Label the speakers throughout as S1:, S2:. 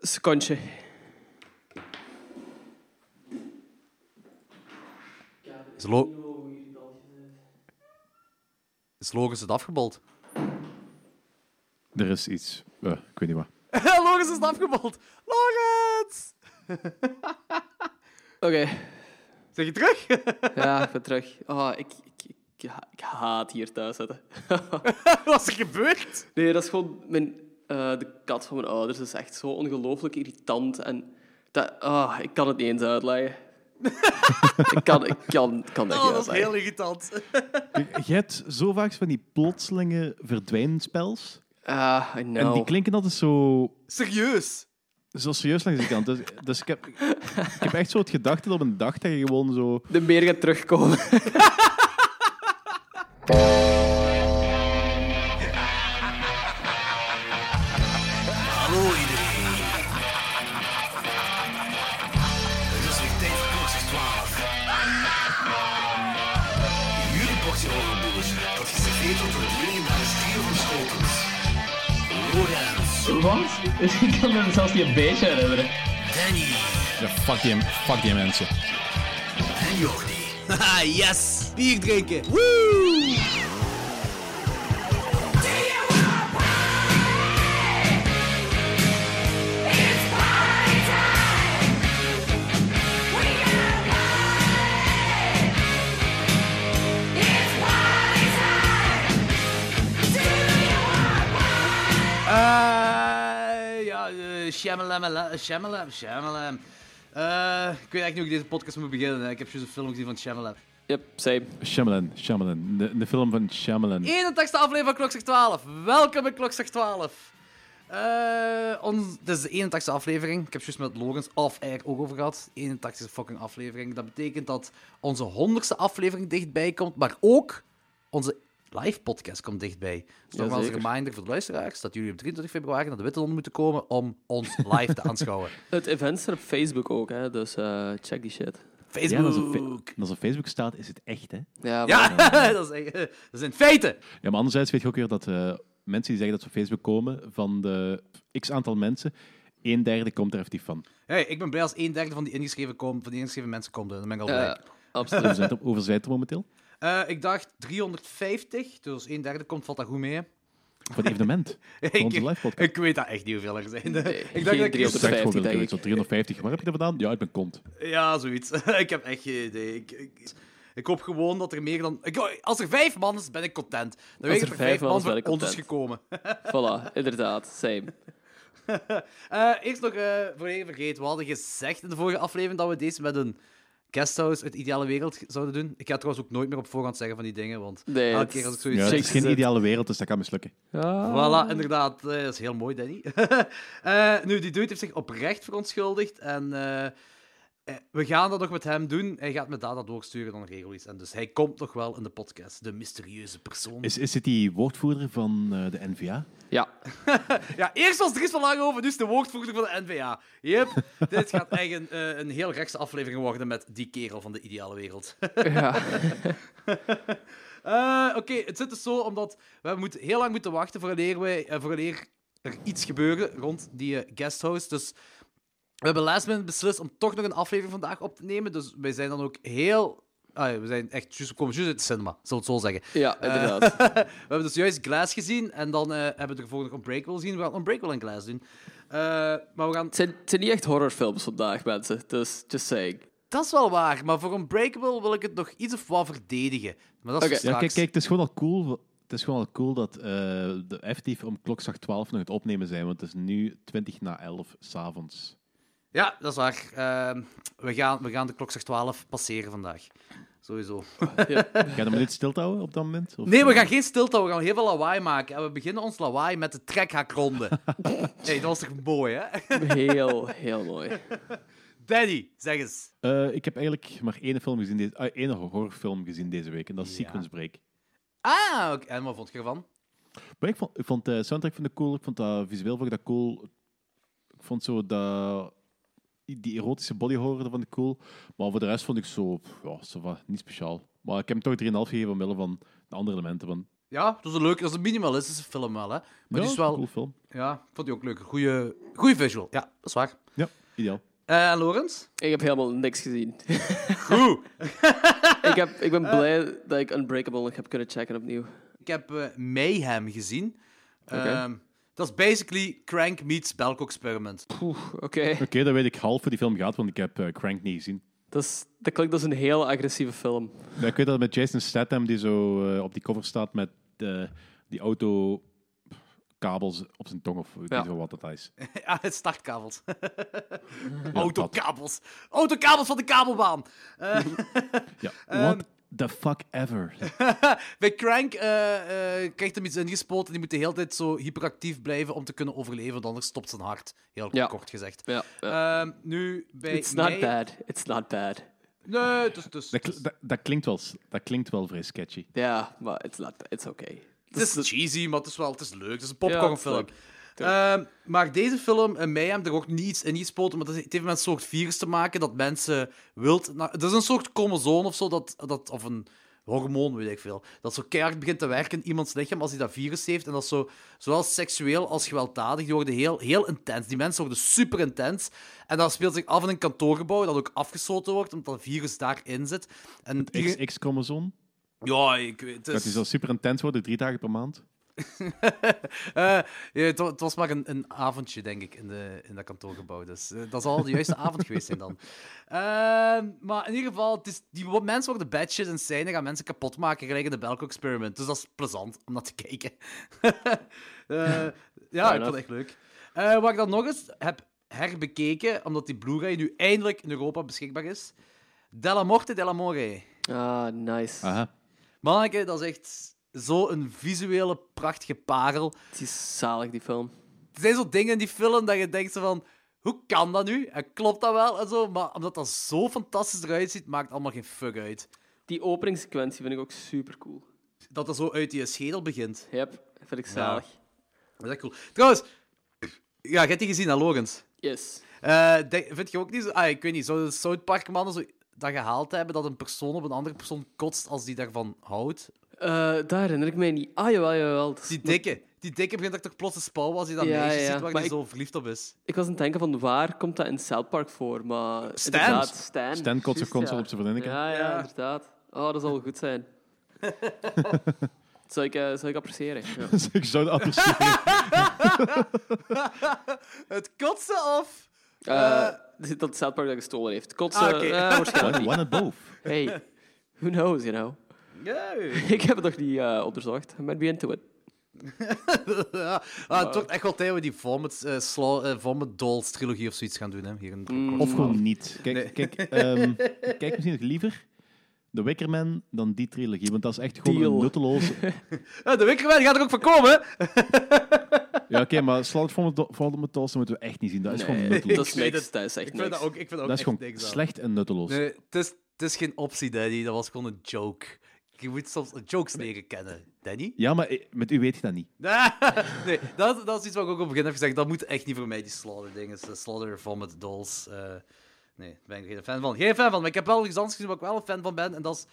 S1: Secondje.
S2: Is, lo is logisch het afgebald?
S3: Er is iets. eh, ik weet niet wat.
S2: Logisch is het afgebald. Logisch!
S1: Oké,
S2: Zeg je terug?
S1: ja, ik ben terug. Oh, ik, ik, ik, ik ha- ik haat hier thuis zitten.
S2: Wat is er gebeurd?
S1: Nee, dat is gewoon... Mijn, eh, de kat van mijn ouders is echt zo ongelooflijk irritant. En dat, ah, ik kan het niet eens uitleggen. ik kan, ik kan, kan dat
S2: Oh,
S1: niet
S2: dat is
S1: uitleggen.
S2: heel irritant.
S3: Kijk, Je hebt zo vaak van die plotselinge verdwijnspels.
S1: Ah, I
S3: En
S1: know.
S3: die klinken altijd zo,
S2: Serieus?
S3: zo serieus langs de kant. Dus, dus ik, heb, ik heb echt zo het gedachte dat op een dag dat je gewoon zo...
S1: De meer gaat terugkomen.
S4: Hallo iedereen. Het is weer tijd voor klokjes 12. Jullie portie overboers, dat geserveerd wordt door de jongen naar de stier van Schotens. Lorenz,
S5: Wat? Ik kan me zelfs niet een beetje herinneren.
S4: Danny
S6: Ja, fuck die, fuck die mensen.
S4: en Jordi. Haha,
S2: Ah,
S4: yes! Bier drinken! Woo!
S2: Eh, ja, eh, Shamalam, ala- Shamalam, Shamalam. Eh, ik weet eigenlijk niet hoe ik deze podcast moet beginnen. hè. Ik heb juist een film gezien van Shamalam.
S1: Yep, same.
S3: Shyamalan, Shyamalan. De, de film van Shyamalan.
S2: 81ste aflevering van Klokslag 12. Welkom bij Klokslag 12. Eh ons, dit is de 81ste aflevering. Ik heb juist met Logans off-air ook over gehad. 81ste fucking aflevering. Dat betekent dat onze 100ste aflevering dichtbij komt, maar ook onze live podcast komt dichtbij. Dus nogmaals een
S1: Jazeker.
S2: reminder voor de luisteraars dat jullie op 23 februari naar de Witte Londen moeten komen om ons live te aanschouwen.
S1: Het event staat op Facebook ook, hè, dus eh, check die shit.
S3: Ja, en als, op,
S2: Facebook.
S3: Fe- en als op Facebook staat, is het echt, hè?
S1: Ja,
S2: Ja,
S1: maar-
S2: dat, is, echt- dat zijn feiten.
S3: Ja, maar anderzijds weet je ook weer dat eh, mensen die zeggen dat ze op Facebook komen, van de x aantal mensen, een derde komt er effectief van.
S2: Hey, ik ben blij als een derde van die ingeschreven, kom, van die ingeschreven mensen komt. Dan ben ik al blij.
S1: Ja, absoluut.
S3: Hoeveel Dus zijn het er- Hoeveel zijn het er momenteel?
S2: Eh, ik dacht 350, dus een derde komt, valt dat goed mee. hè?
S3: Voor het evenement. Voor
S2: Ik-
S3: onze live podcast.
S2: Ik weet dat echt niet hoeveel er zijn. ik dacht
S1: geen
S2: dat ik...
S1: 300.
S3: Zeg
S1: 350,
S3: gewoon wel
S1: denk ik.
S3: zoiets, zo 350. Waar heb je dat vandaan? Ja, ik ben kont.
S2: Ja, zoiets. ik heb echt geen idee. Ik, ik, ik hoop gewoon dat er meer dan... Ik, als er vijf man is, ben ik content. Dan weet ik
S1: er
S2: dat er
S1: vijf
S2: vijf
S1: man
S2: man
S1: is, ben
S2: voor
S1: ik
S2: ons is
S1: content.
S2: gekomen.
S1: Voilà, inderdaad, same.
S2: Eh, eerst nog, eh voor even vergeten, we hadden gezegd in de vorige aflevering dat we deze met een guesthouse uit Ideale Wereld zouden doen. Ik ga trouwens ook nooit meer op voorhand zeggen van die dingen, want
S1: Nee,
S2: elke
S1: het
S2: keer als ik
S1: is-
S2: zoiets
S3: Ja, het
S2: zeg...
S3: is geen
S1: Zet.
S3: ideale wereld, dus dat kan mislukken.
S2: Voilà, inderdaad. Eh, dat is heel mooi, Danny. Eh, nu, die dude heeft zich oprecht verontschuldigd en... eh, eh, we gaan dat nog met hem doen. Hij gaat me data doorsturen dan regel is. En dus hij komt nog wel in de podcast. De mysterieuze persoon.
S3: Is, is het die woordvoerder van eh, de NVA?
S1: Ja,
S2: Ja, eerst was Dries van Langhoven, nu is de woordvoerder van de NVA. Yep. Dit gaat echt een, eh, een heel rechtse aflevering worden met die kerel van de ideale wereld.
S1: ja.
S2: Eh, Oké, het zit dus zo omdat we moeten heel lang moeten wachten vooraleer, wij, eh, vooraleer er iets gebeuren rond die eh, guesthouse. Dus we hebben last minute beslist om toch nog een aflevering vandaag op te nemen. Dus wij zijn dan ook heel... ah, we zijn echt juist, we komen juist uit het cinema, zullen we het zo zeggen.
S1: ja inderdaad.
S2: We hebben dus juist Glass gezien en dan eh, hebben we ervoor nog Unbreakable gezien. We gaan Unbreakable en Glass doen. Eh, maar we gaan...
S1: Het zijn, het zijn niet echt horrorfilms vandaag, mensen. Dus, just saying.
S2: Dat is wel waar, maar voor Unbreakable wil ik het nog iets of wat verdedigen. Maar dat is
S1: Oké.
S2: voor
S3: Ja, kijk,
S2: straks.
S3: kijk, het is gewoon al cool. Het is gewoon al cool dat eh de effectief om klokslag 12 nog het opnemen zijn, want het is nu 20 na 11 s'avonds.
S2: Ja, dat is waar. Ehm, we, gaan, we gaan de klok zegt 12 passeren vandaag. Sowieso.
S3: Ga je een minuut stilte houden op dat moment? Of,
S2: Nee, we
S3: eh,
S2: gaan geen stilte, we gaan heel veel lawaai maken. En we beginnen ons lawaai met de trekhakronde. hey, dat was toch mooi, hè?
S1: Heel, heel mooi.
S2: Danny, zeg eens.
S3: eh, ik heb eigenlijk maar één, film gezien deze, ah, één horrorfilm gezien deze week, en dat is
S2: Ja.
S3: Sequence Break.
S2: Ah, oké. en wat vond je ervan?
S3: Maar ik vond, ik vond de soundtrack van de cool, ik vond dat visueel vond ik dat cool. Ik vond zo dat, die erotische body horror van de cool. Maar voor de rest vond ik zo, pff, ja, zo van, niet speciaal. Maar ik heb hem toch 3,5 gegeven omwille van de andere elementen. Van,
S2: Ja, dat is een leuke, dat is een minimalistische film wel, hè. Maar die is wel...
S3: cool film.
S2: Ja, ik vond die ook leuk. Goeie, goeie visual. Ja, dat is waar.
S3: Ja, ideaal.
S2: Eh, en Lorenz?
S1: Ik heb helemaal niks gezien.
S2: Goed.
S1: ik, heb, ik ben blij dat ik Unbreakable nog heb kunnen checken opnieuw.
S2: Ik heb eh, Mayhem gezien.
S1: Oké.
S2: Ehm, dat is basically Crank meets Belk Experiment.
S1: Oeh, oké.
S3: Oké, dan weet ik half hoe die film gaat, want ik heb eh, Crank niet gezien.
S1: Dat, is- dat klinkt als een hele agressieve film.
S3: Ja, ik weet dat met Jason Statham, die zo eh, op die cover staat met eh, die auto kabels op zijn tong of ik
S1: Ja.
S3: weet wel wat dat is. Ja,
S2: Ja, het startkabels.
S3: dat.
S2: Autokabels. Autokabels van de kabelbaan. Eh,
S3: Ja,
S2: Ehm,
S3: what the fuck ever.
S2: bij Crank eh, eh, krijgt hem iets ingespoten en die moet de hele tijd zo hyperactief blijven om te kunnen overleven, want anders stopt zijn hart. Heel
S1: Ja.
S2: kort gezegd.
S1: Ja, ja.
S2: Ehm, nu bij
S1: Eh, It's not
S2: May-
S1: bad. It's not bad.
S2: Nee, dus, dus,
S3: Dat, kl- dat, dat klinkt wel, s- dat klinkt wel vrij sketchy.
S1: Ja, maar it's not bad. It's okay.
S2: Het is cheesy, maar het is wel het is leuk. Het is een
S1: Ja, het is
S2: popcornfilm.
S1: leuk.
S2: Ehm, maar deze film, en mij hebben er ook niets in gespoten, maar dat heeft met een soort virus te maken dat mensen wild... Nou, het is een soort chromosoom of zo, dat, dat, of een hormoon, weet ik veel. Dat zo keihard begint te werken in iemands lichaam als hij dat virus heeft. En dat is zo, zowel seksueel als gewelddadig. Die worden heel, heel intens. Die mensen worden super intens. En dat speelt zich af in een kantoorgebouw dat ook afgesloten wordt, omdat dat virus daarin zit. En ieder-
S3: XX-chromosoom,
S2: Ja, ik weet het.
S3: dat
S2: is-
S3: die zal super intens worden, drie dagen per maand.
S2: Eh, ja, het, wa- het was maar een, een avondje, denk ik, in, de, in dat kantoorgebouw. Dus eh, dat zal de juiste avond geweest zijn dan. Ehm, maar in ieder geval, het is, die wo- mensen worden bad shit en zijn gaan mensen kapot maken, gelijk in de Belko Experiment. Dus dat is plezant om naar te kijken. Eh, ja, ik vond
S1: enough.
S2: het echt leuk. Eh, wat ik dan nog eens heb herbekeken, omdat die Blu-ray nu eindelijk in Europa beschikbaar is. Della Morte, Della More.
S1: Ah, nice.
S3: Aha.
S2: Manneke, dat is echt zo'n visuele prachtige parel.
S1: Het is zalig, die film.
S2: Er zijn zo dingen in die film dat je denkt zo van... Hoe kan dat nu? En klopt dat wel? En zo, maar omdat dat zo fantastisch eruit ziet, maakt allemaal geen fuck uit.
S1: Die openingssequentie vind ik ook super cool.
S2: Dat dat zo uit die schedel begint.
S1: Yep, vind ik zalig.
S2: Dat is echt cool. Trouwens... Ja, je hebt die gezien, hè, Logans?
S1: Yes.
S2: Eh, denk- vind je ook niet zo... Ah, ik weet niet. Zouden de South Park mannen zo dat gehaald hebben dat een persoon op een andere persoon kotst als die daarvan houdt?
S1: Eh, daar herinner ik mij niet. Ah, jawel, jawel. Dat is-
S2: Die dikke. Die dikke begint dat toch plots te spouwen als hij dat
S1: Ja,
S2: meisje
S1: ja,
S2: ziet waar
S1: maar
S2: hij
S1: ik-
S2: zo verliefd op is.
S1: Ik was aan het denken van waar komt dat in South Park voor, maar...
S2: Stan.
S1: inderdaad, Stan.
S3: Stan kotst
S1: Juist,
S3: ook constant
S1: ja.
S3: op zijn vriendinnetje.
S1: Ja, ja,
S2: Ja.
S1: inderdaad. Oh, dat zal wel goed zijn. zou, ik, eh, zou ik appreciëren. Ja.
S3: Dus ik zou dat appreciëren.
S2: Het kotsen of...
S1: Eh, dat dat South Park dat gestolen heeft. Kotsen,
S2: Ah, oké.
S1: eh, waarschijnlijk
S3: One-
S1: niet.
S3: One and both.
S1: Hey, who knows, you know?
S2: Nee.
S1: ik heb het nog niet eh, onderzocht. I might be into it.
S2: ja, ah, het wordt echt wel tijd dat we die Vomit, eh, Slaw- eh, Vomit Dolls trilogie of zoiets gaan doen. Hè? Hier in de
S3: Of gewoon niet. Kijk, kijk, ehm, ik kijk misschien nog liever The Wicker Man dan die trilogie, want dat is echt gewoon
S1: Deal.
S3: een nutteloze...
S2: Eh, de Wickerman gaat er ook van komen. hè?
S3: Ja, oké, maar Slaughter from the- from the Dolls moeten we echt niet zien. Dat is gewoon nutteloos.
S1: dat is
S2: Ik weet
S1: niks.
S2: het.
S1: Dat is echt
S2: Ik vind
S1: niks.
S2: dat ook, ik vind ook
S3: Dat is
S2: echt
S3: gewoon
S2: niks aan.
S3: slecht en nutteloos.
S2: Nee, het, is, het is geen optie, Danny. Dat was gewoon een joke. Je moet soms jokes leren kennen, Danny.
S3: Ja, maar eh, met u weet je dat niet.
S2: nee, dat, dat is iets wat ik ook op het begin heb gezegd. Dat moet echt niet voor mij, die Slaughter-dingen. Slaughter, eh, Vomit, Dolls. eh, nee, daar ben ik geen fan van. Geen fan van, maar ik heb wel iets anders gezien waar ik wel een fan van ben. En dat is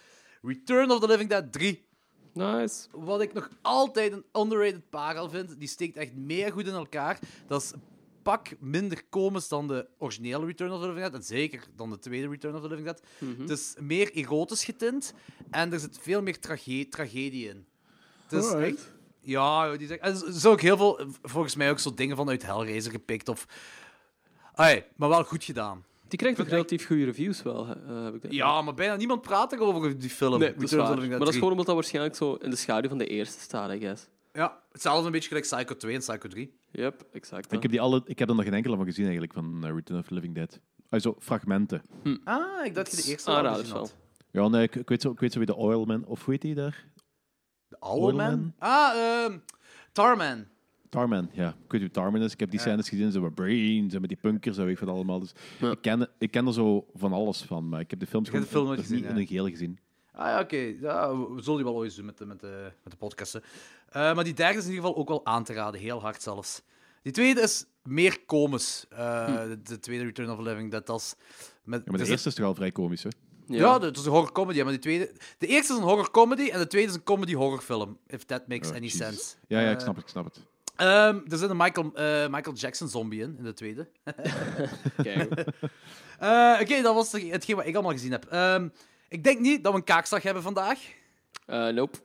S2: Return of the Living Dead 3.
S1: Nice.
S2: Wat ik nog altijd een underrated parel vind, die steekt echt meer goed in elkaar. Dat is een pak minder komisch dan de originele Return of the Living Dead. En zeker dan de tweede Return of the Living Dead.
S1: Mhm.
S2: Het is meer erotisch getint en er zit veel meer trage- tragedie in. Het is
S3: Alright.
S2: echt... Ja, joh, die zegt- en er zijn ook heel veel, volgens mij ook zo dingen vanuit Hellraiser gepikt. Of... Ai, maar wel goed gedaan.
S1: Die krijgt ook relatief goede reviews wel, hè, eh, heb ik de-
S2: Ja, maar bijna niemand praat er over die film.
S1: Nee, dat is
S2: Return of the
S1: waar.
S2: Living Dead
S1: Maar dat is
S2: 3.
S1: gewoon omdat dat waarschijnlijk zo in de schaduw van de eerste staat, I guess.
S2: Ja, hetzelfde een beetje gelijk Psycho 2 en Psycho 3.
S1: Yep, exact.
S3: Ik heb, die alle, ik heb er nog geen enkele van gezien, eigenlijk, van eh, Return of the Living Dead. Also, fragmenten.
S2: Ah, ik dacht dat je de eerste
S1: Aanrader
S2: al gezien
S1: wel.
S2: had.
S3: Ja, nee, ik, ik weet zo, ik weet zo wie de Oilman... Of hoe heet die daar?
S2: De Owl Man?
S3: Oilman?
S2: Ah, ehm Tarman.
S3: Tarman, ja. Ik weet wie Tarman is. Ik heb die scènes gezien, zo met Brains en met die punkers en weet ik wat allemaal. Dus
S1: Ja.
S3: ik, ken, ik ken er zo van alles van, maar ik heb de films
S2: Ik heb de film nooit
S3: nog niet
S2: gezien,
S3: in
S2: ja.
S3: een geheel gezien.
S2: Ah ja, oké. Ja, we we zullen die wel ooit doen met de, met de, met de podcasten. Eh, maar die derde is in ieder geval ook wel aan te raden. Heel hard zelfs. Die tweede is meer komisch. Eh, de, de tweede Return of the Living. Dead, Dat is... Met,
S3: Ja, maar de
S2: dus-
S3: eerste is toch al vrij komisch, hè?
S1: Ja.
S2: Ja, dat is een horror comedy, maar die tweede... De eerste is een horror comedy en de tweede is een comedy horrorfilm. If that makes
S3: Oh,
S2: any
S3: Jesus.
S2: sense.
S3: Ja, ja, ik
S2: Eh,
S3: snap het, ik snap het.
S2: Ehm, er zit een Michael, eh, Michael Jackson zombie in, in de tweede.
S1: Kijk,
S2: Eh, Oké, dat was hetgeen wat ik allemaal gezien heb. Ehm, ik denk niet dat we een kaakslag hebben vandaag.
S1: Eh, nope.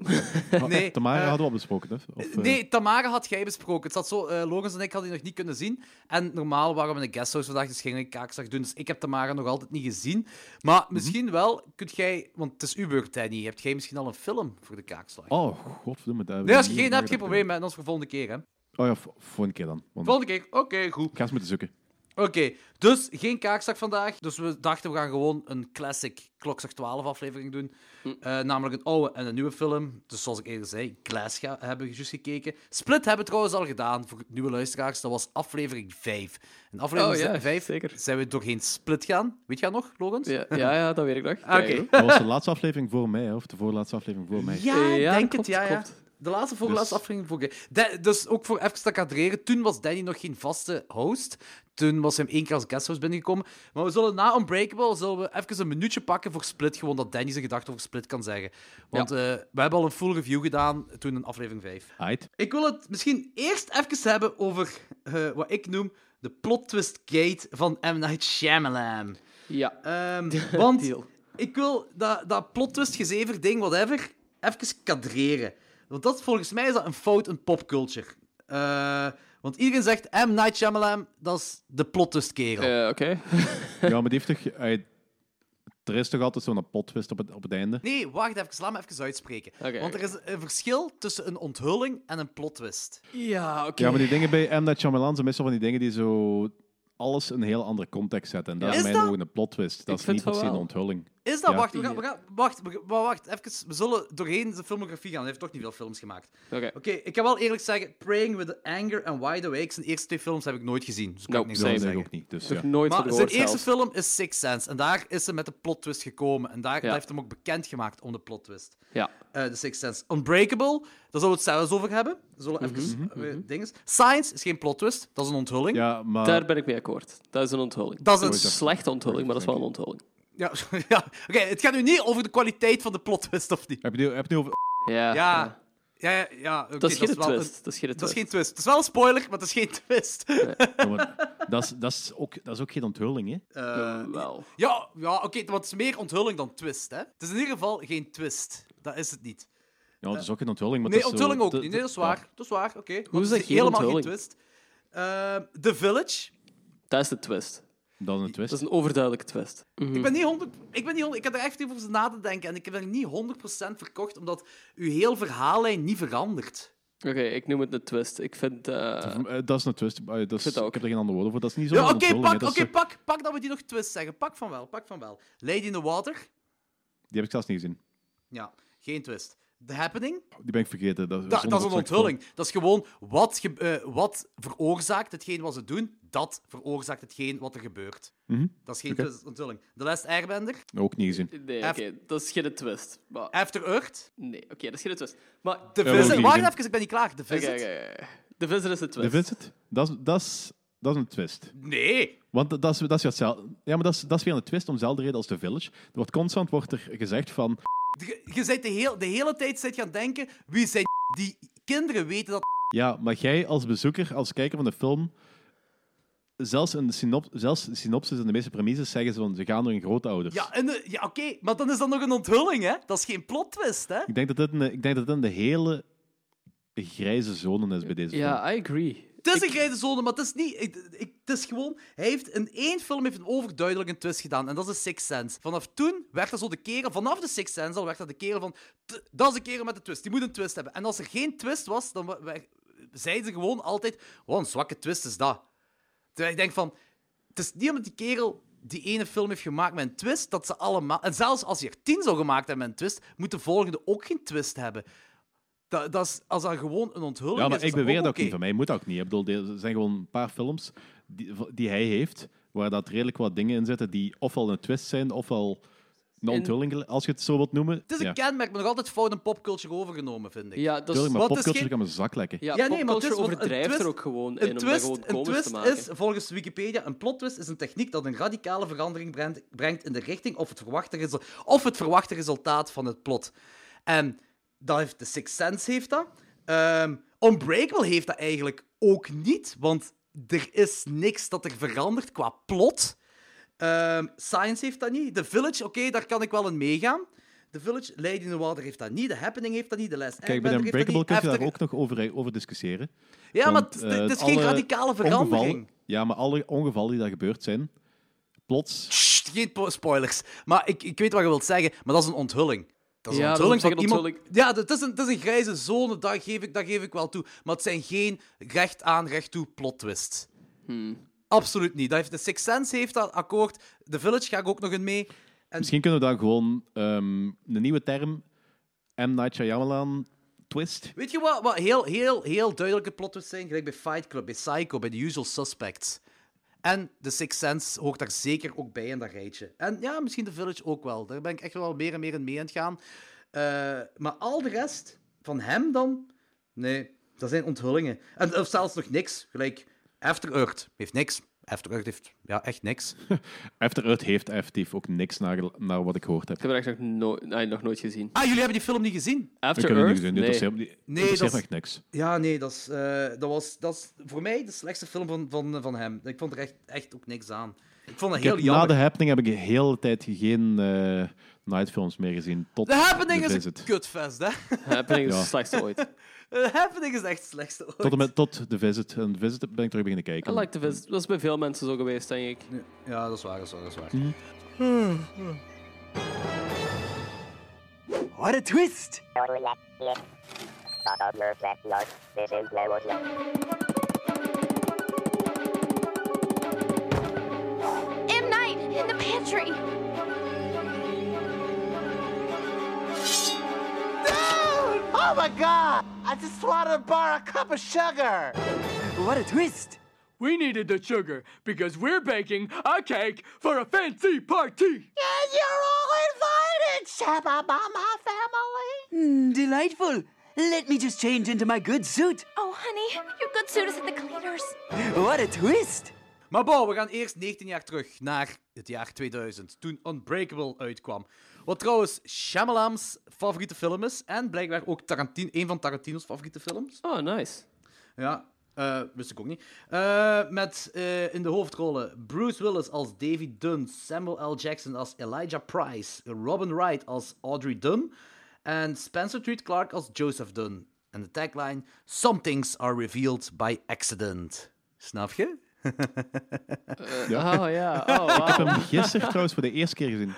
S3: Maar
S2: nee,
S3: Tamara
S2: eh,
S3: hadden we al besproken, hè? Of, eh,
S2: Nee, Tamara had jij besproken. Het zat zo, eh Logans en ik hadden die nog niet kunnen zien. En normaal waren we in de guesthouse vandaag, dus gingen we een kaakslag doen. Dus ik heb Tamara nog altijd niet gezien. Maar misschien wel, kunt jij... Want het is uw beurt, Danny. Hebt jij misschien al een film voor de kaakslag?
S3: Oh, godverdomme.
S2: nee,
S3: daar
S2: als je geen
S3: hebben we niet
S2: hebt, geen
S3: nagedacht.
S2: probleem. Met ons voor volgende keer, hè.
S3: Oh ja, vo- volgende keer dan. Want
S2: Volgende keer. Oké, goed.
S3: Ik ga eens moeten zoeken.
S2: Oké, dus geen kaakzak vandaag. Dus we dachten, we gaan gewoon een classic Klokzak 12 aflevering doen.
S1: Hm.
S2: Eh, namelijk een oude en een nieuwe film. Dus zoals ik eerder zei, Glass ga- hebben we juist gekeken. Split hebben we trouwens al gedaan voor nieuwe luisteraars. Dat was aflevering 5. En aflevering
S1: Oh ja,
S2: 5
S1: zeker.
S2: zijn we doorheen Split gaan. Weet je dat nog, Logans?
S1: ja, ja, ja, dat weet ik nog.
S2: Ah, Oké.
S1: Kijk,
S3: Dat was de laatste aflevering voor mij, hè, of de voorlaatste aflevering voor mij.
S2: Ja, ik
S1: Eh, Ja,
S2: denk
S1: klopt,
S2: het. Ja, ja.
S1: klopt.
S2: De laatste voorlaatste
S3: Dus-
S2: aflevering vorige Da- Dus ook voor even te kadreren, toen was Danny nog geen vaste host. Toen was hem één keer als guesthost binnengekomen. Maar we zullen na Unbreakable zullen we even een minuutje pakken voor Split, gewoon dat Danny zijn gedachten over Split kan zeggen. Want eh, we hebben al een full review gedaan toen in aflevering 5.
S3: Aight.
S2: Ik wil het misschien eerst even hebben over eh, wat ik noem de plot twist gate van M. Night Shyamalan.
S1: Ja.
S2: Ehm, want
S1: Deal.
S2: ik wil dat, dat plot twist, gezever ding, whatever, even kadreren. Want dat, volgens mij is dat een fout in popculture. Eh, want iedereen zegt M. Night Shyamalan, dat is de plot twist kerel.
S1: Eh, Oké.
S3: Ja, maar die heeft toch... hij- er is toch altijd zo'n potwist op het, op het einde?
S2: Nee, wacht even, laat me even uitspreken.
S1: Oké,
S2: want er is een verschil tussen een onthulling en een plot twist.
S1: Ja, oké.
S3: Ja, maar die dingen bij M. Night Shyamalan zijn meestal van die dingen die zo alles in een heel andere context zetten. En dat
S2: Is
S3: is mijn
S2: dat-
S3: ogen een plot twist. Dat
S1: Ik
S3: is
S1: vind
S3: niet per
S1: van
S3: se een
S1: wel.
S3: onthulling.
S2: Is dat?
S3: Ja.
S2: Wacht, we gaan, we gaan, wacht, we, wa- wacht, even, we zullen doorheen zijn filmografie gaan. Hij heeft toch niet veel films gemaakt.
S1: Oké.
S2: Oké, ik kan wel eerlijk zeggen, Praying with Anger en Wide Awake, zijn eerste twee films heb ik nooit gezien. Dus kan
S1: Nope,
S2: ik niks
S1: same.
S3: Dat
S2: over
S3: is
S2: zeggen.
S3: ook niet. Dus
S1: Nog
S3: ja.
S1: nooit van
S2: Maar zijn
S1: gehoord
S2: eerste
S1: zelfs.
S2: film is Six Sense. En daar is ze met de plot twist gekomen. En daar dat
S1: Ja.
S2: heeft hem ook bekend gemaakt om de plot twist.
S1: Ja.
S2: Eh, de Sixth Sense. Unbreakable, daar zullen we het zelfs over hebben. Daar zullen
S1: Mhm,
S2: we even eh, dingen. Science is geen plot twist, dat is een onthulling. Ja,
S3: ja, maar...
S1: Daar ben ik mee akkoord. Dat is een onthulling.
S2: Dat is een-
S1: een slechte onthulling, maar dat is wel een onthulling.
S2: ja, Oké, het gaat nu niet over de kwaliteit van de plot twist of niet.
S3: Heb je, die- heb je die over...
S1: Ja.
S2: Ja, ja, ja. ja oké,
S1: Dat is geen
S2: wel een-
S1: twist. Dat is geen
S2: dat is
S1: twist.
S2: geen twist. Het is wel een spoiler, maar het is geen twist. Eh,
S3: Ja, maar dat, is, dat, is ook, dat is ook geen onthulling, hè?
S1: Eh, wel.
S2: Ja, ja oké, want het is meer onthulling dan twist, hè? Het is in ieder geval geen twist. Dat is het niet.
S3: Ja, dat is ook geen onthulling. Maar
S2: Nee,
S3: dat is
S2: onthulling
S3: zo,
S2: ook niet. Nee, dat is waar. Dat is waar, oké. Maar
S1: is
S2: het
S1: dat geen
S2: helemaal geen
S1: onthulling?
S2: twist? Eh, The Village.
S1: Dat is de twist.
S3: Ja, dat is een twist.
S1: Dat is een overduidelijke twist. Mhm.
S3: Hm.
S2: Ik ben niet 100... Ik ben niet 100... Ik had er echt even over na te denken. En ik heb er niet 100% verkocht, omdat uw heel verhaallijn niet verandert.
S1: Oké, ik noem het een twist. Ik vind... eh,
S3: Eh, Dat is een twist. Eh, Dat is,
S1: vind
S3: ik,
S1: dat ook.
S3: heb er geen ander woord voor. Dat is eh, niet zo.
S2: Ja, oké, pak, oké, pak, pak dat we die nog twist zeggen. Pak van wel, pak van wel. Lady in the Water.
S3: Die heb ik zelfs niet gezien.
S2: Ja, geen twist. The Happening.
S3: Die ben ik vergeten. Dat,
S2: Da- dat is een
S3: soort
S2: onthulling. Dat is gewoon wat, ge- eh, wat veroorzaakt hetgeen wat ze doen, dat veroorzaakt hetgeen wat er gebeurt.
S3: Mhm.
S2: Dat is geen
S3: Oké.
S2: twist- onthulling. The Last Airbender,
S3: film. Ook niet gezien.
S1: nee, oké.
S2: F-
S1: dat is geen twist. Maar,
S2: After Earth,
S1: nee, oké, dat is geen twist. Maar...
S2: The
S3: Ja,
S2: Visit.
S3: wel
S2: Wacht
S3: gezien.
S2: even, ik ben niet klaar. The
S1: Oké,
S2: Visit.
S1: oké, oké. De visser is de twist.
S3: De Vincent? Dat is, dat, is, dat is een twist.
S2: Nee.
S3: Want dat is, dat is wat zel- ja, maar dat is, dat is weer een twist om dezelfde reden als The Village. Er wordt constant wordt er gezegd van...
S2: Je, je bent de, heel, de hele tijd zit gaan denken, wie zijn die kinderen weten dat...
S3: Ja, maar jij als bezoeker, als kijker van de film... Zelfs in de, synop, zelfs de synopsis en de meeste premises zeggen ze van... Ze gaan door hun grootouders.
S2: Ja, en de- ja oké, maar dan is dat nog een onthulling, hè? Dat is geen plot twist, hè?
S3: Ik denk dat dit een, ik denk dat dit een hele grijze zone is bij deze film.
S1: Ja, I agree.
S2: Het is een grijze zone, maar het is niet. Ik, ik- het is gewoon. Hij heeft in één film heeft een overduidelijk een twist gedaan. En dat is Six Sense. Vanaf toen werd dat zo de kerel. Vanaf de Six Sense al werd dat de kerel van. "T- Dat is de kerel met de twist. Die moet een twist hebben. En als er geen twist was, dan wa- wa- zeiden ze gewoon altijd. Wat een zwakke twist is dat. Terwijl ik denk van. Het is niet omdat die kerel die ene film heeft gemaakt met een twist, dat ze allemaal... En zelfs als hij er tien zou gemaakt hebben met een twist, moet de volgende ook geen twist hebben. Dat, dat is, als dat gewoon een onthulling
S3: Ja,
S2: is,
S3: maar
S2: is
S3: ik beweer dat
S2: Oh,
S3: ook
S2: oké.
S3: niet van mij. Moet dat ook niet. Ik bedoel, er zijn gewoon een paar films die, die hij heeft, waar dat redelijk wat dingen in zitten die ofwel een twist zijn, ofwel Een onthulling, als je het zo wilt noemen.
S2: Het is een
S3: ja.
S2: kenmerk, maar nog altijd fout een popculture overgenomen, vind ik.
S1: Ja, dat is,
S3: Tuurlijk, maar
S2: Want het is
S3: popculture
S2: geen-
S3: kan mijn zak lekken.
S1: ja,
S2: Ja, nee, maar het is-
S1: popculture
S2: want een
S1: overdrijft
S2: twist-
S1: er ook gewoon in
S2: Een
S1: om dat
S2: twist,
S1: gewoon
S2: een
S1: komisch te
S2: twist
S1: maken.
S2: is volgens Wikipedia een plotwist is een techniek dat een radicale verandering brengt, brengt in de richting of het, verwachte resul- of het verwachte resultaat van het plot. En dat heeft The Sixth Sense heeft dat. Ehm Unbreakable heeft dat eigenlijk ook niet, want er is niks dat er verandert qua plot. Ehm, Science heeft dat niet. The Village, oké, daar kan ik wel in meegaan. The Village, Lady in the Water heeft dat niet. The Happening heeft dat niet. The Last
S3: Kijk, bij
S2: Airbender
S3: de
S2: heeft dat niet.
S3: Unbreakable kun je daar
S2: After-
S3: ook nog over, over discussiëren.
S2: Ja, maar
S3: Want,
S2: het,
S3: eh,
S2: het is geen
S3: alle
S2: radicale verandering.
S3: ongevallen- ja, maar alle ongevallen die daar gebeurd zijn, plots...
S2: Sst, geen po- spoilers. Maar ik, ik weet wat je wilt zeggen, maar dat is een onthulling. Dat is
S1: Ja,
S2: een
S1: dat is
S2: onthulling
S1: op zich
S2: van
S1: een
S2: iemand...
S1: onthulling.
S2: Ja, dat is, een, dat is een grijze zone, dat geef, ik, dat geef ik wel toe. Maar het zijn geen recht aan, recht toe plot twists.
S1: Hmm.
S2: Absoluut niet. Dat heeft, de Sixth Sense heeft dat akkoord. The Village ga ik ook nog in mee.
S3: Misschien kunnen we daar gewoon ehm, een nieuwe term, M. Night Shyamalan twist.
S2: Weet je wat, wat heel, heel, heel duidelijke plot twists zijn? Gelijk bij Fight Club, bij Psycho, bij The Usual Suspects. En The Sixth Sense hoort daar zeker ook bij in dat rijtje. En ja, misschien The Village ook wel. Daar ben ik echt wel meer en meer in mee aan het gaan. Eh, maar al de rest van hem dan? Nee, dat zijn onthullingen. En of zelfs nog niks. Gelijk After Earth heeft niks. After Earth heeft ja, echt niks.
S3: After Earth heeft effectief ook niks naar, naar wat ik gehoord heb.
S1: Ik heb er echt nog, nooit- nee, nog nooit gezien.
S2: Ah, jullie hebben die film niet gezien?
S1: After
S3: Ik heb het niet
S1: Earth?
S3: gezien,
S1: nee.
S3: dit interesseert me- dit
S2: Nee,
S3: interesseert
S2: dat
S3: me
S2: is-
S3: echt niks.
S2: Ja, nee, dat is, eh, dat was, dat is voor mij de slechtste film van, van, van hem. Ik vond er echt, echt ook niks aan. Ik vond dat
S3: Ik
S2: heel
S3: heb- na
S2: jammer.
S3: de happening heb ik de hele tijd geen eh, nightfilms meer gezien. Tot
S2: The Happening
S3: The
S2: is een
S3: Visit.
S2: kutfest, hè?
S1: Happening is
S3: Ja.
S1: het slechtste ooit.
S2: The Happening is echt het slechtste ooit.
S3: Tot, en met, tot The Visit. En The Visit ben ik terug beginnen
S1: I
S2: Ah,
S3: kijken.
S1: like the visit. Dat is bij veel mensen zo geweest, denk ik.
S2: Ja, dat is waar, dat is waar, dat is waar.
S3: Mhm.
S2: Hmm,
S7: What a twist!
S8: M. Night in the pantry.
S9: Oh my god! I just wanted to borrow a cup of sugar!
S7: What a twist!
S10: We needed the sugar because we're baking a cake for a fancy party.
S9: And you're all invited, Shabba by my family!
S7: Hmm, delightful! Let me just change into my good suit!
S8: Oh, honey, your good suit is at the cleaners.
S7: What a twist!
S2: Maar bon, we gaan eerst 19 jaar terug naar het jaar 2000, toen Unbreakable uitkwam. Wat trouwens Shyamalan's favoriete film is en blijkbaar ook Tarantino, een van Tarantino's favoriete films.
S1: Oh, nice.
S2: Ja, eh, wist ik ook niet. Eh, met eh, in de hoofdrollen Bruce Willis als Davy Dunn, Samuel L. Jackson als Elijah Price, Robin Wright als Audrey Dunn en Spencer Treat Clark als Joseph Dunn. En de tagline: Some things are revealed by accident. Snap je?
S1: Oh, ja. Oh, wow.
S3: Ik heb hem gisteren trouwens voor de eerste keer gezien.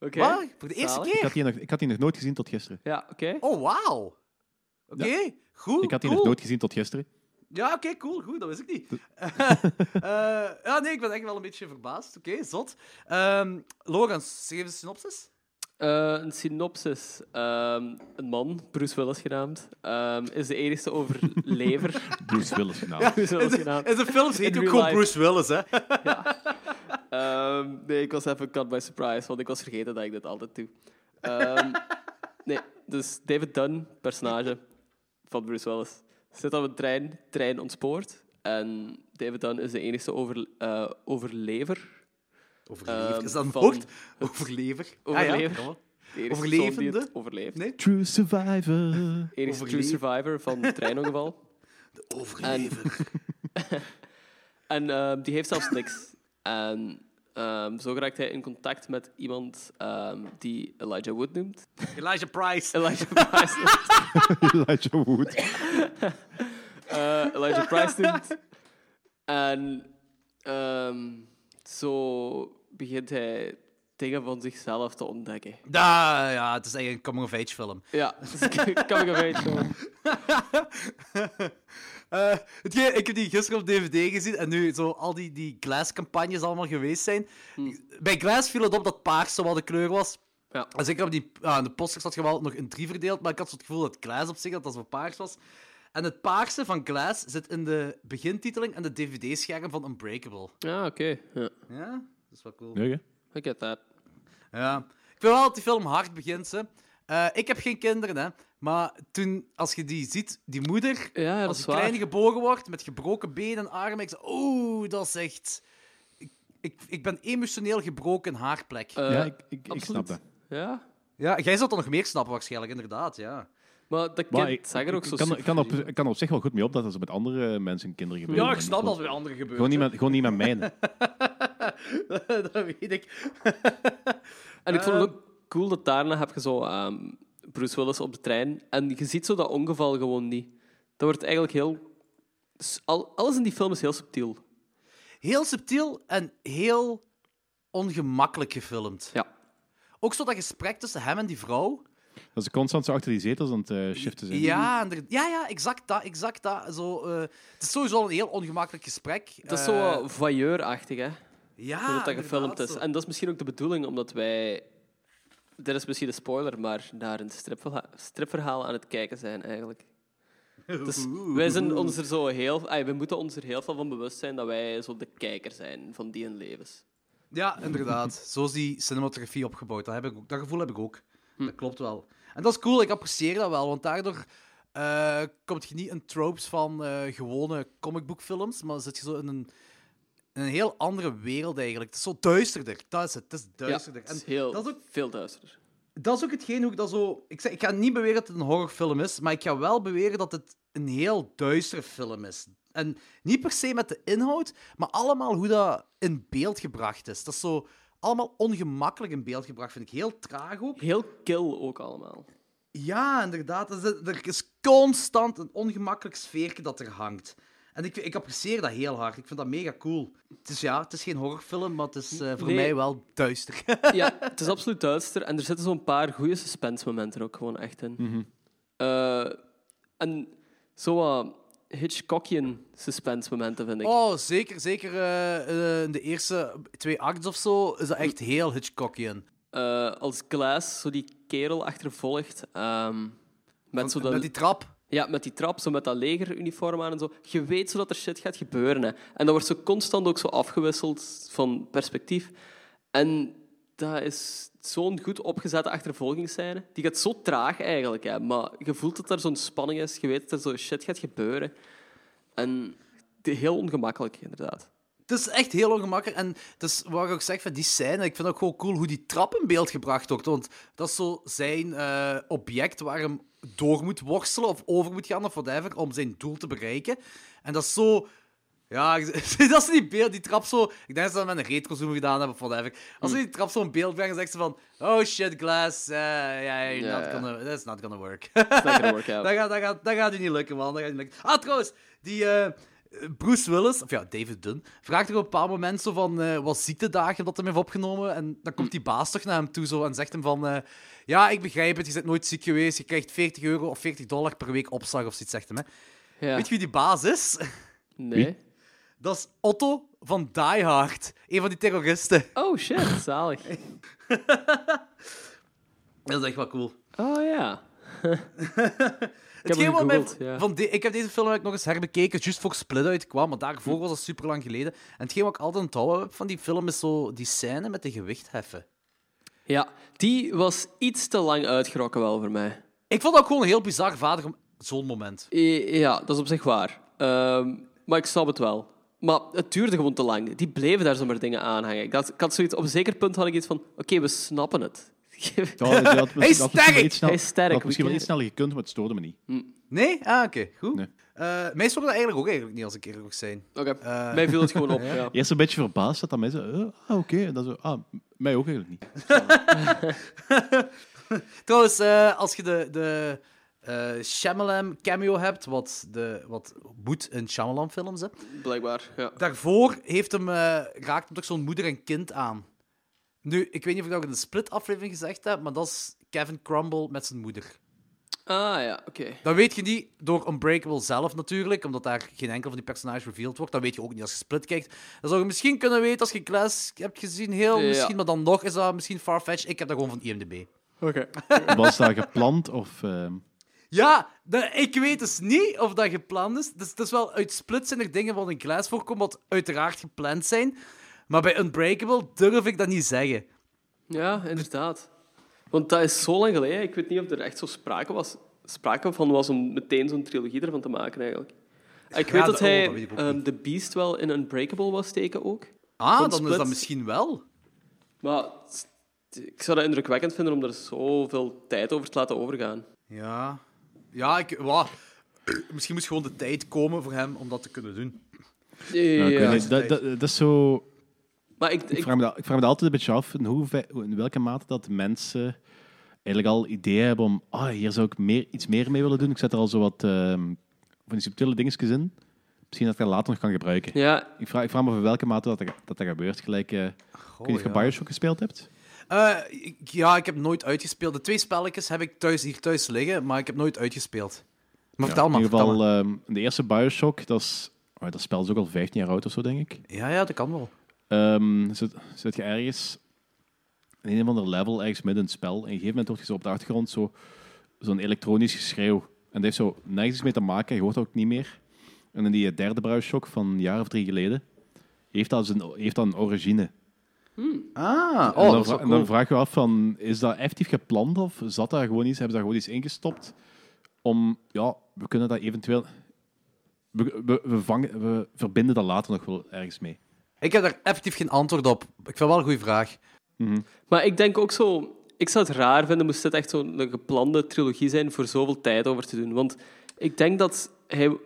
S1: Oké.
S2: Wat? Voor de eerste
S1: Zalig.
S3: Ik
S2: keer?
S3: had die nog, ik had die nog nooit gezien tot gisteren.
S1: Ja, oké.
S2: Oh, wauw. Oké, goed.
S3: Ik had
S2: cool.
S3: die
S1: Oh.
S3: nog nooit gezien tot gisteren.
S2: Ja, oké, cool, goed, dat wist ik niet. Eh, ja, nee, ik ben echt wel een beetje verbaasd. Oké, zot. Ehm Logans, schreef eens een synopsis.
S1: Eh, een synopsis. Ehm, een man, Bruce Willis genaamd, ehm, is de enige overlever.
S3: Bruce Willis genaamd.
S1: Bruce Willis genaamd.
S2: Is de films
S1: In
S2: heet ook
S1: real
S2: gewoon
S1: life.
S2: Bruce Willis, hè?
S1: Ehm, nee, ik was even cut by surprise, want ik was vergeten dat ik dit altijd doe. Ehm, nee, dus David Dunn, personage van Bruce Willis, zit op een trein, trein ontspoort. En David Dunn is de enige over, eh, overlever.
S2: Overlever.
S1: Ehm,
S2: is dat een
S1: van
S2: woord?
S1: het-
S2: Overlever. Ah, ja,
S1: Overlever.
S2: kan wel.
S1: De enige persoon die
S2: Overlevende?
S1: het overleeft.
S2: Nee.
S3: True Survivor.
S1: Enige true
S2: Overlever.
S1: survivor van het treinongeval.
S2: Overlever.
S1: En ehm, die heeft zelfs niks. En ehm, zo raakt hij in contact met iemand ehm, die Elijah Wood noemt.
S2: Elijah Price.
S1: Elijah Price.
S3: Elijah Wood.
S1: eh, Elijah Price noemt. En ehm, zo begint hij dingen van zichzelf te ontdekken.
S2: Ah, ja, het is eigenlijk een coming-of-age film.
S1: Ja, dus dat is een coming of age film.
S2: Eh, hetgeen- ik heb die gisteren op DVD gezien en nu zo al die, die Glass-campagnes allemaal geweest zijn. Bij Glass viel het op dat paars zo wel de kleur was.
S1: Ja.
S2: En zeker op die, ah, in de posters had je wel nog een drie verdeeld, maar ik had zo het gevoel dat Glass op zich dat dat zo paars was. En het paarse van Glass zit in de begintiteling en de DVD-scherm van
S3: Ah,
S2: Unbreakable.
S1: Ja, oké. Ja,
S2: Ja, dat is wel cool.
S3: Nee, hè?
S1: I get that.
S2: Ja. vind wel dat die film hard begint. Hè. Eh, ik heb geen kinderen, hè. Maar toen, als je die ziet, die moeder,
S1: Ja, ja, dat
S2: als
S1: is
S2: die
S1: waar.
S2: kleine geboren wordt, met gebroken benen en armen, ik zeg, oeh, dat is echt... Ik, ik, ik ben emotioneel gebroken haarplek.
S1: Eh,
S3: ja, ik, ik, ik
S1: absoluut.
S3: snap dat.
S1: Ja,
S2: ja, jij zult dat nog meer snappen waarschijnlijk, inderdaad, ja.
S1: maar dat
S3: Maar
S1: kind zag er ook zo
S3: ik, kan, ik, kan op,
S1: supervriendelijk
S3: ik kan op zich wel goed mee op dat als het met andere mensen en kinderen gebeurt.
S2: Ja, ik snap dat
S3: Gewoon-
S2: bij anderen gebeurt.
S3: Gewoon niet met, gewoon niet met mijne.
S2: dat weet ik.
S3: Eh.
S1: En ik vond het ook cool dat daarna heb je zo ehm, Bruce Willis op de trein. En je ziet zo dat ongeval gewoon niet. Dat wordt eigenlijk heel... s- al- alles in die film is heel subtiel.
S2: Heel subtiel en heel ongemakkelijk gefilmd.
S1: Ja.
S2: Ook zo dat gesprek tussen hem en die vrouw.
S3: Dat ze constant zo achter die zetels aan het eh, shiften zijn.
S2: Ja, inder- ja, ja, exact dat. Exact dat. Zo, eh, het is sowieso al een heel ongemakkelijk gesprek.
S1: Het is
S2: Eh,
S1: zo wat voyeurachtig, hè.
S2: ja,
S1: Hoe dat, dat gefilmd
S2: inderdaad,
S1: is.
S2: zo.
S1: En dat is misschien ook de bedoeling, omdat wij... Dit is misschien een spoiler, maar naar een stripverha- stripverhaal aan het kijken zijn, eigenlijk. Dus wij zijn ons er zo heel... ai, we moeten ons er heel veel van bewust zijn dat wij zo de kijker zijn van die hun levens.
S2: Ja, inderdaad. Zo is die cinematografie opgebouwd. Dat, heb ik ook, dat gevoel heb ik ook.
S1: Hm.
S2: Dat klopt wel. En dat is cool, ik apprecieer dat wel, want daardoor eh komt je niet in tropes van eh, gewone comicboekfilms, maar zit je zo in een, in een heel andere wereld eigenlijk. Het is zo duisterder. Dat is het, het is duisterder.
S1: het is
S2: En
S1: heel,
S2: dat is ook
S1: veel duisterder.
S2: dat is ook hetgeen hoe ik dat zo... Ik, zeg, ik ga niet beweren dat het een horrorfilm is, maar ik ga wel beweren dat het een heel duistere film is. En niet per se met de inhoud, maar allemaal hoe dat in beeld gebracht is. Dat is zo allemaal ongemakkelijk in beeld gebracht, vind ik. Heel traag ook.
S1: Heel kil ook allemaal.
S2: Ja, inderdaad. Er zit- Er is constant een ongemakkelijk sfeertje dat er hangt. En ik, ik apprecieer dat heel hard. Ik vind dat mega cool. Dus ja, het is geen horrorfilm, maar het is eh, voor
S1: Nee.
S2: mij wel duister.
S1: ja, het is absoluut duister. En er zitten zo'n paar goede suspense-momenten ook gewoon echt in.
S2: Mhm.
S1: Eh, en zo wat Hitchcockian suspense-momenten, vind ik.
S2: Oh, zeker, zeker. eh, eh, in de eerste twee acts of zo is dat echt heel Hitchcockian.
S1: Eh, als Glass zo die kerel achtervolgt. ehm, met, zo dat,
S2: Met die trap.
S1: ja, met die trap, zo met dat legeruniform aan en zo. Je weet zo dat er shit gaat gebeuren. Hè. En dat wordt zo constant ook zo afgewisseld van perspectief. En dat is zo'n goed opgezette achtervolgingsscène. Die gaat zo traag eigenlijk, hè. maar je voelt dat er zo'n spanning is. Je weet dat er zo shit gaat gebeuren. En die- heel ongemakkelijk, inderdaad.
S2: Het is echt heel ongemakkelijk. En het is wat ik ook zeg van die scène. Ik vind ook gewoon cool hoe die trap in beeld gebracht wordt. Want dat is zo zijn eh, object waar hem door moet worstelen of over moet gaan of whatever om zijn doel te bereiken. En dat is zo. Ja, dat ze die beeld, die trap zo. Ik denk dat ze dat met een retrozoom gedaan hebben of whatever. Als ze die trap zo in beeld brengen, zegt ze van: Oh shit, glass. eh, yeah, you're
S1: Ja,
S2: not
S1: ja.
S2: gonna, that's not gonna work.
S1: Dat is lekker workout.
S2: Dat gaat, dat, gaat, dat gaat u niet lukken, man. Dat gaat u niet lukken. Ah, trouwens, die eh, Bruce Willis, of ja, David Dunn, vraagt er op een bepaald moment zo van eh, wat ziektedagen dat hij heeft opgenomen. En dan komt die baas toch naar hem toe zo en zegt hem van... eh, ja, ik begrijp het, je bent nooit ziek geweest. Je krijgt 40 euro of 40 dollar per week opslag of zoiets, zegt hem. Hè.
S1: Ja.
S2: Weet je wie die baas is?
S1: Nee.
S2: Dat is Otto van Die Hard. Een van die terroristen.
S1: Oh shit, zalig.
S2: Dat is echt wel cool.
S1: Oh ja.
S2: Ik
S1: hem
S2: heb, wat mij,
S1: gegoogeld, ja.
S2: van de- ik heb deze film ook nog eens herbekeken, juist voor Split uitkwam, maar
S1: Hm.
S2: daarvoor was dat super lang geleden. En hetgeen wat ik altijd onthouden heb van die film is zo die scène met de gewichtheffen.
S1: Ja, die was iets te lang uitgerokken wel voor mij.
S2: Ik vond dat ook gewoon een heel bizar vader om zo'n moment.
S1: I- Ja, dat is op zich waar. Ehm, maar ik snap het wel. Maar het duurde gewoon te lang. Die bleven daar zomaar dingen aanhangen. Ik had, ik had zoiets, op een zeker punt had ik iets van... Oké, we snappen het.
S3: Ja, dus dat- dat- dat- dat- dat-
S2: sterk!
S3: dat- dat-
S1: Hij is sterk,
S3: Dat had misschien wel
S1: we
S3: iets sneller gekund, maar het stoorde me niet.
S2: Nee? Ah, oké. Goed.
S3: Nee.
S2: Eh, mij stoorde dat eigenlijk ook eigenlijk niet, als ik eerlijk mag zijn.
S1: Oké,
S2: Eh.
S1: mij viel het gewoon op. ja.
S3: Eerst een beetje verbaasd dat dat mensen... eh, ah, oké. En dan zo, ah, m- mij ook eigenlijk niet.
S2: Trouwens, eh, als je de, de eh, Shyamalan cameo hebt, wat, de, wat moet in Shyamalan films, hè,
S1: Blijkbaar, ja.
S2: daarvoor heeft hem, eh, raakt hem toch zo'n moeder en kind aan. Nu, ik weet niet of ik dat ook in de split-aflevering gezegd heb, maar dat is Kevin Crumble met zijn moeder.
S1: Ah ja, oké.
S2: Dat weet je niet door Unbreakable zelf natuurlijk, omdat daar geen enkel van die personages revealed wordt. Dat weet je ook niet als je split kijkt. Dat zou je misschien kunnen weten als je Glass hebt gezien, heel
S1: Ja.
S2: misschien, maar dan nog is dat misschien Farfetch. Ik heb dat gewoon van IMDb.
S3: Was dat gepland of... ehm,
S2: Ja, de- ik weet dus niet of dat gepland is. Dus het is wel uit Split zijn er dingen van in Glass voorkomen, wat uiteraard gepland zijn. Maar bij Unbreakable durf ik dat niet zeggen.
S1: Ja, inderdaad. Want dat is zo lang geleden. Ik weet niet of er echt zo sprake, was, sprake van was om meteen zo'n trilogie ervan te maken, eigenlijk. Ik weet
S2: Ja,
S1: dat
S2: de-
S1: hij
S2: oh, dat weet ik ook
S1: ehm, The Beast wel in Unbreakable was steken ook.
S2: Ah,
S1: Van
S2: dan is
S1: Split.
S2: dat misschien wel.
S1: Maar het- ik zou dat indrukwekkend vinden om er zoveel tijd over te laten overgaan.
S2: Ja. Ja, ik... wa- Misschien moet gewoon de tijd komen voor hem om dat te kunnen doen.
S1: Ja,
S3: Nou, ik weet niet, dat, dat, dat is zo...
S1: Maar ik,
S3: Ik
S1: ik,
S3: vraag, me dat, ik vraag me dat altijd een beetje af in, hoeve- in welke mate dat mensen eigenlijk al ideeën hebben om ah, hier zou ik meer, iets meer mee willen doen. Ik zet er al zo wat ehm, van die subtiele dingetjes in. Misschien dat ik dat later nog kan gebruiken.
S1: ja,
S3: Ik, vraag, ik vraag me af in welke mate dat dat, dat, dat gebeurt. Gelijk, eh ik weet niet of je
S2: ja.
S3: Bioshock gespeeld hebt.
S2: Eh, ik- ja, ik heb nooit uitgespeeld. De twee spelletjes heb ik thuis, hier thuis liggen, maar ik heb nooit uitgespeeld. Maar vertel
S3: in
S2: maar,
S3: ieder
S2: vertel
S3: geval,
S2: maar.
S3: ehm, de eerste Bioshock, dat, is, oh, dat spel is ook al 15 jaar oud of zo, denk ik.
S2: Ja, ja, dat kan wel.
S3: Ehm, zit, zit je ergens in een of ander level, ergens midden in het spel, en op een gegeven moment hoort je zo op de achtergrond zo, zo'n elektronisch geschreeuw. En dat heeft zo nergens iets mee te maken, je hoort dat ook niet meer. En in die derde bruishock van een jaar of drie geleden, heeft dat, zijn, heeft dat een origine.
S2: Ah,
S3: en,
S2: oh,
S3: dan
S2: dat is wel
S3: vra- en dan
S2: cool.
S3: vraag je af, van, is dat effectief gepland of zat daar gewoon iets, hebben ze daar gewoon iets ingestopt om, ja, we kunnen dat eventueel... We, we, we, vangen, we verbinden dat later nog wel ergens mee.
S2: Ik heb daar effectief geen antwoord op. Ik vind wel een goede vraag.
S1: maar ik denk ook zo... Ik zou het raar vinden moest dit echt zo'n geplande trilogie zijn voor zoveel tijd over te doen. Want ik denk dat hij...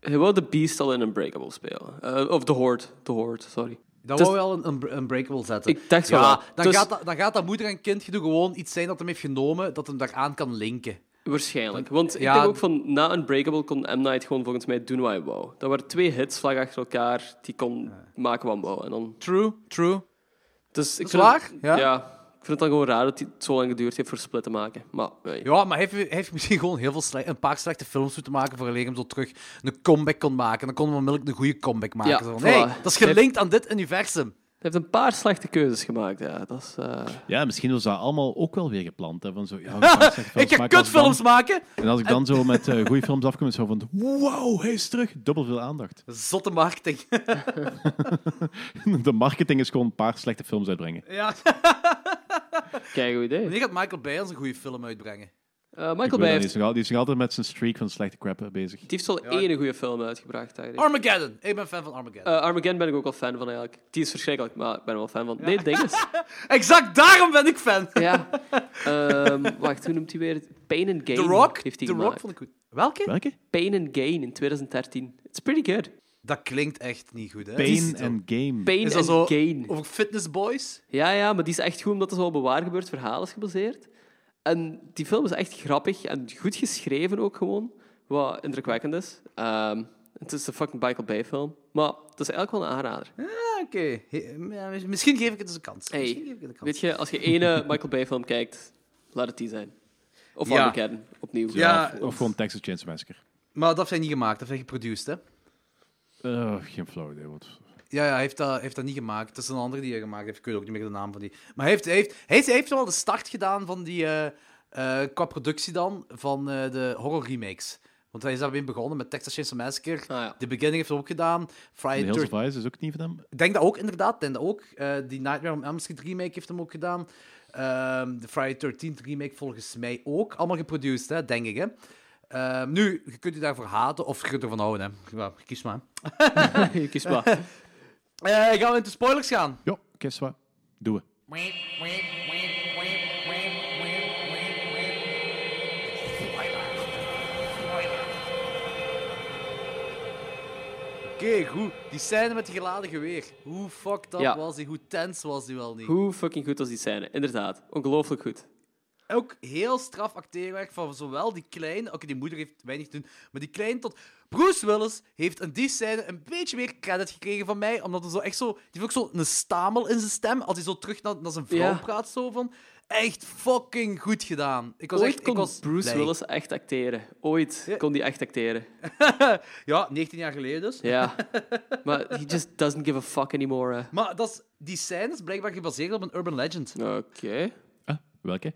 S1: Hij wou The Beast al in Unbreakable spelen. Eh, of The Horde. The Horde, sorry.
S2: Dan
S1: Dus-
S2: wou je wel een, een, een breakable zetten.
S1: Ik dacht wel.
S2: ja, dan,
S1: Dus-
S2: gaat dat, dan gaat dat moeder en kindje gewoon iets zijn dat hem heeft genomen, dat hem daaraan kan linken.
S1: Waarschijnlijk. Want ik
S2: Ja.
S1: denk ook van na Unbreakable kon M. Night gewoon volgens mij doen wat hij wou. Dat waren twee hits vlak achter elkaar. Die kon maken wat hij wou. En dan,
S2: True, true.
S1: dus ik
S2: is
S1: vind het-
S2: waar, ja.
S1: Ik vind het dan gewoon raar dat hij het zo lang geduurd heeft voor Split te maken. Maar nee.
S2: Ja, maar hij heeft, hij heeft misschien gewoon heel veel sle- een paar slechte films moeten maken voor hij hem zo terug een comeback kon maken. Dan kon hij onmiddellijk een goede comeback maken.
S1: Ja,
S2: Zo van,
S1: voilà.
S2: hey, dat is gelinkt aan dit universum.
S1: Hij heeft een paar slechte keuzes gemaakt. Ja, dat is, eh,
S3: Ja, misschien was dat allemaal ook wel weer gepland. Hè? Van zo, ja, we gaan slechte films
S2: ik ga
S3: maken, als ik dan-
S2: kutfilms maken.
S3: En als ik dan zo met eh goede films afkom, zo van... Wow, hij is terug. Dubbel veel aandacht.
S2: Zotte marketing.
S3: De marketing is gewoon een paar slechte films uitbrengen.
S2: ja.
S1: kijk, goed idee.
S2: Wanneer gaat Michael Bay ons een goede film uitbrengen?
S1: Eh,
S3: Ik
S1: Michael
S3: weet
S1: Bay
S3: dat, die,
S1: heeft,
S3: is nog al- die is nog altijd met zijn streak van slechte crap eh, bezig.
S1: die heeft al één goede film uitgebracht. Eigenlijk.
S2: Armageddon. Ik ben fan van Armageddon.
S1: Eh, Armageddon ben ik ook wel fan van eigenlijk. Die is verschrikkelijk, maar ik ben er wel fan van. Nee, het ding is.
S2: exact daarom ben ik fan.
S1: Eh. ja. Ehm, wacht, hoe noemt hij weer? Pain and Gain.
S2: The Rock.
S1: Heeft hij
S2: The Rock
S1: gemaakt.
S2: vond ik goed. Welke?
S3: Welke?
S1: Pain and Gain in 2013. It's pretty good.
S2: Dat klinkt echt niet goed, hè?
S3: Pain and Game.
S1: Pain
S2: Is
S1: and
S2: dat zo
S1: Gain.
S2: over fitness boys?
S1: Ja, ja, maar die is echt goed omdat het wel op een waar gebeurd verhaal is gebaseerd. En die film is echt grappig en goed geschreven ook gewoon. Wat indrukwekkend is. Ehm, het is een fucking Michael Bay film. Maar het is eigenlijk wel een aanrader.
S2: Ah, oké. He- ja, Misschien geef ik het eens een kans. Misschien geef
S1: Hey,
S2: ik het een kans.
S1: weet je, als je ene Michael Bay film kijkt, laat het die zijn. Of
S2: Ja.
S1: Armageddon, opnieuw.
S2: Ja.
S3: Of gewoon Texas Chainsaw Massacre.
S2: Maar dat heeft hij niet gemaakt, dat heeft hij geproduced, hè?
S3: Eh, geen flauw idee. Wat.
S2: Ja, ja hij heeft dat, heeft dat niet gemaakt. Het is een andere die hij gemaakt heeft. Ik weet ook niet meer de naam van die. Maar hij heeft, hij heeft, hij heeft, hij heeft wel de start gedaan van die... eh, eh, qua productie dan, van eh, de horror remakes. Want hij is daarmee begonnen met Texas Chainsaw Massacre.
S1: Ah, ja.
S2: The Beginning heeft hij ook gedaan.
S3: The
S2: Friday
S3: Hills of
S2: 13...
S3: Eyes is ook niet van hem.
S2: Ik denk dat ook, inderdaad. Ik Denk dat ook. Eh, die Nightmare on Elm Street remake heeft hem ook gedaan. Ehm, de Friday 13th remake volgens mij ook. Allemaal geproduced, hè, denk ik, hè. Ehm, nu, je kunt je daarvoor haten of je kunt ervan houden, hè. Ja, kies maar.
S1: Kies maar.
S2: Eh, gaan we into spoilers gaan?
S3: Ja, kies wat. Doen we.
S2: Oké, goed. Die scène met die geladen geweer. Hoe fucked up
S1: Ja.
S2: was die? Hoe tense was die wel niet?
S1: Hoe fucking goed was die scène? Inderdaad, ongelooflijk goed.
S2: Ook heel straf acteerwerk van zowel die kleine... Oké, die moeder heeft weinig te doen. Maar die kleine tot... Bruce Willis heeft in die scène een beetje meer credit gekregen van mij. Omdat hij zo echt zo... Die heeft ook zo een stamel in zijn stem. Als hij zo terug naar, naar zijn vrouw
S1: Ja.
S2: praat, zo van... Echt fucking goed gedaan. Ik was
S1: Ooit
S2: echt...
S1: kon
S2: ik was
S1: Bruce
S2: blij.
S1: Willis echt acteren. Ooit
S2: Ja.
S1: kon die echt acteren.
S2: Ja, 19 jaar geleden dus.
S1: Ja. maar he just doesn't give a fuck anymore. hè.
S2: Maar dat is, die scène is blijkbaar gebaseerd op een urban legend.
S1: Oké.
S3: Ah, welke?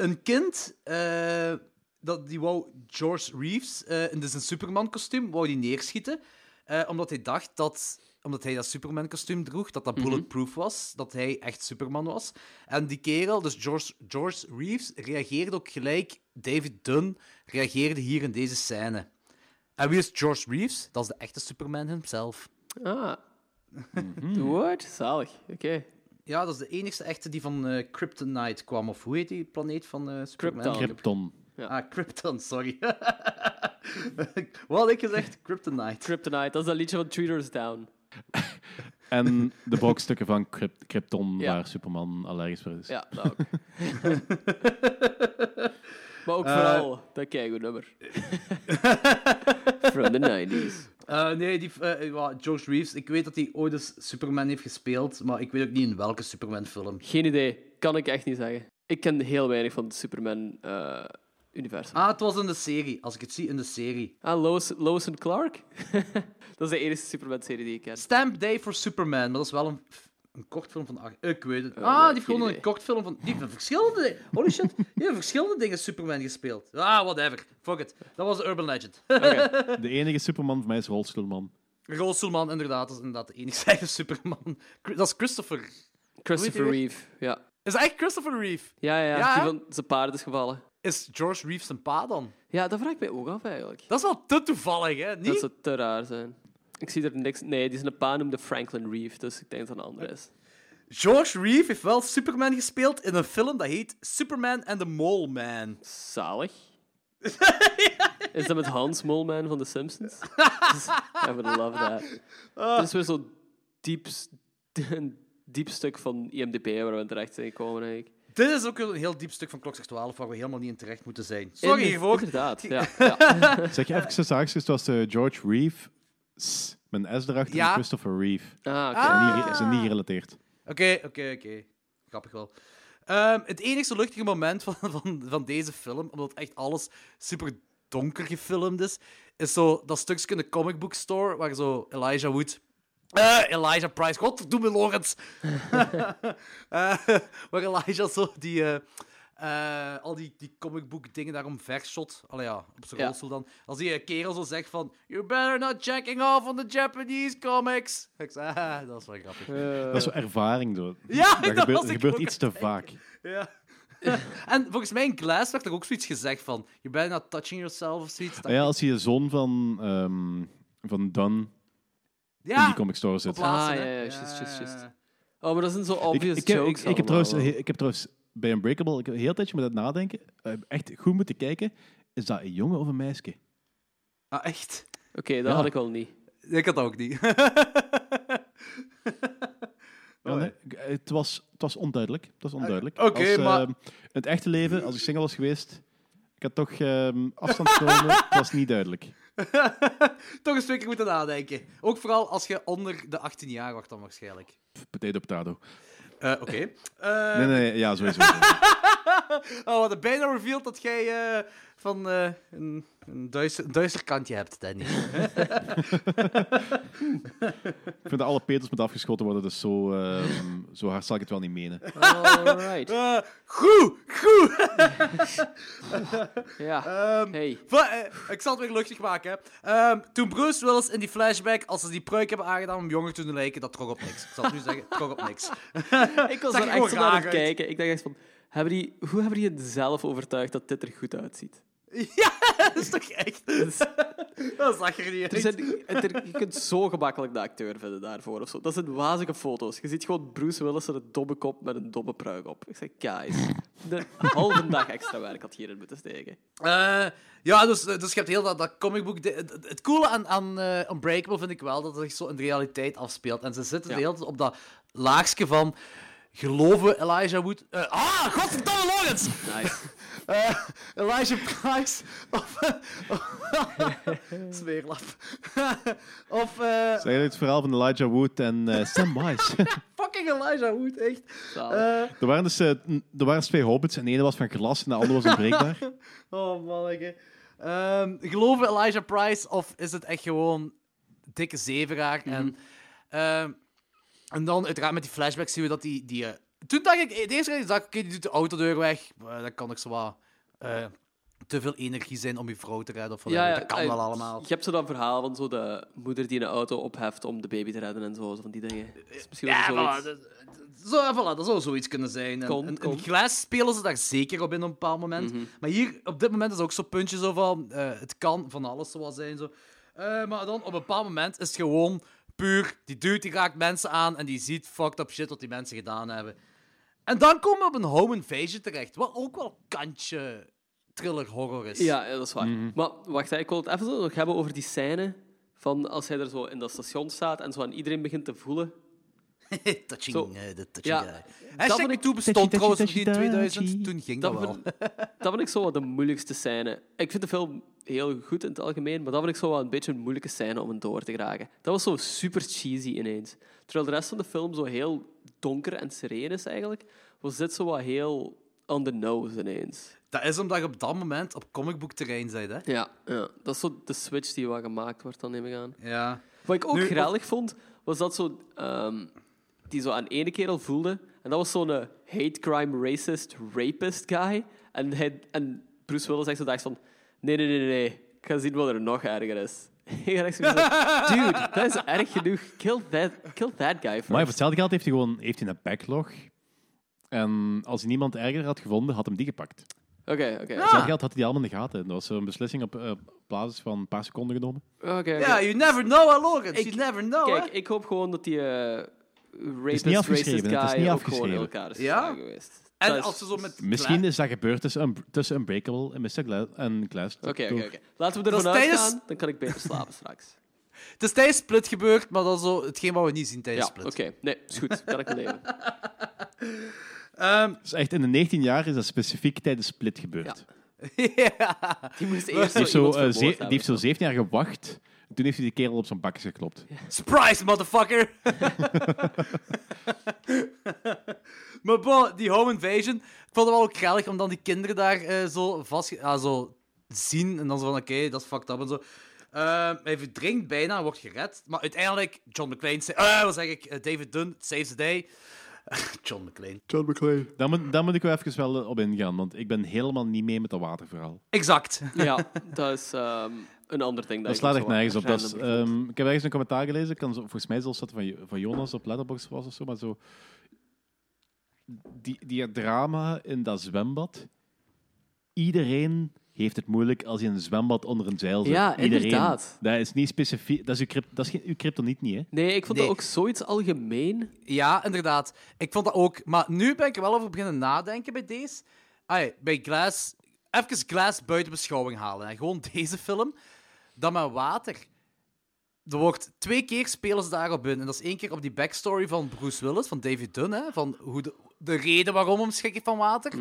S2: een kind, eh, dat, die wou George Reeves eh in zijn Superman-kostuum wou die neerschieten. eh, omdat hij dacht dat omdat hij dat Superman-kostuum droeg, dat dat bulletproof was, dat hij echt Superman was. En die kerel, dus George, George Reeves, reageerde ook gelijk. David Dunn reageerde hier in deze scène. En wie is George Reeves? Dat is de echte Superman himself.
S1: Ah.
S2: Mhm.
S1: What? Zalig. Oké.
S2: Ja, dat is de enigste echte die van eh, Kryptonite kwam. Of hoe heet die planeet van eh Superman?
S1: Krypton.
S3: Krypton.
S2: Ah, Krypton, sorry. Wat had ik gezegd? Kryptonite.
S1: Kryptonite, dat is dat liedje van Treaters Down.
S3: En de brokstukken van Kryp- Krypton,
S1: Ja.
S3: waar Superman allergisch voor is.
S1: Ja, dat ook. maar
S2: Eh,
S1: ook vooral, dat keigoed nummer. From the 90s.
S2: Eh, nee, die, eh, eh, wa- George Reeves. Ik weet dat hij ooit eens Superman heeft gespeeld, maar ik weet ook niet in welke Superman-film.
S1: Geen idee, kan ik echt niet zeggen. Ik ken heel weinig van het eh, Superman-universum.
S2: Ah, het was in de serie. Als ik het zie, in de serie.
S1: ah, Lois, Lois en Clark? dat is de enige Superman-serie die ik ken.
S2: Stamp Day for Superman, maar dat is wel een, een kort film van... acht- Ik weet het.
S1: nee,
S2: ah, die heeft
S1: Eh, geen
S2: gewoon
S1: idee.
S2: een kort film van... Die heeft verschillende... Holy shit. Die heeft verschillende dingen Superman gespeeld. Ah, whatever. Fuck it. Dat was de urban legend.
S3: De enige Superman voor mij is Rolstoelman.
S2: Rolstoelman, inderdaad. Dat is inderdaad de enige eigen Superman. Cri- Dat is Christopher.
S1: Christopher
S2: Hoe heet
S1: Reeve, ja.
S2: Is echt Christopher Reeve?
S1: Ja, ja,
S2: Ja?
S1: die van zijn paard is gevallen.
S2: Is George Reeves zijn pa dan?
S1: Ja, dat vraag ik mij ook af eigenlijk.
S2: Dat is wel te toevallig, hè? Niet?
S1: Dat zou te raar zijn. Ik zie er niks... Nee, die zijn pa noemde Franklin Reeve, dus ik denk dat het een andere is.
S2: George Reeve heeft wel Superman gespeeld in een film dat heet Superman and the Mole Man.
S1: Zalig. Is dat met Hans Molman van The Simpsons? I would love that.
S2: Ah.
S1: Dit is weer zo'n diep, s- een diep stuk van IMDb waar we terecht zijn gekomen, eigenlijk.
S2: Dit is ook een heel diep stuk van Klok 12 waar we helemaal niet in terecht moeten zijn. Sorry
S1: Inde-
S2: hiervoor.
S1: Inderdaad, ja. ja.
S3: Zeg je even zaaks, het was eh, George Reeve. S, met een S erachter,
S2: Ja.
S3: en Christopher Reeve.
S1: Ah, oké.
S3: Niet, ze zijn niet gerelateerd.
S2: Oké, oké, oké. Grappig wel. Ehm, het enige luchtige moment van, van, van deze film, omdat echt alles super donker gefilmd is, is zo dat stukje in de comic book store waar zo Elijah Wood. Eh, Elijah Price, godverdomme Lawrence! Eh, waar Elijah zo die. eh, eh, al die, die comic book dingen daarom vershot. Allee ja, op zijn
S1: Ja.
S2: rolstoel dan. Als die eh, kerel zo zegt van... You better not checking off on the Japanese comics. Ik zei, ah, dat is wel grappig.
S3: Dat is zo ervaring. Zo.
S2: Ja,
S3: dat
S2: dat
S3: gebeurt,
S2: was
S3: dat
S2: ik
S3: gebeurt
S2: ook
S3: iets te vaak.
S2: Ja. en volgens mij in Glass werd er ook zoiets gezegd van... Je bent not touching yourself of zoiets. Dat-
S3: Ah, Nou Ja, als je de zoon van, ehm, van Dunn in die
S2: ja,
S3: comic store zit.
S2: plaatsen,
S1: Ah,
S2: hè.
S1: ja, ja, juist, juist, juist.
S2: ja,
S1: Oh, maar dat zijn zo
S3: Ik,
S1: obvious
S3: ik, heb- ik,
S1: jokes
S3: ik, heb
S1: allemaal
S3: trouwens,
S1: wel.
S3: ik heb trouwens bij Unbreakable, ik heb een heel tijdje met het nadenken, eh, echt goed moeten kijken, is dat een jongen of een meisje?
S2: Ah, echt?
S1: Oké, dat
S3: Ja.
S1: had ik wel niet.
S2: Ik had dat ook niet.
S3: Ja, nee, ik- eh, het, was, het was onduidelijk. Het was onduidelijk.
S2: Ah, oké,
S3: Als, eh,
S2: maar-
S3: in het echte leven, als ik single was geweest, ik had toch ehm, afstand genomen. het was niet duidelijk.
S2: Toch eens twee keer moeten nadenken. Ook vooral als je onder de 18 jaar wordt dan waarschijnlijk.
S3: Potato, potato.
S2: Eh, Oké. Eh,
S3: Nee, nee, ja, sowieso.
S2: oh, we hadden bijna revealed dat jij eh, van eh, een, een duister, duister kantje hebt, Danny.
S3: ik vind dat alle peters moeten afgeschoten worden, dus zo, ehm, zo hard zal ik het wel niet menen.
S1: Alright.
S2: Eh, goed, goed.
S1: Ja.
S2: Ehm,
S1: Hey.
S2: Va- eh, ik zal het weer luchtig maken. hè. Ehm, toen Bruce Willis in die flashback, als ze die pruik hebben aangedaan om jonger te doen lijken, dat trok op niks. Ik zal het nu zeggen, het trok op niks.
S1: Ik was
S2: Zag
S1: er
S2: er
S1: echt zo
S2: gewoon
S1: naar aan
S2: raar
S1: het
S2: uit.
S1: kijken. Ik dacht echt van... Hebben die, hoe hebben die het zelf overtuigd dat dit er goed uitziet?
S2: Ja, dat is toch echt... Dat zag Dus- er niet
S1: Er
S2: uit.
S1: zijn, het- er- je kunt zo gemakkelijk de acteur vinden daarvoor. Of zo. Dat zijn wazige foto's. Je ziet gewoon Bruce Willis met een domme kop met een domme pruik op. Ik zeg, guys, de halve dag extra werk had hierin moeten steken.
S2: Eh, ja, dus, eh, dus je hebt heel dat, dat comicboek... de- Het, het coole aan, aan eh, Unbreakable vind ik wel dat het zich zo in de realiteit afspeelt. En ze zitten de hele tijd op dat laagstje van... Geloven Elijah Wood... eh, ah, godverdomme Lawrence!
S1: Nice.
S2: Eh, Elijah Price of... eh, Smeerlap. of... eh,
S3: Het is eigenlijk het verhaal van Elijah Wood en eh, Sam Wise.
S2: fucking Elijah Wood, echt.
S1: Zalig.
S2: Eh,
S3: er, waren dus, eh, n- er waren dus twee hobbits en de ene was van glas en de andere was onbreekbaar.
S2: oh, manneke. Ehm, geloven Elijah Price of is het echt gewoon dikke zeveraar?
S1: Mhm.
S2: en, ehm, en dan uiteraard met die flashback zien we dat die... die eh, toen dacht ik, eh, de eerste keer dat ik zag, oké, die doet de autodeur weg. Eh, dat kan ik zo wat... eh, te veel energie zijn om je vrouw te redden. Of
S1: Ja,
S2: whatever.
S1: ja,
S2: dat kan
S1: eh,
S2: wel allemaal.
S1: Je hebt zo dat verhaal van zo de moeder die een auto opheft om de baby te redden en zo, zo van die dingen. Dat is misschien
S2: Ja,
S1: wel
S2: voilà,
S1: zoiets.
S2: dat, zo, ja, voilà, dat zou zoiets kunnen zijn. En,
S1: Kon,
S2: en-
S1: kon.
S2: en Glass spelen ze daar zeker op in op een bepaald moment.
S1: Mhm.
S2: Maar hier, op dit moment, is ook zo'n puntje zo van... eh, het kan van alles zoals zijn. Zo. Eh, maar dan, op een bepaald moment is het gewoon puur... Die dude die raakt mensen aan en die ziet fucked up shit wat die mensen gedaan hebben. En dan komen we op een home invasion terecht. Wat ook wel kantje thriller-horror is.
S1: Ja, ja, dat is waar. Maar wacht, hè, ik wil het even nog hebben over die scène van als hij er zo in dat station staat en zo aan iedereen begint te voelen.
S2: touching,
S1: Zo.
S2: eh, de touching.
S1: Ja,
S2: Ja.
S1: dat
S2: Hashtag
S1: vond ik-
S2: toe
S3: touchy,
S2: bestond trouwens nog
S3: touchy,
S2: niet in 2000.
S3: touchy.
S2: Toen ging dat,
S1: Dat
S2: wel.
S1: vind, dat vind ik zo wat de moeilijkste scène. Ik vind de film heel goed in het algemeen, maar dat vind ik zo wel een beetje een moeilijke scène om in door te geraken. Dat was zo super cheesy ineens. Terwijl de rest van de film zo heel donker en sereen is eigenlijk, was dit zo wat heel on the nose ineens.
S2: Dat is omdat je op dat moment op comicboekterrein bent, hè?
S1: Ja, ja. dat is zo de switch die wat gemaakt wordt, dan neem ik aan.
S2: Ja.
S1: Wat ik ook
S2: Nu,
S1: grellig vond, was dat zo... ehm, die zo aan ene kerel voelde. En dat was zo'n eh, hate crime racist rapist guy. En, hij, en Bruce Willis zegt zo dacht van... Nee, nee, nee, nee, nee. Ik ga zien wat er nog erger is. Ik ga echt zo Dude, dat is erg genoeg. Kill that, kill that guy
S3: Maar voor
S1: first.
S3: hetzelfde geld heeft hij gewoon heeft hij een backlog. En als hij niemand erger had gevonden, had hem die gepakt. Voor
S1: Oké, oké.
S2: Ah!
S3: hetzelfde geld had hij die allemaal in de gaten. Dat was een beslissing op eh, basis van een paar seconden genomen.
S1: Oké, oké.
S2: Ja, you never know, hè, Lawrence.
S1: Ik-
S2: you never know,
S1: Kijk,
S2: hè?
S1: ik hoop gewoon dat die eh, rapist
S3: afgeschreven,
S1: racist
S3: het is
S1: guy
S3: niet
S1: ook gewoon in
S3: afgeschreven.
S1: elkaar is
S2: Ja?
S1: geslagen geweest. Dat
S2: En
S1: is-
S2: als ze zo met...
S3: Misschien is dat gebeurd tussen, Un- tussen Unbreakable en Mr. Gla en Glass.
S1: Oké, oké,
S3: Door-
S1: oké. Laten we
S2: Dat is
S1: ervan
S2: tijdens-
S1: uitgaan, dan kan ik beter slapen straks.
S2: Het is tijdens Split gebeurd, maar dat is zo hetgeen wat we niet zien tijdens
S1: Ja, oké.
S2: Split.
S1: Nee, is goed. Kan ik wel leven.
S2: Ehm,
S3: Dus echt in de 19 jaar is dat specifiek tijdens Split gebeurd.
S1: Ja.
S2: ja.
S1: Die moest eerst
S3: Die heeft, zo,
S1: zo,
S3: eh, ze- die heeft zo 17 jaar gewacht. Toen heeft hij die kerel op zijn bakjes geklopt.
S2: Surprise, motherfucker! maar bo, die home invasion. Ik vond het wel ook grellig om dan die kinderen daar eh, zo vast... ja, zo zien en dan zo van, oké, dat is fucked up en zo. Ehm, hij verdrinkt bijna en wordt gered. Maar uiteindelijk, John McClane... zei- eh wat zeg ik? Eh, David Dunn, saves the day. John McClane.
S3: Daar moet, daar moet ik wel even wel op ingaan, want ik ben helemaal niet mee met dat waterverhaal.
S2: Exact.
S1: Ja, dat is ehm, een ander ding.
S3: Dat slaat echt nergens op. Dat is, ehm, ik heb ergens een commentaar gelezen, ik kan zo- volgens mij zelfs dat van, Jo- van Jonas op Letterboxd was of zo, maar zo... Die, die drama in dat zwembad... Iedereen heeft het moeilijk als je in een zwembad onder een zeil zit.
S1: Ja,
S3: Iedereen.
S1: inderdaad.
S3: Dat is niet specifiek... Dat is uw, crypt, dat is geen, uw kryptoniet niet, hè?
S1: Nee, ik vond
S2: Nee.
S1: dat ook zoiets algemeen. Dus
S2: Ja, inderdaad. Ik vond dat ook. Maar nu ben ik er wel over beginnen nadenken bij deze. Ai, bij Glass. Even Glass buiten beschouwing halen. Hè. Gewoon deze film. Dan met water. Er wordt twee keer spelen ze daarop in. En dat is één keer op die backstory van Bruce Willis, van David Dunn. Hè, van hoe de, de reden waarom hem schrik heeft van water.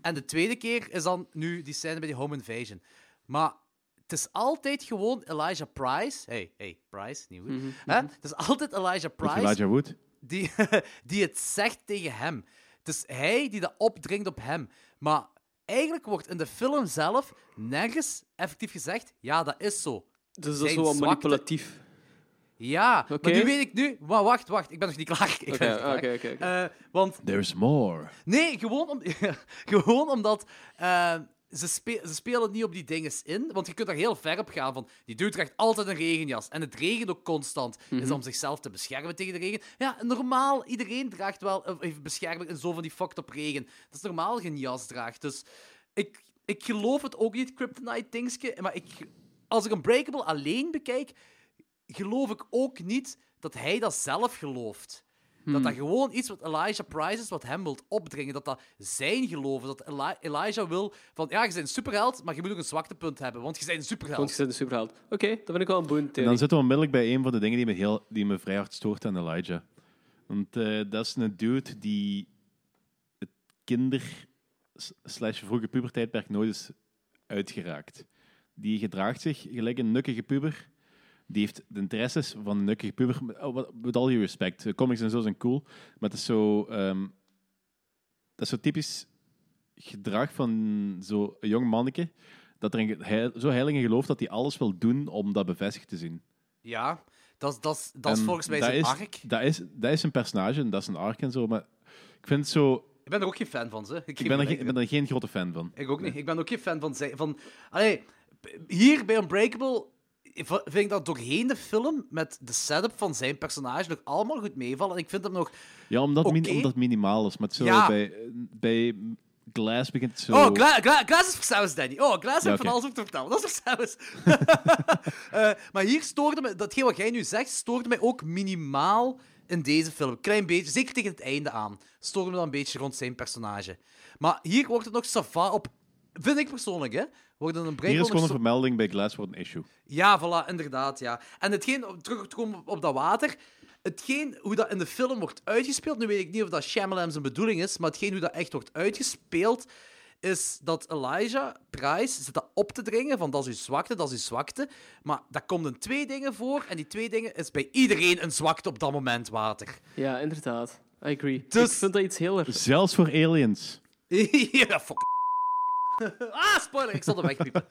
S2: En de tweede keer is dan nu die scène bij die home invasion. Maar het is altijd gewoon Elijah Price. Hey, hey, Price, nieuw. hè? Het is altijd Elijah
S3: Met
S2: Price
S3: Elijah Wood.
S2: die, die het zegt tegen hem. Het is hij die dat opdringt op hem. Maar eigenlijk wordt in de film zelf nergens effectief gezegd: ja, dat is zo.
S1: Dus dat
S2: Zijn
S1: is zo wat
S2: zwakte.
S1: manipulatief.
S2: Ja,
S1: Oké.
S2: maar nu weet ik nu. wa- wacht, wacht, ik ben nog niet klaar. Ik ben nog
S1: Oké,
S2: niet
S1: oké,
S2: klaar.
S1: oké. oké.
S2: Eh, want
S3: There's more.
S2: Nee, gewoon, om, gewoon omdat eh, ze, spe- ze spelen niet op die dinges in. Want je kunt daar heel ver op gaan van... Die dude draagt altijd een regenjas. En het regent ook constant. Is om zichzelf te beschermen tegen de regen. Ja, normaal, iedereen draagt wel... eh, heeft bescherming en zo van die fucked up regen. Dat is normaal geen jas draagt. Dus ik, ik geloof het ook niet, kryptonite dingetje. Maar ik, als ik Unbreakable alleen bekijk... geloof ik ook niet dat hij dat zelf gelooft. Dat dat gewoon iets wat Elijah Price is, wat hem wilt opdringen. Dat dat zijn geloof is. Dat Eli- Elijah wil van, ja, je bent een superheld, maar je moet ook een zwaktepunt hebben, want je bent een
S1: Want je
S2: superheld.
S1: zit een superheld. Oké, dat vind ik wel een boeiend
S3: En
S1: theorie.
S3: dan zitten we onmiddellijk bij een van de dingen die me, heel, die me vrij hard stoort aan Elijah. Want eh, dat is een dude die het kinder- s- slash vroege pubertijdperk nooit is uitgeraakt. Die gedraagt zich gelijk een nukkige puber. Die heeft de interesses van een nukkige puber. Oh, wat- With all due respect, de comics en zo zijn cool. Maar het is zo... ehm, dat is zo typisch gedrag van zo'n jong manneke. Dat er een ge- heil- zo heilig in gelooft dat hij alles wil doen om dat bevestigd te zien.
S2: Ja, dat, is- dat, is- dat is
S3: En
S2: volgens mij
S3: Ehm, dat
S2: zijn
S3: is-
S2: arc.
S3: Dat is, dat is een personage en dat is een arc en zo, maar ik vind het zo...
S2: Ik ben er ook geen fan van, ze.
S3: Ik ben, er, geen- ik ben er geen grote fan van.
S2: Ik ook niet. Ik ben ook geen fan van... zij- van allee, p- hier bij Unbreakable v- vind ik dat doorheen de film met de setup van zijn personage nog allemaal goed meevallen. En ik vind hem nog...
S3: Ja, omdat, min-
S2: Oké.
S3: omdat het minimaal is. Maar het zo
S2: Ja.
S3: bij, bij Glass begint het zo...
S2: Oh, Gla Gla Glass is versaus, Danny. Oh, Glass heeft
S3: Ja, oké.
S2: van alles over te vertellen. Dat is versaus. Eh maar hier stoorde me... Datgene wat jij nu zegt, stoorde mij ook minimaal in deze film. Klein beetje, zeker tegen het einde aan. Stoorde me dan een beetje rond zijn personage. Maar hier wordt het nog sava op... Vind ik persoonlijk, hè? Wordt een
S3: Hier is
S2: Unbreakable
S3: gewoon een
S2: nog
S3: vermelding bij Glass voor een issue.
S2: Ja, voilà, inderdaad, ja. En hetgeen, om terug te komen op- op dat water, hetgeen hoe dat in de film wordt uitgespeeld, nu weet ik niet of dat Shyamalan zijn bedoeling is, maar hetgeen hoe dat echt wordt uitgespeeld, is dat Elijah Price zit dat op te dringen van dat is uw zwakte, dat is uw zwakte, maar daar komt in twee dingen voor en die twee dingen is bij iedereen een zwakte op dat moment water.
S1: Ja, inderdaad. I agree.
S2: Dus-
S1: Ik vind dat iets heel erg.
S3: Zelfs voor aliens.
S2: ja, fuck. ah, spoiler, ik zal er wegpiepen.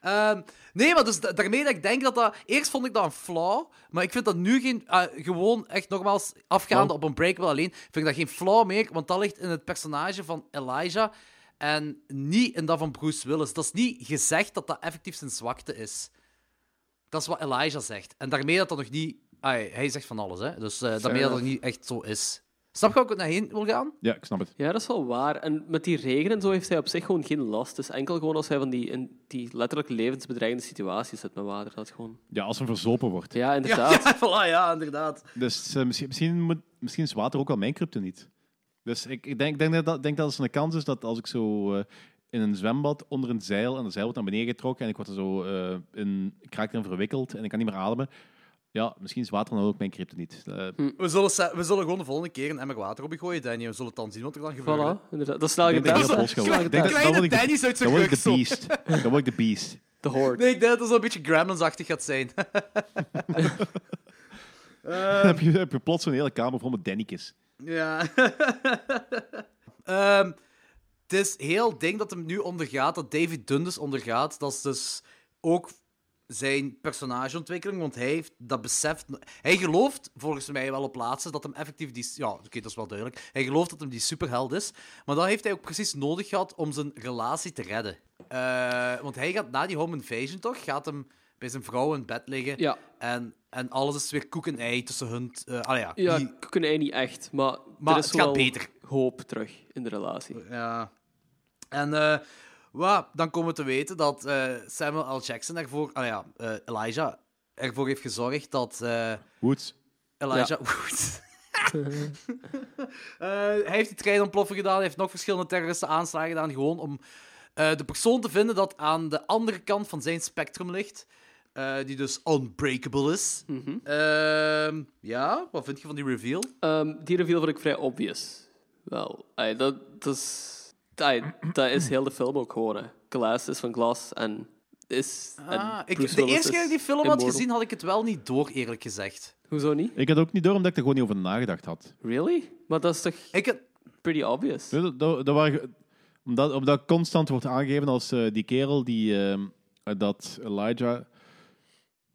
S2: Ehm, nee, maar dus da- daarmee dat ik denk dat dat... Eerst vond ik dat een flaw, maar ik vind dat nu geen... eh, gewoon, echt nogmaals, afgaande op een breakable alleen, vind ik dat geen flaw meer, want dat ligt in het personage van Elijah en niet in dat van Bruce Willis. Dat is niet gezegd dat dat effectief zijn zwakte is. Dat is wat Elijah zegt. En daarmee dat dat nog niet... ai, hij zegt van alles, hè. Dus eh, daarmee dat dat nog niet echt zo is. Snap je ook naar heen wil gaan?
S3: Ja, ik snap het.
S1: Ja, dat is wel waar. En met die regen en zo heeft hij op zich gewoon geen last. Dus enkel gewoon als hij van die, in die letterlijk levensbedreigende situaties zit met water. Dat gewoon...
S3: Ja, als hem verzopen wordt.
S1: Ja, inderdaad.
S2: Ja, voilà, ja, inderdaad.
S3: Dus eh, misschien, misschien, moet, misschien is water ook al mijn niet. Dus ik, ik denk, denk, dat, denk dat het een kans is dat als ik zo eh, in een zwembad onder een zeil en de zeil wordt naar beneden getrokken en ik word er zo eh, in, ik raak erin verwikkeld en ik kan niet meer ademen. Ja, misschien is water dan ook mijn kryptoniet.
S2: Hm.
S3: Eh,
S2: We zullen, se- we zullen gewoon de volgende keer een emmer water op je gooien, Danny. We zullen het dan zien wat er dan gebeurt.
S1: Voilà, inderdaad. Dat is snel
S3: ik denk dat ik
S1: gedaan.
S3: op los ga
S1: Snel
S3: worden. Ik denk
S1: gedaan.
S3: dat-
S2: Kleine
S3: dan word ik de-
S2: Dennis uit zijn
S3: Dan word
S2: rug
S3: ik de
S2: zo.
S3: beast. Dan word ik de beast.
S1: De horde.
S2: Nee, ik denk dat het zo'n beetje Gremlins-achtig gaat zijn.
S3: Dan heb je, heb je plots een hele kamer vol met Dennikes.
S2: ja. Ehm, het is heel ding dat hem nu ondergaat, dat David Dundas ondergaat. Dat is dus ook zijn personageontwikkeling, want hij heeft dat beseft. Hij gelooft volgens mij wel op laatste dat hem effectief die. Ja, oké, dat is wel duidelijk. Hij gelooft dat hem die superheld is, maar dat heeft hij ook precies nodig gehad om zijn relatie te redden. Eh, want hij gaat na die home invasion toch, gaat hem bij zijn vrouw in bed liggen.
S1: Ja.
S2: En, en alles is weer koek en ei tussen hun. eh ah ja,
S1: Ja,
S2: die-
S1: ik kunnen hij niet echt. Maar,
S2: Maar
S1: er is
S2: het gaat
S1: wel
S2: beter. Oh
S1: hoop terug in de relatie.
S2: Ja. En eh wa, dan komen we te weten dat eh, Samuel L. Jackson ervoor, ah ja, eh, Elijah ervoor heeft gezorgd dat eh,
S3: Woods.
S2: Elijah Wood. Eh, hij heeft die trein ontploffen gedaan, hij heeft nog verschillende terroristen aanslagen gedaan, gewoon om eh, de persoon te vinden dat aan de andere kant van zijn spectrum ligt, eh, die dus unbreakable is.
S1: Mhm.
S2: Ehm, ja, wat vind je van die reveal?
S1: Ehm, die reveal vond ik vrij obvious. Wel, ai, dat, dat is... ai, dat is heel de film ook gewoon. hè. Glass is van glas en is... en
S2: Ah, ik,
S1: Bruce
S2: de
S1: Willis
S2: eerste keer dat ik
S1: is
S2: die film had
S1: immortal.
S2: gezien, had ik het wel niet door, eerlijk gezegd.
S1: Hoezo niet?
S3: Ik had ook niet door omdat ik er gewoon niet over nagedacht had.
S1: Really? Maar dat is toch
S2: Ik, had-
S1: pretty obvious?
S3: Nee, Dat, dat, dat waren- omdat, omdat constant wordt aangegeven als eh, die kerel die ehm, dat Elijah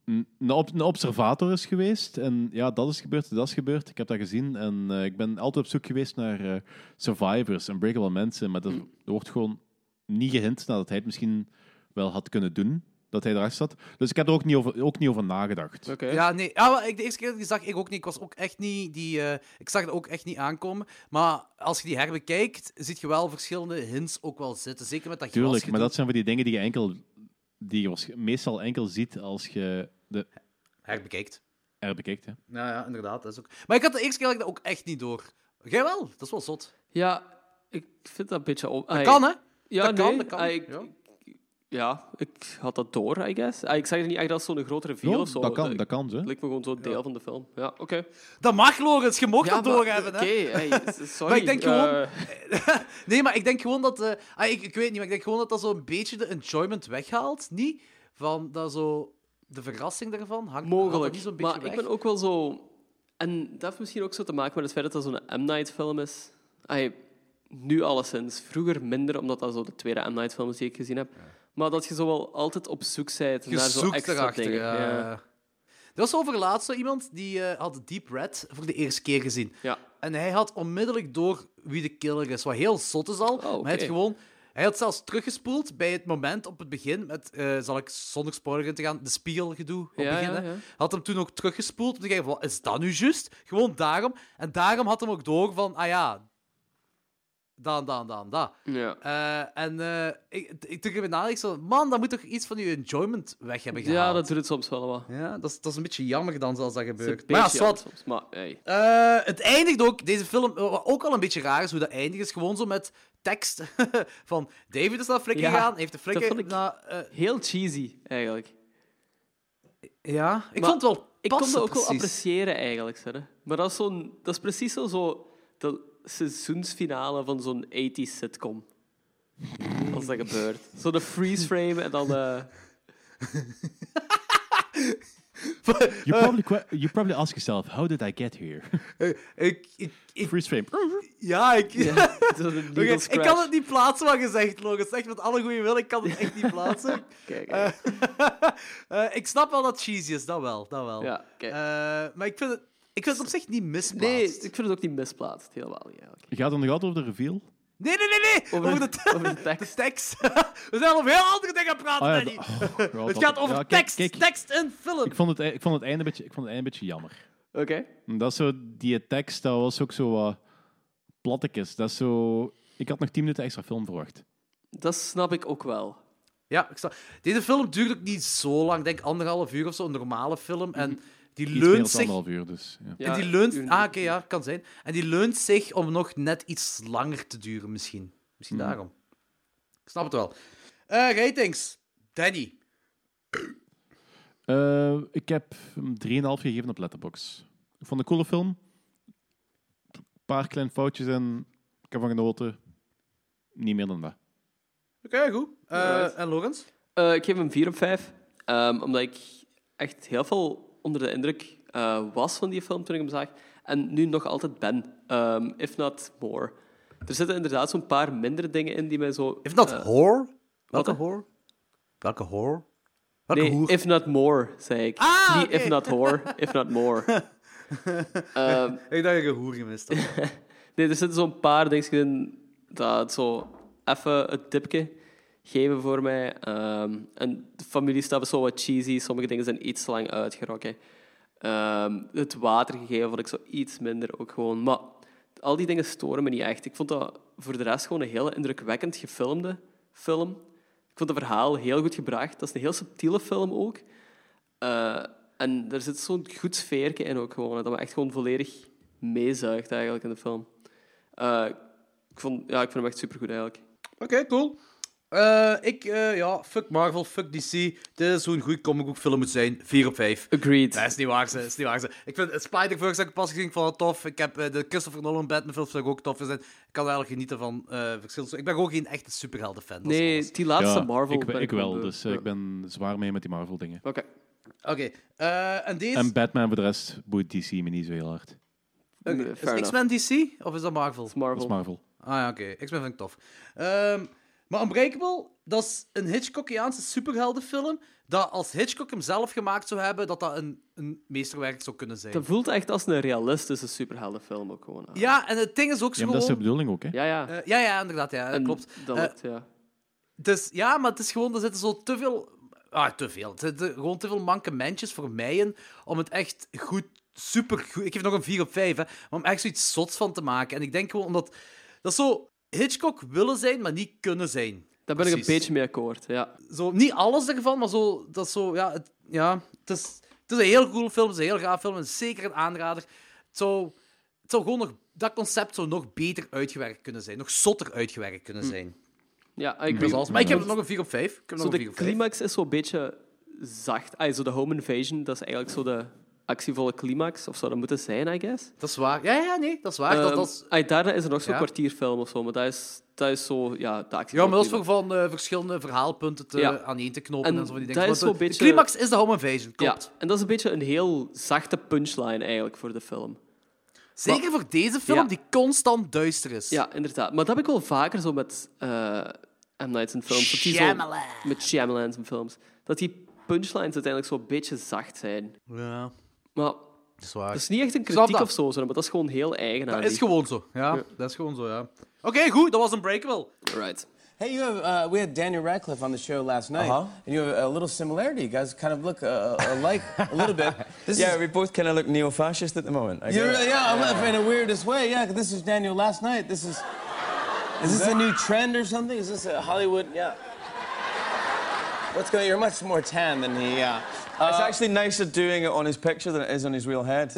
S3: een, een ob- een observator is geweest. En ja, dat is gebeurd, dat is gebeurd. Ik heb dat gezien en eh, ik ben altijd op zoek geweest naar eh, survivors en breakable mensen. Maar dat er wordt gewoon niet gehint nadat hij het misschien wel had kunnen doen. Dat hij erachter zat. Dus ik heb er ook niet over, ook niet over nagedacht.
S1: Oké.
S2: Ja, nee. Ja, maar ik, de eerste keer dat ik die zag, ik ook niet. Ik was ook echt niet die... eh, ik zag er ook echt niet aankomen. Maar als je die herbekijkt, zie je wel verschillende hints ook wel zitten. Zeker met dat
S3: Tuurlijk,
S2: glasgedoe.
S3: maar dat zijn van die dingen die je, enkel, die je waarsch- meestal enkel ziet als je de
S2: Herbekijkt.
S3: er bekijkt. Hè.
S2: Ja, ja, inderdaad. Dat is ook... Maar ik had de eerste keer dat ik dat ook echt niet door. Jij wel? Dat is wel zot.
S1: Ja, ik vind dat een beetje... Op... ai,
S2: Kan, hè?
S1: Ja,
S2: dat kan,
S1: nee,
S2: dat kan.
S1: ai, ik-
S2: Ja.
S1: ja, ik had dat door, I guess. Ai, ik zag het niet echt als zo'n grote reveal
S3: Ja,
S1: of zo.
S3: dat kan, dat kan ze.
S1: lijkt me gewoon zo'n deel van de film. Ja, oké.
S2: Dat mag, Lorenz. Je mocht dat
S1: maar-
S2: doorhebben, hè?
S1: Oké, hey, s- sorry.
S2: Maar ik denk gewoon-
S1: eh,
S2: nee, maar ik denk gewoon dat... eh, ah, ik, ik weet niet, maar ik denk gewoon dat dat zo'n beetje de enjoyment weghaalt. Niet van dat zo... De verrassing daarvan hangt haalt dat
S1: Mogelijk.
S2: niet zo'n beetje
S1: maar
S2: weg.
S1: ik ben ook wel zo. En dat heeft misschien ook zo te maken met het feit dat dat zo'n M. Night film is. Ai, nu alleszins. Vroeger minder, omdat dat zo de tweede M. Night film is die ik gezien heb. Maar dat je zo wel altijd op zoek bent
S2: Je
S1: naar zo
S2: zoekt
S1: extra
S2: erachter,
S1: dingen.
S2: ja.
S1: Ja.
S2: was over zo iemand die eh, had Deep Red voor de eerste keer gezien.
S1: Ja.
S2: En hij had onmiddellijk door wie de killer is. Wat heel zot is al. Maar hij had
S1: Oh, oké.
S2: gewoon... Hij had zelfs teruggespoeld bij het moment op het begin. Met, eh, zal ik zonder spoiler in te gaan, de spiegelgedoe op
S1: Ja,
S2: het begin.
S1: ja,
S2: hè.
S1: ja.
S2: Had hem toen ook teruggespoeld. Om te kijken, wat is dat nu juist? Gewoon daarom. En daarom had hem ook door van, ah ja... Daan, daan, daan, daan.
S1: Ja.
S2: Eh, en eh, ik, ik, toen ik erbij nadacht, ik zo, man, dat moet toch iets van je enjoyment weg hebben gehaald.
S1: ja, dat doet het soms wel wat.
S2: Ja, dat is, dat is een beetje jammer dan, zoals dat
S1: Het is een
S2: gebeurt. Maar ja,
S1: beetje
S2: zwart.
S1: soms, maar hey.
S2: Eh, het eindigt ook, deze film, eh, wat ook al een beetje raar is hoe dat eindigt, is gewoon zo met tekst van David is naar Flikker
S1: Ja,
S2: gegaan, heeft de Flikker
S1: vond ik-
S2: naar... eh,
S1: Heel cheesy, eigenlijk.
S2: ja, ik
S1: Maar
S2: vond het wel
S1: Ik kon
S2: passen,
S1: dat ook wel
S2: precies.
S1: appreciëren, eigenlijk. Hè. Maar dat is, zo'n, dat is precies zo, zo de seizoensfinale van zo'n 80s sitcom. Als dat gebeurt. Zo de freeze frame en dan... eh,
S3: You probably, que- you probably ask yourself, how did I get here?
S2: Ik, ik, ik-
S3: Freeze frame.
S2: ja, ik...
S1: zo de
S2: Oké,
S1: Needles
S2: ik kan
S1: crash.
S2: het niet plaatsen wat je zegt, Logan. Echt met alle goede wil, ik kan het echt niet plaatsen.
S1: Kijk,
S2: Eh, eh, ik snap wel dat het cheesy is, dat wel. Dat wel.
S1: Ja, oké.
S2: Eh, maar ik vind, het, ik vind het op zich niet misplaatst.
S1: Nee, ik vind het ook niet misplaatst. Helemaal niet, eigenlijk.
S3: Gaat het nog altijd over de reveal?
S2: nee, nee, nee. nee. Over, de, te-
S1: over de tekst.
S2: de tekst. We zijn al over heel andere dingen aan het praten,
S3: Ah ja,
S2: Danny.
S3: d- oh, God,
S2: het
S3: wat-
S2: gaat over
S3: ja, kijk,
S2: tekst,
S3: kijk,
S2: tekst en film.
S3: Ik vond, het, ei- ik, vond het einde een beetje, ik vond het einde een beetje jammer.
S1: Oké.
S3: En Dat is zo, die tekst, dat was ook zo wat plattekes. Dat is zo... Ik had nog 10 minuten extra film verwacht.
S1: Dat snap ik ook wel.
S2: Ja, ik snap. Deze film duurt ook niet zo lang. Ik denk anderhalf uur of zo, een normale film. En die
S3: Mhm. Iets meer dan
S2: leunt zich...
S3: anderhalf uur, dus... Ja.
S1: Ja,
S2: en die leunt...
S1: uur-
S2: Ah, oké, ja, kan zijn. En die leunt zich om nog net iets langer te duren, misschien. Misschien daarom. Ik snap het wel. Eh, ratings. Danny.
S3: Eh, ik heb hem 3,5 gegeven op Letterboxd. Ik vond het een coole film. Een paar kleine foutjes en ik heb van genoten. Niet meer dan dat.
S2: Oké, goed. Eh,
S1: Alright.
S2: En Lorenz?
S1: Eh, ik geef hem 4 op 5. omdat ik echt heel veel onder de indruk eh, was van die film toen ik hem zag. En nu nog altijd ben. Ehm, if not more. Er zitten inderdaad zo'n paar mindere dingen in die mij zo...
S2: If not
S1: eh,
S2: horror? Welke
S1: hè?
S2: horror? Welke horror? Welke
S1: nee,
S2: hoer?
S1: if not more, zei ik.
S2: Ah,
S1: Niet
S2: oké.
S1: if not horror, if not more. Ehm,
S2: Ik dacht dat je hoer gemist had.
S1: Nee, er zitten zo'n paar dingetjes in dat het zo even het tipje geven voor mij. Ehm, en de familiestap is zo wat cheesy. Sommige dingen zijn iets te lang uitgerokken. Ehm, het water gegeven vond ik zo iets minder ook gewoon. Maar al die dingen storen me niet echt. Ik vond dat voor de rest gewoon een hele indrukwekkend gefilmde film. Ik vond het verhaal heel goed gebracht. Dat is een heel subtiele film ook. Eh, en er zit zo'n goed sfeertje in ook gewoon. Dat me echt gewoon volledig meezuigt eigenlijk in de film. Eh, ik, vond, ja, ik vond hem echt supergoed eigenlijk.
S2: Oké, cool. Eh, ik, eh, ja, fuck Marvel, fuck DC. Dit is hoe een goede comicboekfilm moet zijn. 4 op 5.
S1: Agreed.
S2: Dat is niet waar, ze. is niet waar, ze. Ik vind eh, Spider-Verse heb ik pas gezien, ik vond het tof. Ik heb eh, de Christopher Nolan Batman films vind ik ook tof gezien. Ik kan eigenlijk genieten van eh verschillende... Ik ben ook geen echte superhelden fan.
S1: Nee, die laatste
S3: Ja,
S1: Marvel.
S3: Ik,
S1: ben
S3: ik
S1: gewoon
S3: wel,
S1: beu.
S3: dus eh,
S1: Ja.
S3: ik ben zwaar mee met die Marvel-dingen.
S1: Oké.
S2: Oké, eh, en deze?
S3: En Batman voor de rest boeit DC me niet zo heel hard.
S1: Nee,
S3: eh,
S2: Oké,
S1: fair
S2: Is
S1: enough.
S2: X-Men DC of is dat Marvel?
S1: Dat is
S3: Dat
S1: Marvel.
S3: is Marvel.
S2: Ah ja, oké. X-Men vind ik tof. Ehm, maar Unbreakable, dat is een Hitchcockiaanse superheldenfilm dat als Hitchcock hem zelf gemaakt zou hebben, dat dat een, een meesterwerk zou kunnen zijn.
S1: Dat voelt echt als een realistische superheldenfilm ook gewoon. aan.
S2: Ja, en het ding is ook zo
S3: Ja, maar dat is de
S2: gewoon...
S3: bedoeling ook, hè?
S1: Ja, ja.
S2: Eh, ja, ja, inderdaad, ja, dat
S1: En
S2: klopt.
S1: Dat
S2: Eh,
S1: lukt, ja.
S2: dus, ja, maar het is gewoon, er zitten zo te veel... Ah, te veel. Er zitten gewoon te veel mankementjes voor mij in om het echt goed, supergoed... Ik geef nog een 4 op 5, hè. Maar om echt zoiets zots van te maken. En ik denk gewoon omdat... Dat is zo Hitchcock willen zijn, maar niet kunnen zijn.
S1: Daar ben ik
S2: precies.
S1: een beetje mee akkoord. Ja.
S2: zo, niet alles ervan, maar zo, dat zo, ja, het, ja, het is, het is een heel cool film, het is een heel gaaf film, en zeker een aanrader. Het zou, het zou gewoon nog, dat concept zou nog beter uitgewerkt kunnen zijn, nog zotter uitgewerkt kunnen
S1: Hm.
S2: zijn.
S1: ja ik
S2: Dat is
S1: agree.
S2: alles. Maar ik heb nog een 4 op 5. Ik heb nog
S1: Zo
S2: een
S1: de
S2: 4 op 5.
S1: climax is zo'n beetje zacht. Ah, zo de home invasion, dat is eigenlijk zo de actievolle climax. Of zou dat moeten zijn, I guess.
S2: Dat is waar. Ja, ja, nee, dat is waar. dat,
S1: Ehm,
S2: dat is,
S1: ah, daarna is er nog zo'n
S2: Ja.
S1: kwartierfilm of zo, maar dat is, dat is zo, ja, de actie.
S2: ja, maar dat is voor van eh, verschillende verhaalpunten te,
S1: Ja.
S2: aan één te knopen en,
S1: En
S2: zo van die
S1: dat
S2: dingen.
S1: is zo'n
S2: Want de-
S1: beetje-
S2: De climax is de home invasion,
S1: Ja,
S2: klopt.
S1: en dat is een beetje een heel zachte punchline eigenlijk voor de film.
S2: Zeker voor deze film,
S1: Ja.
S2: die constant duister is.
S1: Ja, inderdaad. Maar dat heb ik wel vaker zo met eh M. Night's en films. dat die zo-
S2: Shyamalan.
S1: Met Shyamalan en films. Dat die punchlines uiteindelijk zo'n beetje zacht zijn.
S2: Ja,
S1: Maar
S2: dat is waar.
S1: dat is niet echt een
S2: Snap
S1: kritiek
S2: dat.
S1: of zo, zo, maar dat is gewoon heel eigenaardig.
S2: dat Dus- is gewoon zo. Ja, dat is gewoon zo, ja. Oké, goed, dat was een breakable.
S1: Right.
S11: Hey, you have, uh, we had Daniel Radcliffe on the show last night,
S12: Uh-huh.
S11: and you have a little similarity. You guys kind of look uh, alike a little bit. This
S12: yeah,
S11: is,
S12: we both kind of look neo-fascist at the moment. I
S11: you
S12: guess.
S11: really, yeah, in a weirdest way. Yeah, 'cause this is Daniel last night. This is, is this a new trend or something? Is this a Hollywood? Yeah. What's going? You're much more tan than he. Yeah. Uh,
S12: it's actually nicer doing it on his picture than it is on his real head.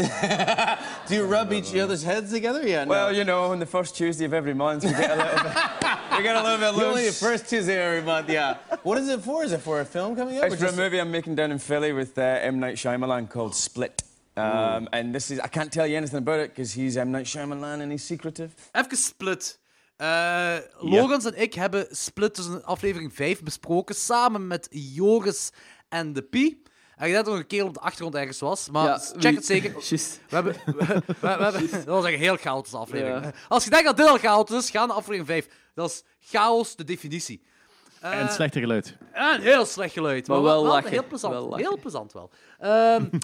S11: Do you rub each other's heads together? Yeah. No.
S12: Well, you know, on the first Tuesday of every month, we get a little bit. we get a little bit
S11: You're only the
S12: loose.
S11: first Tuesday every month. Yeah. What is it for? Is it for a film coming up?
S12: It's
S11: or
S12: for a
S11: just-
S12: movie I'm making down in Philly with uh, M Night Shyamalan called Split. Um, and this is I can't tell you anything about it because he's M Night Shyamalan and he's secretive.
S2: Even split. Eh, Logans en ik hebben Split tussen aflevering 5 besproken, samen met Joris en de Pi. En ik denk dat er nog een keer op de achtergrond ergens was, maar
S1: Ja,
S2: check
S1: wie-
S2: het zeker.
S1: Juist.
S2: We hebben, we, we- we hebben, dat was een heel chaotische aflevering.
S1: Ja.
S2: Als je denkt dat dit al chaotisch is, ga naar aflevering 5. Dat is chaos de definitie. Eh,
S3: En slechter geluid.
S2: en heel slecht geluid.
S1: Maar
S2: Maar,
S1: wel
S2: wel, wel
S1: lachen,
S2: heel plezant.
S1: wel lachen.
S2: heel plezant wel. Ehm, eh,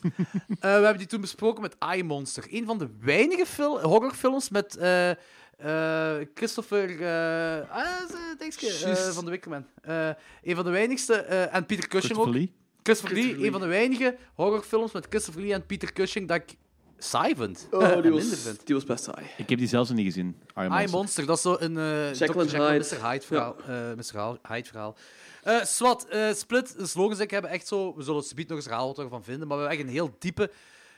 S2: we hebben die toen besproken met I Monster. Een van de weinige fil- horrorfilms met eh, eh, Christopher... eh, ah, eh, dingske, eh,
S3: Juist.
S2: van de Wickerman. Eh, een van de weinigste. eh, en Peter Cushing ook.
S3: Christopher Lee.
S2: Christopher Lee, een van de weinige horrorfilms met Christopher Lee en Peter Cushing dat ik saai vind. Eh,
S1: Oh,
S2: en
S1: die
S2: minder
S1: was,
S2: vind.
S1: die was best saai.
S3: Ik heb die zelfs nog niet gezien. Iron
S2: I
S3: Monster.
S2: Monster, dat is zo een eh Dr.
S1: Jekyll and
S2: Jekyll en
S1: Hyde.
S2: Mr. Hyde verhaal. eh Mr. Hyde verhaal. Eh, Swat, eh, Split, de slogans ik hebben echt zo... We zullen het subiet nog eens verhaal wat we ervan vinden, maar we hebben echt een heel diepe...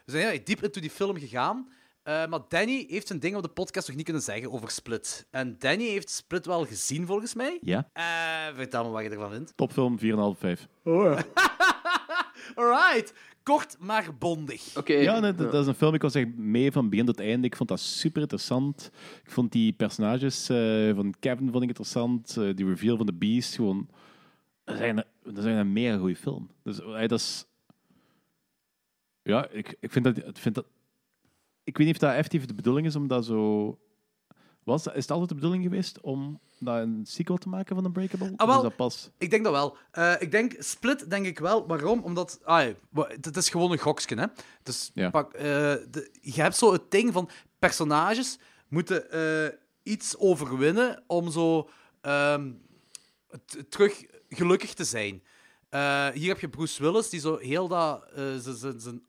S2: We zijn heel erg diep into die film gegaan. Eh, maar Danny heeft zijn ding op de podcast nog niet kunnen zeggen over Split. En Danny heeft Split wel gezien, volgens mij.
S3: Ja.
S2: Eh, vertel me wat je ervan vindt.
S3: Topfilm 4,5 5.
S2: Alright, kort maar bondig.
S1: Oké.
S3: Ja, nee, dat, dat is een film. Ik was echt mee van begin tot einde. Ik vond dat super interessant. Ik vond die personages eh, van Kevin vond ik interessant. Eh, die reveal van de Beast. Gewoon, dat zijn, dat zijn een meer goede film. Dus eh, dat is. Ja, ik, ik vind dat. Ik, vind dat, ik weet niet of dat effectief de bedoeling is om dat zo. Was, dat- is het altijd de bedoeling geweest om daar een sequel te maken van Unbreakable?
S2: Ah,
S3: Of is
S2: wel,
S3: dat pas?
S2: Ik denk dat wel. Eh, ik denk split, denk ik wel. Waarom? Omdat. Ah, het is gewoon een goksken, hè? Dus
S3: Ja.
S2: pak, eh, de- je hebt zo het ding van personages moeten eh, iets overwinnen om zo ehm, t- terug gelukkig te zijn. Eh, hier heb je Bruce Willis die zo heel dat eh, z- z- zijn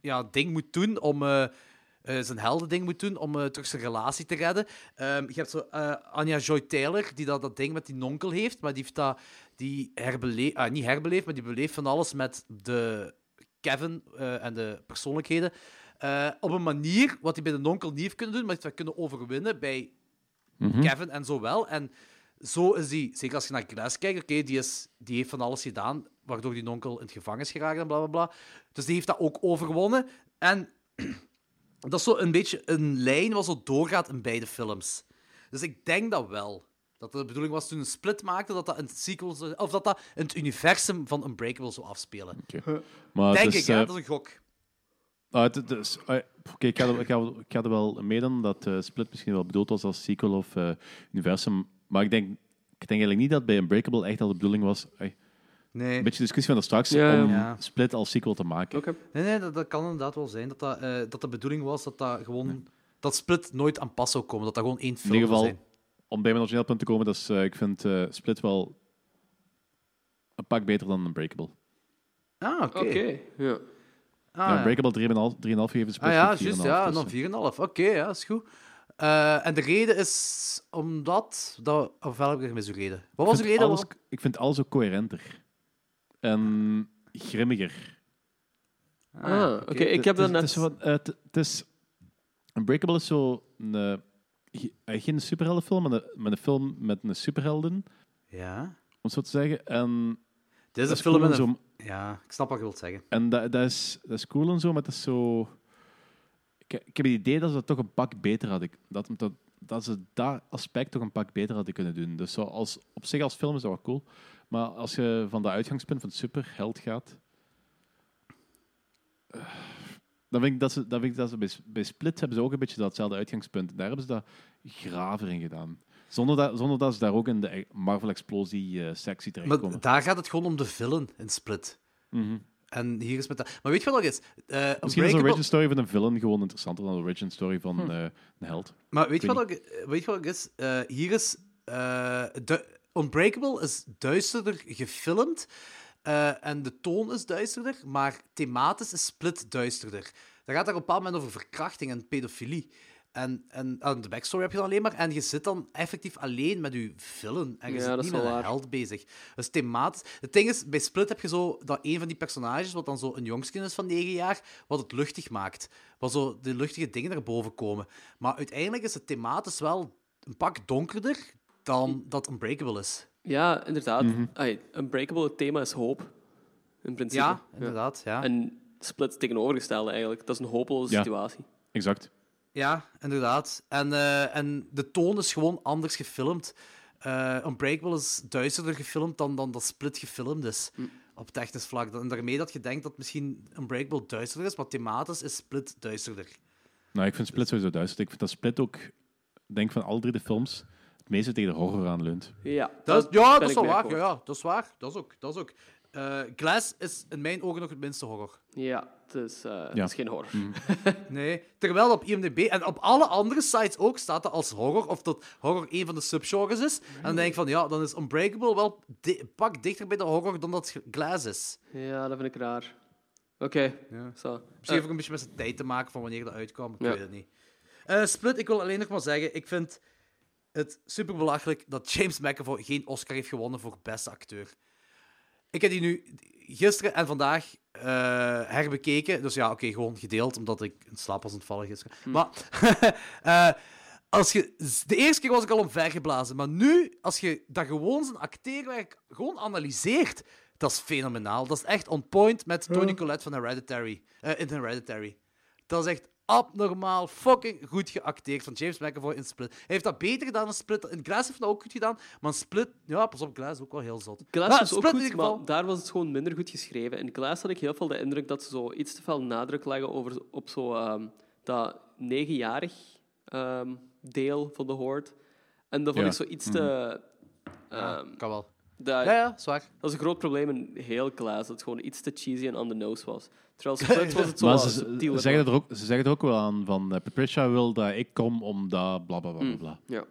S2: ja, ding moet doen om. eh, eh, zijn helden ding moet doen om eh, terug zijn relatie te redden. Ehm, je hebt zo eh, Anja Joy Taylor, die dat, dat ding met die nonkel heeft, maar die heeft dat die herbeleefd, niet herbeleefd, maar die beleeft van alles met de Kevin eh, en de persoonlijkheden. eh, op een manier wat hij bij de nonkel niet heeft kunnen doen, maar heeft dat kunnen overwinnen bij Kevin en zo wel. En zo is die, zeker als je naar Glass kijkt, oké, die, is- die heeft van alles gedaan, waardoor die nonkel in het gevangenis geraakt en bla bla bla. Dus die heeft dat ook overwonnen. En dat is zo een beetje een lijn wat zo doorgaat in beide films. Dus ik denk dat wel. Dat de bedoeling was toen een split maakte, dat dat in het, sequel zou- of dat dat in het universum van Unbreakable zou afspelen.
S3: Maar
S2: denk
S3: het is,
S2: ik, hè?
S3: eh,
S2: dat is een gok.
S3: Ah, het- het is- ah, oké, ik, ga er- ik, ga, ik ga er wel mee dan dat eh, Split misschien wel bedoeld was als sequel of eh, universum. Maar ik denk, ik denk eigenlijk niet dat bij Unbreakable echt al de bedoeling was. Ai,
S2: Nee.
S3: een beetje discussie van straks
S1: Ja, ja.
S3: om
S2: Ja.
S3: Split als sequel te maken.
S1: Oké.
S2: Nee, nee dat, dat kan inderdaad wel zijn. Dat, dat, eh, dat de bedoeling was dat dat gewoon. Dat split nooit aan pas zou komen. Dat dat gewoon één
S3: In
S2: film
S3: ieder geval,
S2: zou zijn.
S3: om bij mijn origineel punt te komen, dat is, eh, ik vind eh, Split wel een pak beter dan Unbreakable.
S2: Ah, oké.
S1: Oké. Ja.
S2: Ah,
S3: ja,
S2: ja.
S3: Unbreakable 3,5 3,5 gegeven, Split
S2: Ah ja,
S3: geeft 4,5.
S2: juist. Ja, en
S3: Dus,
S2: dan
S3: eh,
S2: 4,5. Oké, ja, is goed. Eh, en de reden is omdat. Dat, of welke is uw reden? Wat was
S3: ik
S2: uw
S3: vind
S2: reden?
S3: alles-
S2: waarom-
S3: Ik vind alles ook coherenter. En grimmiger.
S1: Ah, oké. Ik heb
S3: Het
S1: dat net...
S3: is- Het is, wat, eh, het- het is... Unbreakable is zo... Een, eh, ge- eh, geen superheldenfilm, maar een, maar een film met een superhelden, om
S2: Ja.
S3: het zo te zeggen.
S2: Dit is
S3: En dat
S2: een
S3: is
S2: film
S3: cool
S2: met
S3: en
S2: een.
S3: zo.
S2: Ja, ik snap wat je wilt zeggen.
S3: En dat, dat, is, dat is cool en zo, maar het is zo... Ik, ik heb het idee dat ze dat toch een pak beter hadden... Dat, dat, dat ze dat aspect toch een pak beter hadden kunnen doen. Dus zo als, op zich als film is dat wel cool. Maar als je van dat uitgangspunt van superheld gaat... eh, Dan vind ik dat ze, dan vind ik dat ze bij, S- bij Split hebben ze ook een beetje datzelfde uitgangspunt. En daar hebben ze dat graver in gedaan. Zonder dat, zonder dat ze e- daar ook in de Marvel-explosie-sectie
S2: Maar
S3: eh, terechtkomen.
S2: daar gaat het gewoon om de villain in Split. En hier is met dat. Maar weet je wat dat is? Eh,
S3: Mhm. Misschien is de
S2: Unbreakable-
S3: origin story van een villain gewoon interessanter dan de origin story van eh, een held.
S2: Maar weet je
S3: Ik
S2: wat, ook- eh, weet je wat ook is? Eh, hier is... eh, du- Unbreakable is duisterder gefilmd. eh, en de toon is duisterder, maar thematisch is Split duisterder. Dat gaat daar op een bepaald moment over verkrachting en pedofilie. En, en, aan de backstory heb je dan alleen maar. En je zit dan effectief alleen met je villain. En je
S1: Ja,
S2: zit
S1: dat
S2: niet
S1: is
S2: met
S1: wel
S2: een
S1: waar.
S2: held bezig. Dus thematisch... Het ding is, bij Split heb je zo dat een van die personages, wat dan zo een jongskin is van 9 jaar, wat het luchtig maakt. Wat zo de luchtige dingen naar boven komen. Maar uiteindelijk is het thematisch wel een pak donkerder dan dat Unbreakable is.
S1: Ja, inderdaad.
S3: Mhm.
S1: Ai, Unbreakable, het thema is hoop. In principe.
S2: Ja, inderdaad, ja.
S1: En Split het tegenovergestelde eigenlijk. Dat is een hopeloze
S3: Ja.
S1: situatie.
S3: Exact.
S2: Ja, inderdaad. En, eh, en de toon is gewoon anders gefilmd. Eh Unbreakable is duisterder gefilmd dan, dan dat Split gefilmd is.
S1: Hm.
S2: Op technisch vlak. En daarmee dat je denkt dat misschien Unbreakable duisterder is, maar thematisch is Split duisterder.
S3: Nou, ik vind Split sowieso duister. Ik vind dat Split ook, denk van al drie de films, het meeste tegen de horror aanleunt.
S1: Ja,
S2: Dat, ja,
S1: ben
S2: dat is
S1: ik
S2: wel
S1: mee
S2: waar. Ja,
S1: akkoord.
S2: ja, dat is waar. Dat is ook. Dat is ook. Eh, Glass is in mijn ogen nog het minste horror.
S1: Ja, het is, eh, het is geen horror.
S2: Mhm. Nee, terwijl op IMDb en op alle andere sites ook staat dat als horror, of dat horror een van de subgenres is. En dan denk ik van, ja, dan is Unbreakable wel di- een pak dichter bij de horror dan dat Glass is.
S1: Ja, dat vind ik raar. Oké, zo.
S2: Misschien
S1: Eh,
S2: heeft ook een beetje met zijn tijd te maken van wanneer dat uitkwam, ik
S1: Ja.
S2: weet het niet. Eh, Split, ik wil alleen nog maar zeggen, ik vind het super belachelijk dat James McAvoy geen Oscar heeft gewonnen voor beste acteur. Ik heb die nu gisteren en vandaag eh, herbekeken. Dus ja, oké, gewoon gedeeld, omdat ik in slaap was ontvallen gisteren.
S1: Hmm.
S2: Maar eh, als je, de eerste keer was ik al omvergeblazen. Maar nu, als je dat gewoon zijn acteerwerk gewoon analyseert, dat is fenomenaal. Dat is echt on point met Tony Collette van Hereditary. eh, in Hereditary. Dat is echt abnormaal fucking goed geacteerd van James McAvoy in Split. Hij heeft dat beter gedaan dan Split. In Glass heeft dat ook goed gedaan, maar in Split... Ja, pas op, Glass is ook wel heel zot.
S1: Glass
S2: Maar
S1: was ook
S2: Split Ah, in
S1: goed,
S2: ieder geval-
S1: maar daar was het gewoon minder goed geschreven. In Glass had ik heel veel de indruk dat ze zo iets te veel nadruk leggen over, op zo, ehm, dat negenjarig ehm, deel van de hoort. En dat vond
S2: Ja.
S1: ik zo iets te... ehm,
S2: kan wel.
S1: dat,
S2: Ja, ja, zwaar.
S1: dat is een groot probleem in heel Glass, dat het gewoon iets te cheesy en on the nose was. Terwijl Split was het zo
S3: maar
S1: wat
S3: ze,
S1: subtieler.
S3: ze zeggen er ook, ze zeggen er ook wel aan van eh, Patricia wil dat ik kom omdat bla
S2: Hm.
S3: bla bla
S1: Hm.
S3: bla, bla.
S1: Ja.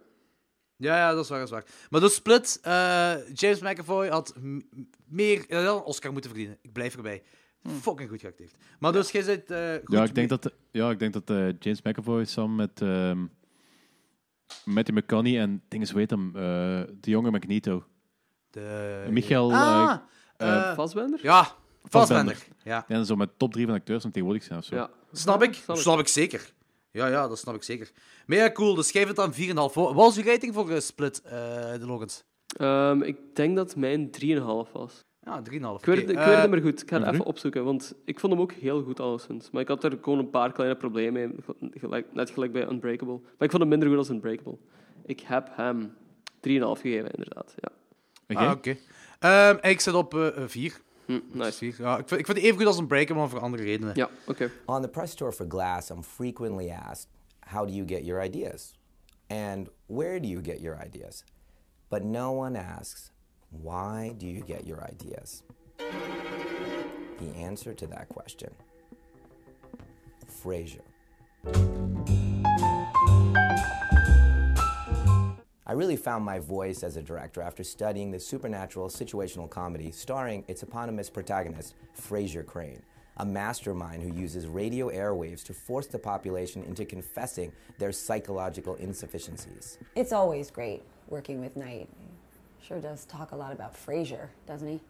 S2: Ja, ja, dat is waar, dat is waar. Maar dus Split, eh, James McAvoy had m- m- meer hij had een Oscar moeten verdienen. Ik blijf erbij.
S1: Hm.
S2: Fucking goed geacteerd. Maar dus jij zit eh goed
S3: Ja, ik denk dat, ja, ik denk dat eh, James McAvoy samen met ehm Matthew McConaughey en dinges weet hem, eh, de jonge Magneto.
S2: De...
S3: Michael
S2: Ah,
S3: eh,
S2: eh,
S3: eh,
S1: Fassbender?
S2: Ja,
S3: Fassbender.
S2: Fassbender. Ja.
S3: En zo met top drie van acteurs om tegenwoordig zijn of zo.
S1: Ja.
S2: Snap ik?
S1: snap
S2: Snap
S1: ik.
S2: ik. zeker. Ja, ja, dat snap ik zeker. Maar ja, cool. Dus geef het dan 4,5. Wat was uw rating voor eh, Split, eh, de Logans?
S1: Ehm, ik denk dat mijn 3,5 was.
S2: Ja, 3,5.
S1: Ik weet, het- ik
S2: Oké,
S1: weet
S2: eh,
S1: het niet meer goed. Ik ga het
S3: Mhm.
S2: Andrew?
S1: even opzoeken, want ik vond hem ook heel goed alleszins. Maar ik had er gewoon een paar kleine problemen mee, gelijk- net gelijk bij Unbreakable. Maar ik vond hem minder goed als Unbreakable. Ik heb hem 3,5 gegeven, inderdaad. Ja.
S2: Ah, Oké. Ehm, ik zit op 4.
S1: Hm, nice.
S2: Ja, ik, vind, ik vind het even goed als een breaker, maar voor andere redenen.
S1: Ja, oké.
S13: On the press tour for Glass, I'm frequently asked, How do you get your ideas? And where do you get your ideas? But no one asks, Why do you get your ideas? The answer to that question Frasier. I really found my voice as a director after studying the supernatural situational comedy starring its eponymous protagonist, Fraser Crane, a mastermind who uses radio airwaves to force the population into confessing their psychological insufficiencies.
S14: It's always great working with Knight. He Sure does talk a lot about Frasier, doesn't he?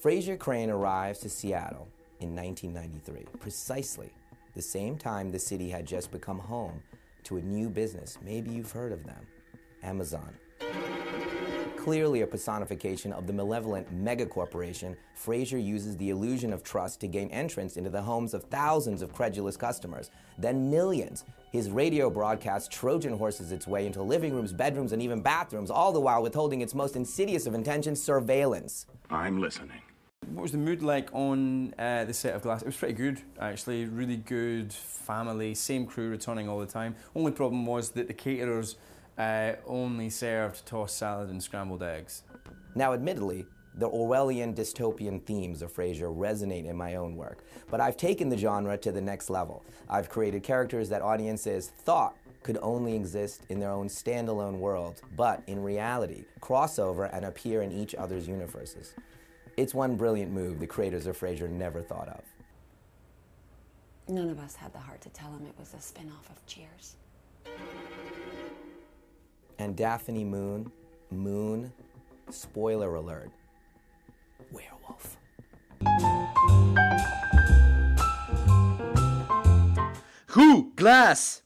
S13: Fraser Crane arrives to Seattle in 1993, precisely the same time the city had just become home to a new business. Maybe you've heard of them Amazon. Clearly a personification of the malevolent megacorporation, Fraser uses the illusion of trust to gain entrance into the homes of thousands of credulous customers, then millions. His radio broadcast Trojan horses its way into living rooms, bedrooms, and even bathrooms, all the while withholding its most insidious of intentions surveillance.
S4: I'm listening.
S12: What was the mood like on uh, the set of Glass? It was pretty good, actually. Really good family, same crew returning all the time. Only problem was that the caterers uh, only served tossed salad and scrambled eggs.
S13: Now, admittedly, The Orwellian dystopian themes of Frasier resonate in my own work, but I've taken the genre to the next level. I've created characters that audiences thought could only exist in their own standalone world, but in reality, cross over and appear in each other's universes. It's one brilliant move the creators of Frasier never thought of.
S14: None of us had the heart to tell him it was a spin-off of Cheers.
S13: And Daphne Moon, Moon, spoiler alert, werewolf.
S2: Goed, Glass.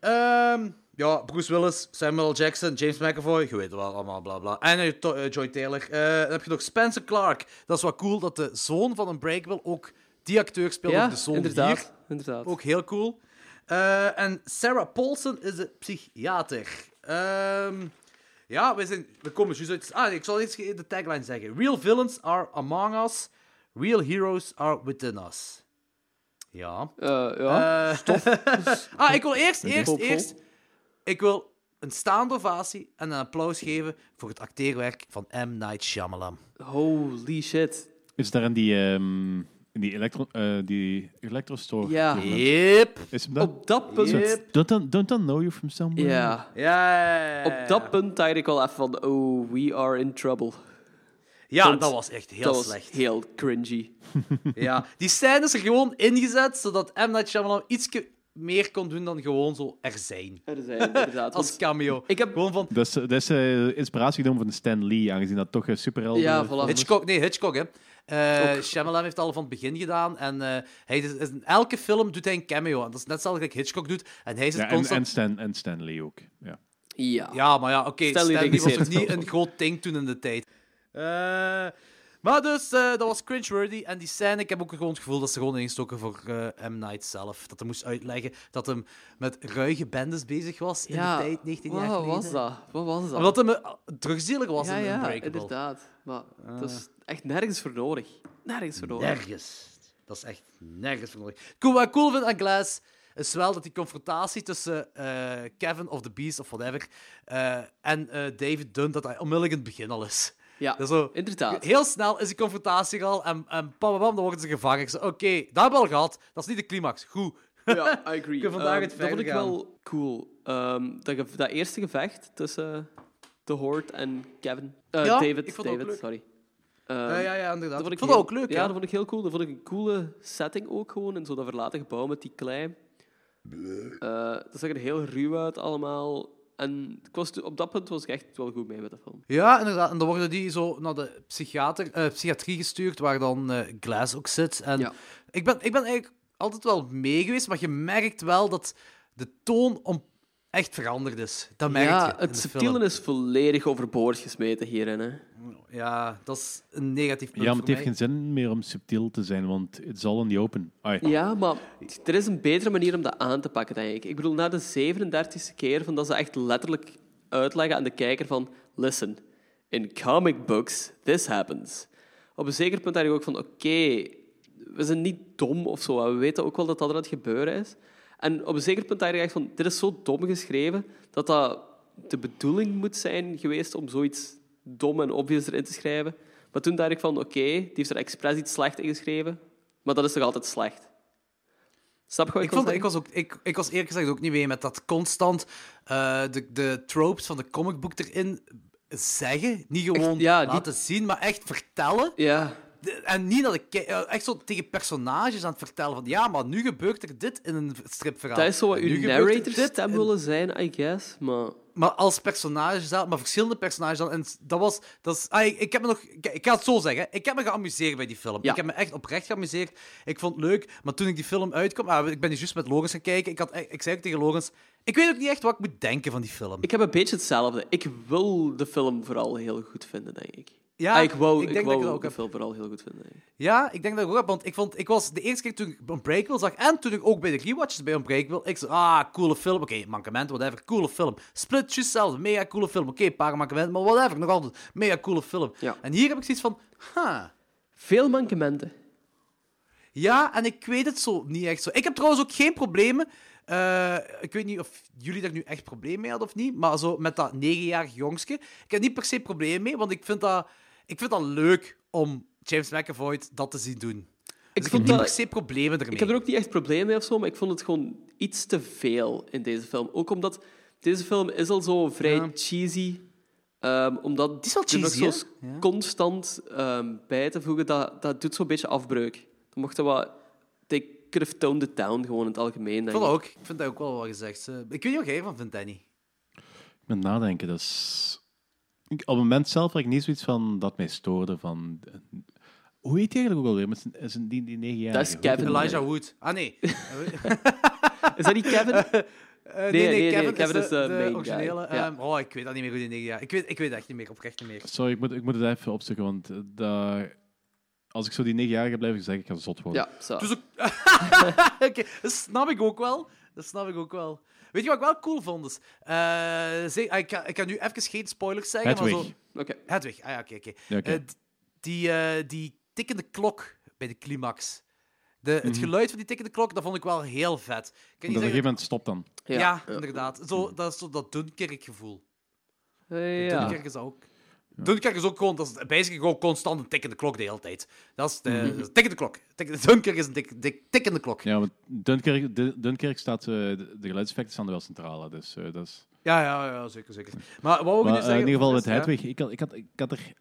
S2: Ehm, ja, Bruce Willis, Samuel L. Jackson, James McAvoy, je weet het wel allemaal, bla bla. En eh, To- eh, Joy Taylor. Eh, dan heb je nog Spencer Clark. Dat is wel cool dat de zoon van Unbreakable ook die acteur speelt.
S1: Ja,
S2: ook de zoon
S1: inderdaad,
S2: hier.
S1: inderdaad.
S2: Ook heel cool. Eh, en Sarah Paulson is de psychiater. Ehm, ja, we, zijn, we komen juist uit. Ah, nee, ik zal eens de tagline zeggen: Real villains are among us, real heroes are within us. Ja.
S1: ja,
S2: Eh,
S1: stof.
S2: ah, ik wil eerst,
S1: Oké.
S2: eerst,
S1: Hoopvol.
S2: eerst. Ik wil een staande ovatie en een applaus geven voor het acteerwerk van M. Night Shyamalan.
S1: Holy shit.
S3: Is daar in die, ehm, in die, elektro, eh, die electrostore?
S1: Ja.
S2: Yep.
S3: Is hem dan?
S1: Op dat punt-
S3: Is het- Don't, don't, don't I know you from somewhere?
S1: Ja.
S2: ja.
S1: Op dat punt dacht ik al even van, oh, we are in trouble.
S2: Ja,
S1: Want
S2: dat was echt heel
S1: dat was
S2: slecht.
S1: heel cringy.
S2: Ja, die scène is er gewoon ingezet zodat M. Night Shyamalan iets meer kon doen dan gewoon zo er zijn.
S1: Er zijn, inderdaad.
S2: Als cameo. Ik heb gewoon van.
S3: Dat is, dat is eh, inspiratie genomen van Stan Lee, aangezien dat toch een superheld
S1: Ja,
S3: eh,
S2: Hitchcock, nee, Hitchcock, hè. Eh Shyamalan heeft het al van het begin gedaan. En eh, hij is, is- in elke film doet hij een cameo. En dat is net zoals like Hitchcock doet. En hij zit
S3: Ja, en,
S2: constant...
S3: en, Stan, en Stan Lee ook. Ja.
S1: Ja.
S2: Ja, maar ja, oké.
S3: Stanley
S2: Stanley, was
S3: regisseert
S2: nog niet
S3: het
S2: een groot ding toen in de tijd. Eh, maar dus, eh, dat was cringeworthy. En die scène, ik heb ook gewoon het gevoel dat ze gewoon ingestoken voor eh, M. Night zelf. Dat hij moest uitleggen dat hij met ruige bendes bezig was in
S1: Ja,
S2: de tijd 19 jaar
S1: wat
S2: geleden.
S1: was dat? Wat was dat?
S2: Omdat hij me- drugsdealer was
S1: ja,
S2: in
S1: ja,
S2: Unbreakable.
S1: inderdaad. Maar dat is
S2: Ah.
S1: echt nergens voor nodig. Nergens voor nodig.
S2: Nergens. Dat is echt nergens voor nodig. Cool, wat ik cool vind aan Glass is wel dat die confrontatie tussen eh, Kevin of The Beast of whatever eh, en eh, David Dunn, dat hij onmiddellijk in het begin al is.
S1: Ja,
S2: Dat is zo,
S1: inderdaad.
S2: Heel snel is die confrontatie er al en, en pam, pam, pam, dan worden ze gevangen. Ik zei, Oké, dat hebben we al gehad. Dat is niet de climax. Goed.
S1: Ja, I agree.
S2: Kunnen vandaag
S1: Ehm,
S2: het
S1: dat vond
S2: verder
S1: ik
S2: gaan.
S1: wel cool. Ehm, dat, ge- dat eerste gevecht tussen de Horde en Kevin. Eh,
S2: Ja,
S1: David,
S2: ik vond dat ook
S1: David,
S2: leuk.
S1: sorry.
S2: Ja, ja, ja, inderdaad. Ik vond
S1: heel-
S2: dat ook leuk,
S1: Ja,
S2: hè?
S1: dat vond ik heel cool. Dat vond ik een coole setting ook gewoon. In zo dat verlaten gebouw met die klei. Eh, dat zag er heel ruw uit allemaal. En ik was, op dat punt was ik echt wel goed mee met de film.
S2: Ja, inderdaad. En dan worden die zo naar de psychiater, eh, psychiatrie gestuurd, waar dan eh, Glass ook zit. En ik, ben, ik ben eigenlijk altijd wel mee geweest, maar je merkt wel dat de toon om echt veranderd is. Dat merk je.
S1: ja,
S2: in
S1: het
S2: de
S1: subtiele
S2: film.
S1: is volledig overboord gesmeten hierin. Hè.
S2: Ja, dat is een negatief punt
S3: Ja, maar
S2: voor
S3: het heeft
S2: mij.
S3: geen zin meer om subtiel te zijn, want it's all in the open. Ai.
S1: Ja, maar er is een betere manier om dat aan te pakken, denk ik. Ik bedoel, na de 37e keer van dat ze echt letterlijk uitleggen aan de kijker van... Listen, in comic books, this happens. Op een zeker punt denk ik ook van... Oké, we zijn niet dom of zo. hè. We weten ook wel dat dat aan het gebeuren is. En op een zeker punt denk ik echt van... Dit is zo dom geschreven dat dat de bedoeling moet zijn geweest om zoiets dom en obvious erin te schrijven. Maar toen dacht ik van... Oké, die heeft er expres iets slecht in geschreven. Maar dat is toch altijd slecht? Snap je wat ik,
S2: Ik, vond,
S1: wil
S2: ik, was ook, ik, ik was eerlijk gezegd ook niet mee met dat constant eh, de, de tropes van de comicbook erin zeggen. Niet gewoon
S1: ja, die-
S2: laten zien, maar echt vertellen.
S1: Ja.
S2: En niet dat ik ke- eh, echt zo tegen personages aan het vertellen van ja, maar nu gebeurt er dit in een stripverhaal.
S1: Dat is zo wat
S2: En Ah, nu
S1: uw
S2: gebeurt er
S1: narrator
S2: dit
S1: stem willen zijn, I guess. Maar
S2: maar als personage zelf, maar verschillende personages dan. En dat was. Dat is, ah, ik, ik heb me nog. Ik, ik ga het zo zeggen. Ik heb me geamuseerd bij die film. Ik heb me echt oprecht geamuseerd. Ik vond het leuk. Maar toen ik die film uitkwam. Ah, ik ben dus juist met Logans gaan kijken. Ik, had, e- ik zei ook tegen Logans. Ik weet ook niet echt wat ik moet denken van die film.
S1: ik heb een beetje hetzelfde. Ik wil de film vooral heel goed vinden, denk ik.
S2: Ja,
S1: Ah, ik wou,
S2: ik
S1: ik
S2: denk dat
S1: wou
S2: ik dat ook
S1: de
S2: heb.
S1: film vooral heel goed vinden. Denk ik.
S2: Ja, ik denk dat ik ook heb, want ik, vond, ik was de eerste keer toen ik Unbreakable zag en toen ik ook bij de rewatches bij Unbreakable, ik zei, ah, coole film, oké, mankement, whatever, coole film. Split, juist hetzelfde, mega coole film, oké, een paar mankementen, maar whatever, nog altijd, mega coole film. En hier heb ik zoiets van, ha.
S1: Veel mankementen.
S2: Ja, en ik weet het zo niet echt zo. Ik heb trouwens ook geen problemen, eh, ik weet niet of jullie daar nu echt problemen mee hadden of niet, maar zo met dat negenjarig jongske, ik heb niet per se problemen mee, want ik vind dat... Ik vind dat leuk om James McAvoy dat te zien doen.
S1: Ik
S2: Dus ik
S1: vond
S2: heb niet
S1: dat-
S2: per se problemen ermee.
S1: Ik heb er ook niet echt problemen mee of zo, maar ik vond het gewoon iets te veel in deze film. Ook omdat deze film is al zo vrij cheesy. ehm omdat die
S2: is wel cheesy,
S1: er nog zo
S2: hè? Ja.
S1: constant ehm, bij te voegen, dat, dat doet zo'n beetje afbreuk. Dan mocht er wat... They could have toned it down gewoon in het algemeen.
S2: Ik
S1: denk
S2: vond dat ook. Ik vind dat ook wel wat gezegd. Eh, Ik weet niet wat jij ervan vindt, Danny.
S3: Ik ben nadenken, dat is... Ik, op het moment zelf had ik niet zoiets van dat mij stoorde van... Hoe heet hij eigenlijk ook alweer? Met zijn, zijn, die, die negen jaar.
S1: Dat is Kevin.
S2: Elijah Wood. Ah, nee.
S1: Is dat niet Kevin?
S2: nee, nee, Kevin, is, de, de originele.
S1: Ja.
S2: ehm, oh, ik weet dat niet meer goed in negen jaar. Ik weet, ik weet echt niet meer, oprecht niet meer.
S3: Sorry, ik moet, ik moet het even opzoeken, want eh, dat- als ik zo die negenjarige blijf zeggen, ik ga zot worden.
S1: zo.
S2: Dus ook- Oké, dat snap ik ook wel. Dat snap ik ook wel. Weet je wat ik wel cool vond? Dus, eh, ze- ah, ik, kan, ik kan nu even geen spoilers zeggen, maar
S3: Hedwig.
S2: zo... Hedwig, ah ja, oké, oké.
S3: Ja, oké.
S2: Eh, d- die, eh, die tikkende klok bij de climax. De, het
S3: Mhm.
S2: geluid van die tikkende klok, dat vond ik wel heel vet. Ik kan niet
S3: Dat op een
S2: zeggen-
S3: gegeven moment stopt dan.
S2: Ja, inderdaad. Zo, dat is zo dat Dunkerk-gevoel.
S1: Eh,
S2: Ja.
S1: ja.
S2: Dunkerk is dat ook. Dunkerk is ook gewoon, dat is basically gewoon constant een tikkende klok de hele tijd. Dat is de,
S3: Mhm.
S2: de tikkende klok. Tik- Dunkerk is een tik, tik- tikkende klok.
S3: Ja, want Dunkerk, Dun- Dunkerk staat... eh, de, de geluidseffecten staan er wel centraal, hè, dus eh, dat is...
S2: Ja, ja, ja, zeker, zeker. Maar wat we
S3: Maar,
S2: nu
S3: eh,
S2: zeggen...
S3: in ieder geval met
S2: is, ja.
S3: Hedwig, ik, had, ik, had, ik had er...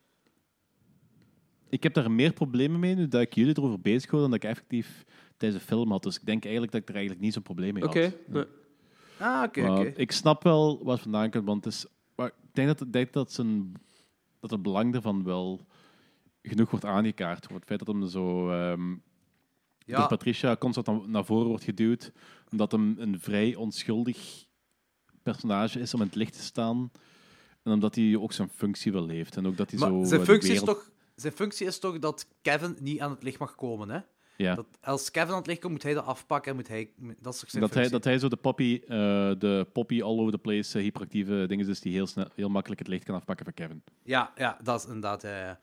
S3: Ik heb daar meer problemen mee nu dat ik jullie erover bezig hoor dan dat ik effectief tijdens de film had. Dus ik denk eigenlijk dat ik er eigenlijk niet zo'n probleem mee had.
S1: Oké. nee.
S2: Ah, oké,
S3: Maar
S2: oké.
S3: Ik snap wel wat vandaan komt, want het is, maar ik denk dat, ik denk dat, zijn, dat het belang daarvan wel genoeg wordt aangekaart. Voor het feit dat hem zo ehm,
S2: Ja.
S3: door Patricia constant na- naar voren wordt geduwd, omdat hem een vrij onschuldig personage is om in het licht te staan. En omdat hij ook zijn functie wel heeft. En ook dat hij
S2: Maar
S3: zo... eh,
S2: zijn,
S3: de
S2: functie
S3: wereld-
S2: is toch, zijn functie is toch dat Kevin niet aan het licht mag komen, hè?
S3: Ja.
S2: Dat als Kevin aan het licht komt, moet hij dat afpakken en moet hij... Dat is toch zijn
S3: Dat hij,
S2: functie?
S3: dat hij zo de poppy, eh, de poppy all over the place, eh, hyperactieve dingen is die heel, snel, heel makkelijk het licht kan afpakken van Kevin.
S2: Ja, ja, dat is inderdaad. Ja, ja.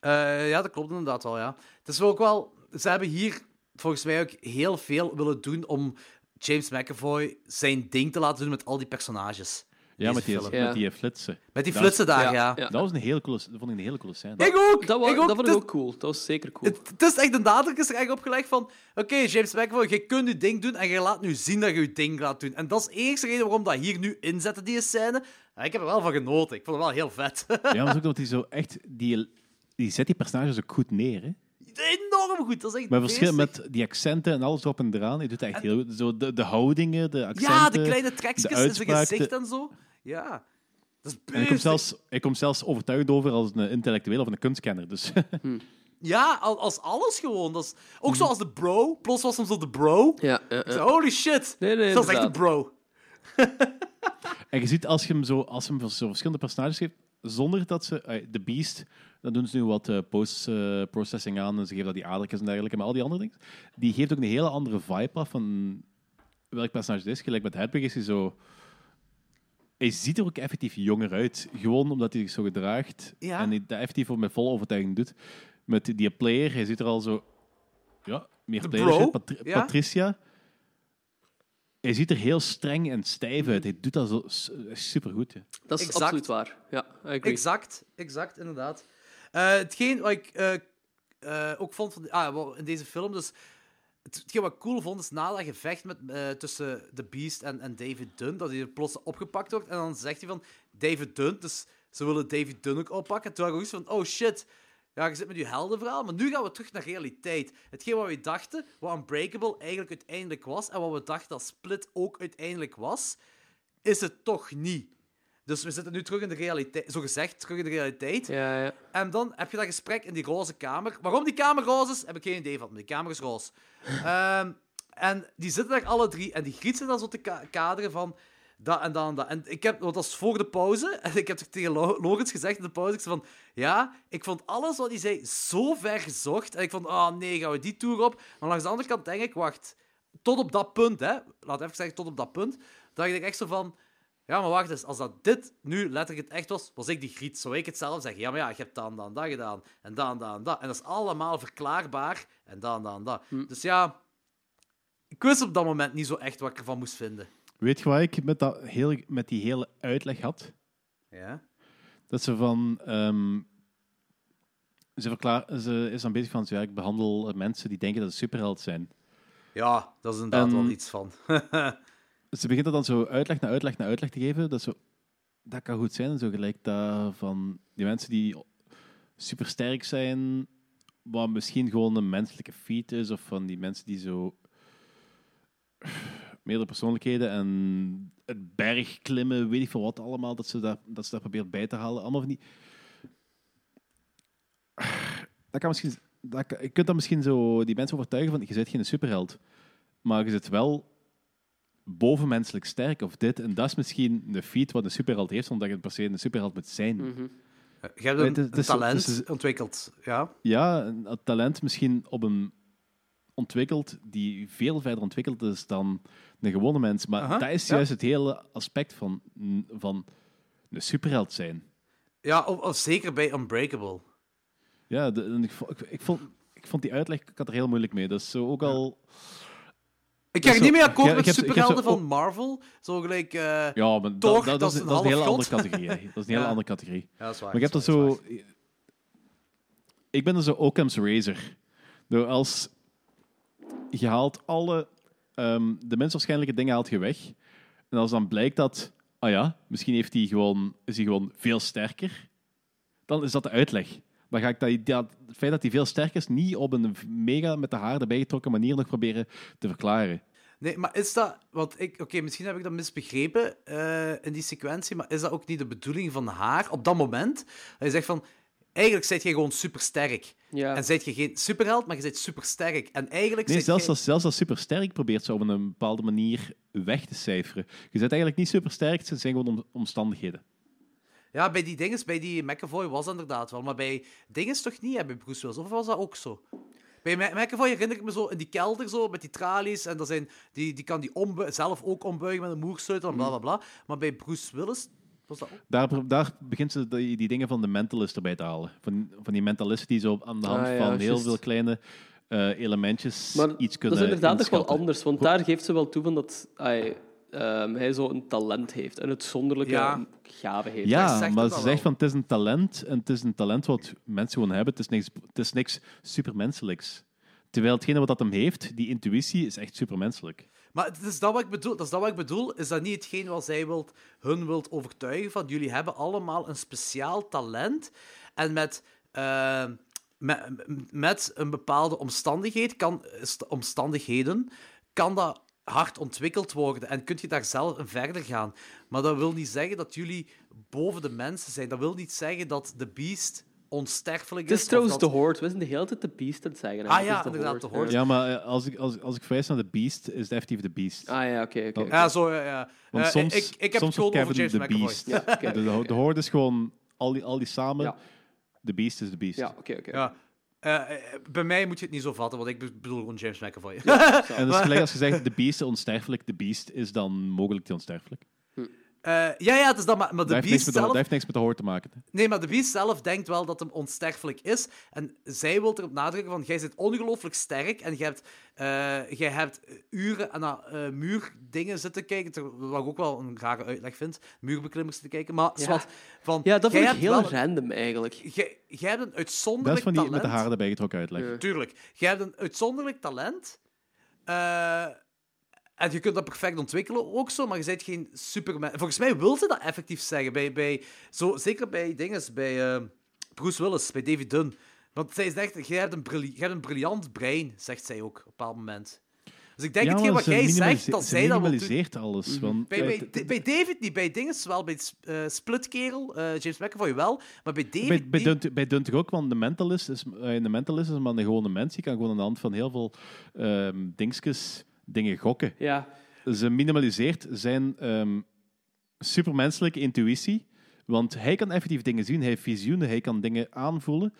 S2: Eh, ja, dat klopt inderdaad wel. Ja. Het is wel ook wel. Ze hebben hier volgens mij ook heel veel willen doen om James McAvoy zijn ding te laten doen met al die personages. Deze
S3: Ja, met die,
S2: film.
S3: met die flitsen.
S2: Met die
S3: Dat
S2: flitsen
S3: was-
S2: daar, ja.
S3: Dat was een hele coole, dat vond ik een hele coole scène.
S2: Ik ook!
S1: Dat, wa-
S2: ik ook,
S1: dat vond
S2: het
S1: ik
S2: is-
S1: ook cool. Dat was zeker cool.
S2: Het is echt een nadruk is er echt opgelegd van... Oké, James McAvoy, je kunt je ding doen en je laat nu zien dat je je ding gaat doen. En dat is de enige reden waarom dat hier nu inzetten, die scène. Ja, ik heb er wel van genoten. Ik vond het wel heel vet.
S3: Ja, maar ook dat hij zo echt... Die, die zet die personages ook goed neer, hè.
S2: Enorm goed. Dat is echt
S3: Maar verschil
S2: beestelijk.
S3: met die accenten en alles erop en eraan, hij doet dat echt heel goed. Zo de, de houdingen, de accenten,
S2: Ja, de kleine trekjes in zijn
S3: uitspraak,
S2: gezicht
S3: de-
S2: en zo. Ja. Dat is
S3: en hij komt,
S2: beestelijk.
S3: zelfs, hij komt zelfs overtuigd over als een intellectueel of een kunstkenner. Dus
S2: Ja, al- als alles gewoon. Dat is... Ook zoals de bro. Plots was hem zo de bro.
S1: Ja,
S2: Ik zei, holy shit.
S1: nee,
S2: dat is echt de
S1: inderdaad.
S2: bro.
S3: En je ziet als je hem zo, als je hem zo verschillende personages geeft, zonder dat ze. eh, De Beast, dan doen ze nu wat eh, post-processing aan en ze geven dat die adertjes en dergelijke. Maar al die andere dingen, die geeft ook een hele andere vibe af van welk personage het is. Gelijk met Hedwig is hij zo. Hij ziet er ook effectief jonger uit. Gewoon omdat hij zich zo gedraagt.
S2: Ja.
S3: En hij dat effectief ook met volle overtuiging doet. Met die- die player, hij ziet er al zo. Ja, meer
S2: De
S3: player.
S2: bro,
S3: shit. Patri-
S2: ja.
S3: Patricia. Hij ziet er heel streng en stijf uit. Hij doet dat zo su- supergoed. Ja.
S1: Dat is
S2: Exact.
S1: absoluut waar. Ja, I agree.
S2: Exact, exact, inderdaad. Eh, hetgeen wat ik eh, eh, ook vond van, ah, wel, in deze film, dus het- hetgeen wat ik cool vond, is na dat gevecht met, eh, tussen The Beast en, en David Dunn, dat hij er plots opgepakt wordt en dan zegt hij van David Dunn, dus ze willen David Dunn ook oppakken. Toen had ik ook zoiets van, oh shit, ja, je zit met je heldenverhaal, maar nu gaan we terug naar realiteit. Hetgeen wat we dachten, wat Unbreakable eigenlijk uiteindelijk was, en wat we dachten dat Split ook uiteindelijk was, is het toch niet. Dus we zitten nu terug in de realiteit, zo gezegd, terug in de realiteit.
S1: Ja, ja.
S2: En dan heb je dat gesprek in die roze kamer. Waarom die kamer roze is, heb ik geen idee van. maar Die kamer is roze. Ehm, en die zitten daar alle drie en die grietsen dan zo te ka- kaderen van dat en dat en dat. En ik heb, want dat is voor de pauze, en ik heb toch tegen Lo- Logans gezegd in de pauze, ik zei van, ja, ik vond alles wat hij zei zo ver gezocht. En ik vond, ah nee, gaan we die tour op? Maar langs de andere kant denk ik, wacht, tot op dat punt, hè, laat even zeggen, tot op dat punt, dat ik echt zo van, ja, maar wacht eens, als dat dit nu letterlijk het echt was, was ik die griet. Zou ik het zelf zeggen? Ja, maar ja, je hebt dan, dan, dat gedaan. En dan, dan, dat. En dat is allemaal verklaarbaar. En dan, dan, dat.
S3: Hm.
S2: Dus ja, ik wist op dat moment niet zo echt wat ik ervan moest vinden.
S3: Weet je wat ik met, dat heel, met die hele uitleg had?
S2: Ja?
S3: Dat ze van. ehm, Ze, verklaar, ze is dan bezig van, ja, ik behandel eh, mensen die denken dat ze superheld zijn.
S2: Ja, dat is inderdaad
S3: En-
S2: wel iets van.
S3: Ze begint dat dan zo uitleg na uitleg na uitleg te geven. Dat, zo, dat kan goed zijn. en Zo gelijk dat van die mensen die supersterk zijn, wat misschien gewoon een menselijke feat is, of van die mensen die zo meerdere persoonlijkheden en het berg klimmen, weet ik veel wat allemaal, dat ze daar, dat ze daar probeert bij te halen. Allemaal van die... Dat kan misschien... Dat, kan- je kunt dan misschien zo die mensen overtuigen van, je bent geen superheld, maar je zit wel bovenmenselijk sterk of dit. En dat is misschien de feat wat een superheld heeft, omdat je per se een superheld moet zijn.
S2: Mhm. Je hebt
S3: Weet,
S2: een, een
S3: het is- het is zo-
S2: talent
S3: het is-
S2: ontwikkeld. Ja.
S3: Ja, een- het talent misschien op een ontwikkeld die veel verder ontwikkeld is dan een gewone mens. Maar
S2: Aha,
S3: dat is
S2: ja.
S3: juist het hele aspect van, van een superheld zijn.
S2: Ja, of, of zeker bij Unbreakable.
S3: Ja, de- en ik, vo- ik, ik vond, ik vond die uitleg, ik had er heel moeilijk mee. Dat is zo ook al...
S2: Ik
S3: dat is
S2: ga
S3: zo-
S2: niet meer
S3: ik
S2: akkoord
S3: heb-
S2: met
S3: ik heb- ik heb zo
S2: superhelden van
S3: ook-
S2: Marvel. Zo gelijk... eh,
S3: Ja, maar
S2: Thor, dat
S3: dat, dat, is,
S2: een
S3: dat is een
S2: half
S3: hele andere
S2: god.
S3: categorie. hè. Dat is een hele
S2: Ja.
S3: andere categorie.
S2: Ja, dat is waar,
S3: maar ik heb
S2: dat
S3: dat
S2: is
S3: zo... Ik ben dan zo Occam's Razor. Nou, als je haalt alle... ehm, de minst waarschijnlijke dingen haalt je weg. En als dan blijkt dat... Ah ja, misschien heeft hij gewoon, is hij gewoon veel sterker. Dan is dat de uitleg. Dan ga ik dat, dat, het feit dat hij veel sterker is niet op een mega met de haar erbij getrokken manier nog proberen te verklaren.
S2: Nee, maar is dat... Want ik... Oké, misschien heb ik dat misbegrepen eh, in die sequentie, maar is dat ook niet de bedoeling van haar op dat moment? Dat je zegt van... Eigenlijk zijt jij gewoon supersterk.
S1: Ja.
S2: En zijt je geen superheld, maar je zijt supersterk. En eigenlijk
S3: Nee,
S2: zijt
S3: zelfs
S1: eh,
S2: jij-
S3: als, zelfs als supersterk probeert ze op een bepaalde manier weg te cijferen. Je bent eigenlijk niet supersterk, het zijn gewoon om- omstandigheden.
S2: Ja, bij die dinges, bij die McAvoy was dat inderdaad wel. Maar bij dinges toch niet, hè, bij Bruce Willis. Of was dat ook zo? Bij Ma- McAvoy herinner ik me zo in die kelder zo, met die tralies. En dat zijn, die, die kan die ombu- zelf ook ombuigen met een moersleutel en bla bla bla. Maar bij Bruce Willis was dat ook...
S3: Daar, pro- daar begint ze die, die dingen van de mentalist erbij te halen. Van, van die mentalisten die zo aan de hand
S1: Ah, ja,
S3: van heel
S1: juist.
S3: veel kleine eh, elementjes
S1: Maar
S3: iets
S1: dat
S3: kunnen
S1: is inderdaad toch wel
S3: inschatten.
S1: anders, want daar geeft ze wel toe van dat hij, ehm, hij zo een talent heeft, een uitzonderlijke
S2: Ja.
S1: gave heeft.
S3: Ja, maar ze zegt van het is een talent en het is een talent wat mensen gewoon hebben. Het is niks, het is niks supermenselijks. Terwijl hetgene wat dat hem heeft, die intuïtie, is echt supermenselijk.
S2: Maar het is dat wat ik bedoel. Dat is dat wat ik bedoel. Is dat niet hetgeen wat zij wilt, hun wilt overtuigen van jullie hebben allemaal een speciaal talent en met eh, met, met een bepaalde omstandigheid kan st- omstandigheden kan dat hard ontwikkeld worden en kunt je daar zelf in verder gaan. Maar dat wil niet zeggen dat jullie boven de mensen zijn. Dat wil niet zeggen dat de beest onsterfelijk
S1: Het
S2: is.
S1: is trouwens
S2: of
S1: de
S2: dat...
S1: Horde. We zijn de hele tijd de Beast aan het zeggen. hè.
S2: Ah
S1: Het
S2: ja,
S1: is
S2: inderdaad, de Horde.
S3: Ja, maar eh, als ik, als, als ik verwijs naar de Beast, is het effectief de Beast.
S1: Ah ja, oké. oké,
S3: Dan-
S1: oké.
S2: Ja, zo, ja, ja.
S3: Want
S2: Eh,
S3: soms,
S2: ik, ik heb het
S3: soms wordt
S2: gewoon over
S3: Kevin
S2: James
S3: de
S2: McAvoy.
S3: Beast. de, de, de Horde is gewoon al die, al die samen. De Beast is de Beast.
S1: Ja, oké, oké.
S2: Ja. Eh, eh, bij mij moet je het niet zo vatten, want ik be- bedoel gewoon James McAvoy.
S3: En dat is gelijk als gezegd, de Beast is onsterfelijk. De Beast is dan mogelijk die onsterfelijk.
S2: Eh, ja, ja, het is dat, maar, maar
S3: Dat
S2: de
S3: heeft, niks
S2: Beast
S3: met de, dat
S2: zelf...
S3: heeft niks met de Horde te maken. hè.
S2: Nee, maar de Beast zelf denkt wel dat hem onsterfelijk is. En zij wil erop nadrukken van, jij bent ongelooflijk sterk en jij hebt, eh, jij hebt uren aan dat, eh, muurdingen zitten kijken, ter- wat ik ook wel een rare uitleg vind, muurbeklimmers te kijken, maar
S1: Ja.
S2: zwart, van,
S1: Ja, dat
S2: jij
S1: vind ik
S2: hebt
S1: heel
S2: wel-
S1: random eigenlijk.
S2: Jij, jij hebt een
S3: Dat is
S2: uitzonderlijk
S3: van die met de
S2: talent.
S3: haren erbij getrokken uitleg.
S2: Tuurlijk. Jij hebt een uitzonderlijk talent. eh, en je kunt dat perfect ontwikkelen ook zo, maar je bent geen superman. Volgens mij wil ze dat effectief zeggen. Bij, bij, zo, zeker bij dinges, bij eh, Bruce Willis, bij David Dunn. Want zij zegt, jij hebt, een bril- jij hebt een briljant brein, zegt zij ook op een bepaald moment. Dus ik denk
S3: Ja,
S2: hetgeen
S3: maar
S2: wat
S3: ze
S2: jij zegt,
S3: minimalise-
S2: dat
S3: ze
S2: zij dat wil doen.
S3: minimaliseert alles.
S1: Mhm.
S3: want,
S2: Bij,
S3: eh,
S2: bij,
S3: d-
S2: Da- bij David niet, bij dinges wel, bij S- eh, Splitkerel, eh, James McAvoy wel, maar bij David
S3: Bij, bij,
S2: niet.
S3: Dunt, bij Dunt toch ook, want de mentalist is, eh, de mentalist is maar een gewone mens. Die kan gewoon aan de hand van heel veel ehm dingetjes dingen gokken.
S1: Ja.
S3: Ze minimaliseert zijn ehm, supermenselijke intuïtie. Want hij kan effectief dingen zien, hij heeft visioenen, hij kan dingen aanvoelen.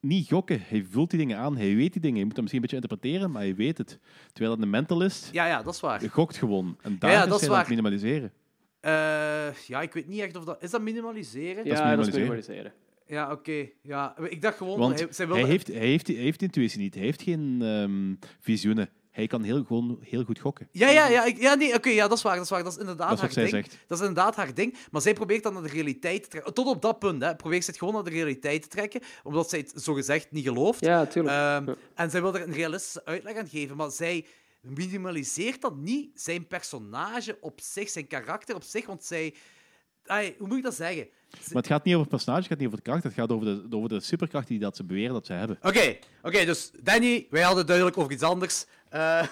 S3: Niet gokken, hij voelt die dingen aan, hij weet die dingen. Je moet dat misschien een beetje interpreteren, maar hij weet het. Terwijl een mentalist
S2: Ja, ja, dat is waar.
S3: gokt gewoon. En daar
S2: ja,
S3: is
S2: dat is
S3: hij aan het
S2: waar.
S3: minimaliseren.
S2: Eh, ja, ik weet niet echt of dat... Is dat minimaliseren?
S3: Dat is
S1: Ja, dat is
S3: minimaliseren.
S1: minimaliseren.
S2: Ja, oké. Ja, ik dacht gewoon...
S3: Want
S2: hij,
S3: hij,
S2: zij wilde...
S3: heeft, hij, heeft, hij heeft intuïtie niet. Hij heeft geen ehm, visioenen. Hij kan heel, gewoon, heel goed gokken.
S2: Ja, ja, ja, ik- ja, nee, oké, ja, dat is waar, dat is waar. Dat is inderdaad
S3: Dat is wat
S2: haar
S3: zij
S2: ding.
S3: zegt.
S2: Dat is inderdaad haar ding. Maar zij probeert dan naar de realiteit te trekken. Tot op dat punt, hè. Probeert ze het gewoon naar de realiteit te trekken, omdat zij het zogezegd niet gelooft.
S1: Ja, tuurlijk.
S2: Ehm, En zij wil er een realistische uitleg aan geven, maar zij minimaliseert dat niet. Zijn personage op zich, zijn karakter op zich, want zij... Ai, hoe moet ik dat zeggen? Ze-
S3: Maar het gaat niet over het personage, het gaat niet over de kracht. Het gaat over de, over de superkracht die dat ze beweren dat ze hebben.
S2: Oké, oké, dus Danny, wij hadden het duidelijk over iets anders. Eh,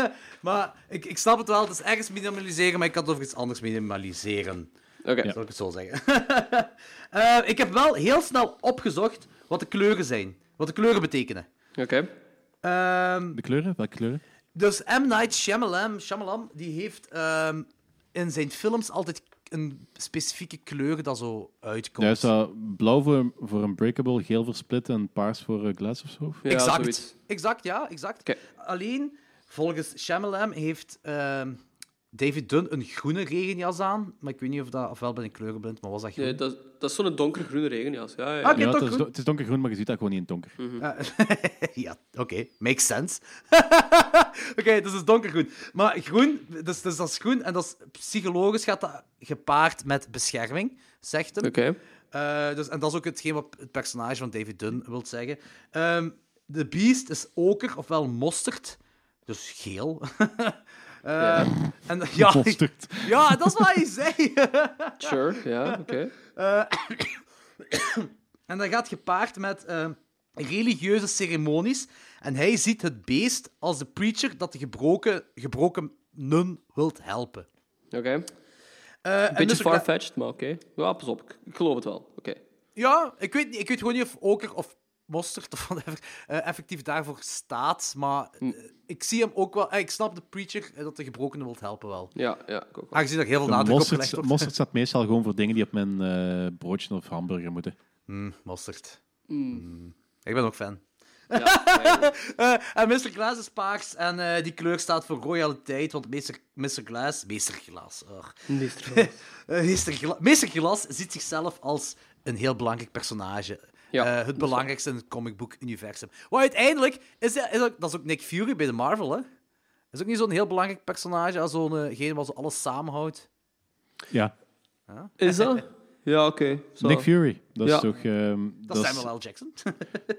S2: maar ik, ik snap het wel, het is ergens minimaliseren, maar ik kan het over iets anders minimaliseren.
S1: Oké.
S2: Zal ik het zo zeggen. Eh, ik heb wel heel snel opgezocht wat de kleuren zijn. Wat de kleuren betekenen. Ehm,
S1: Oké.
S3: De kleuren? Welke kleuren?
S2: Dus M. Night Shyamalan, Shyamalan die heeft ehm, in zijn films altijd een specifieke kleur dat zo uitkomt.
S3: Ja, is dat blauw voor, voor een breakable, geel voor split en paars voor eh, glass of zo?
S2: exact. Exact, ja, exact. Alleen, volgens Shyamalan heeft ehm, David Dunn een groene regenjas aan. Maar ik weet niet of dat... Ofwel ben ik kleurenblind, maar was dat groen?
S1: Nee, dat, dat is zo'n donkergroene regenjas. Ja, ja, ja.
S2: Ah, oké,
S3: Ja, het,
S2: donkergroen.
S3: is, do- het is donkergroen, maar je ziet dat gewoon niet in het donker.
S2: Ja, ja, oké. Makes sense. oké, dus het is donkergroen. Maar groen, dus, dus dat is groen en dat is psychologisch gaat dat gepaard met bescherming, zegt hem.
S1: Oké.
S2: Eh, dus, en dat is ook hetgeen wat het personage van David Dunn wil zeggen. Ehm de beast is oker, ofwel mosterd, dus geel. Eh, en, ja,
S3: Mosterd.
S2: ja, dat is wat hij zei.
S1: Sure, ja, oké.
S2: Eh, en dat gaat gepaard met eh, religieuze ceremonies. En hij ziet het beest als de preacher dat de gebroken, gebroken nun wilt helpen.
S1: Oké.
S2: Eh,
S1: Een
S2: en
S1: beetje
S2: dus er ga-
S1: farfetched, maar oké. Ja, pas op. Ik, ik geloof het wel. Oké.
S2: Ja, ik weet, niet- ik weet gewoon niet of oker of mosterd of whatever eh, effectief daarvoor staat. Maar eh, ik zie hem ook wel... eh, ik snap de preacher eh, dat de gebrokenen wilt helpen wel.
S1: Ja, ja. Ik ook wel.
S2: Aangezien er heel veel
S3: De
S2: nadruk op
S3: mosterd-
S2: gelegd wordt.
S3: Mosterd staat meestal gewoon voor dingen die op mijn eh, broodje of hamburger moeten.
S2: mosterd.
S1: Mm.
S2: Mm. Ik ben ook fan.
S1: Ja,
S2: Eh, en Mr. Glass is paars en eh, die kleur staat voor royaliteit, want Mr. Mr. Glass... Mr. Glass, ugh.
S1: Mr.
S2: Eh, Mr. Gla- Mr. Glass ziet zichzelf als een heel belangrijk personage. Eh, het belangrijkste in het comicboek-universum. Wat uiteindelijk... Is, dat- is ook, dat is ook Nick Fury bij de Marvel, hè? Is ook niet zo'n heel belangrijk personage als zo'n eh, gene wat zo alles samenhoudt.
S3: Ja.
S2: Ja?
S1: Is dat? Ja, oké. zo.
S3: Nick Fury, dat
S1: Ja.
S3: is toch... ehm,
S2: Dat is Samuel L. Jackson.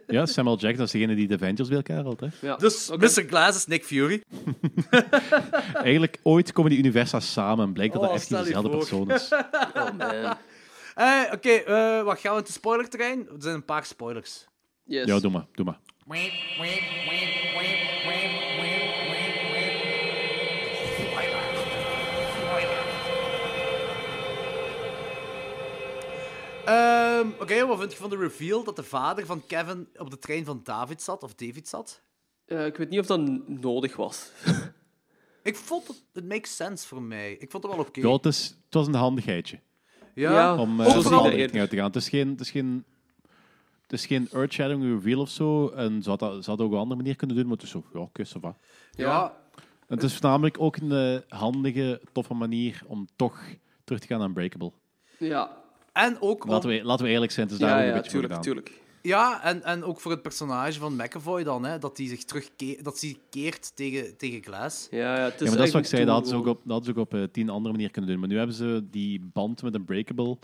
S3: Ja, Samuel Jackson, dat is degene die de Avengers bij elkaar haalt. Hè?
S2: dus Mr. Glass is Nick Fury.
S3: Eigenlijk, ooit komen die universa samen en blijkt dat
S2: Oh,
S3: dat echt niet
S2: stel je
S3: dezelfde
S2: voor.
S3: persoon is.
S1: Oh, man.
S2: Eh, Oké, eh, wat gaan we in de spoilerterrein? Er zijn een paar spoilers.
S1: Yes.
S3: Ja, doe maar, doe maar.
S2: Ehm, Oké, wat vind je van de reveal dat de vader van Kevin op de trein van David zat, of David zat?
S1: Eh, ik weet niet of dat n- nodig was.
S2: Ik vond het, het makes sense voor mij. Ik vond het wel oké.
S3: Ja, het, is, het was een handigheidje.
S2: Ja. Ja,
S3: Om
S2: ook
S3: eh om
S2: vooral-
S3: die richting uit te gaan. Het is geen... Het is geen het is geen earth-shadowing reveal of zo. En ze had dat, ze had dat ook op een andere manier kunnen doen, maar het is zo, ja, oké, ça va.
S2: Ja.
S3: En het is voornamelijk ook een eh, handige, toffe manier om toch terug te gaan naar Unbreakable.
S1: Ja.
S2: En ook om-
S3: Laten we, laten we eerlijk zijn, het is
S1: Ja,
S3: daar ook
S1: ja,
S3: een beetje voor
S1: tuurlijk,
S3: gedaan.
S1: tuurlijk.
S2: Ja, en, en ook voor het personage van McAvoy dan, hè, dat hij zich terugkeert, dat hij keert tegen, tegen Glass.
S1: Ja, ja, het
S3: Ja, maar dat is wat ik zei, dat hadden ze ook op, dat hadden ze ook op eh, tien andere manieren kunnen doen. Maar nu hebben ze die band met Unbreakable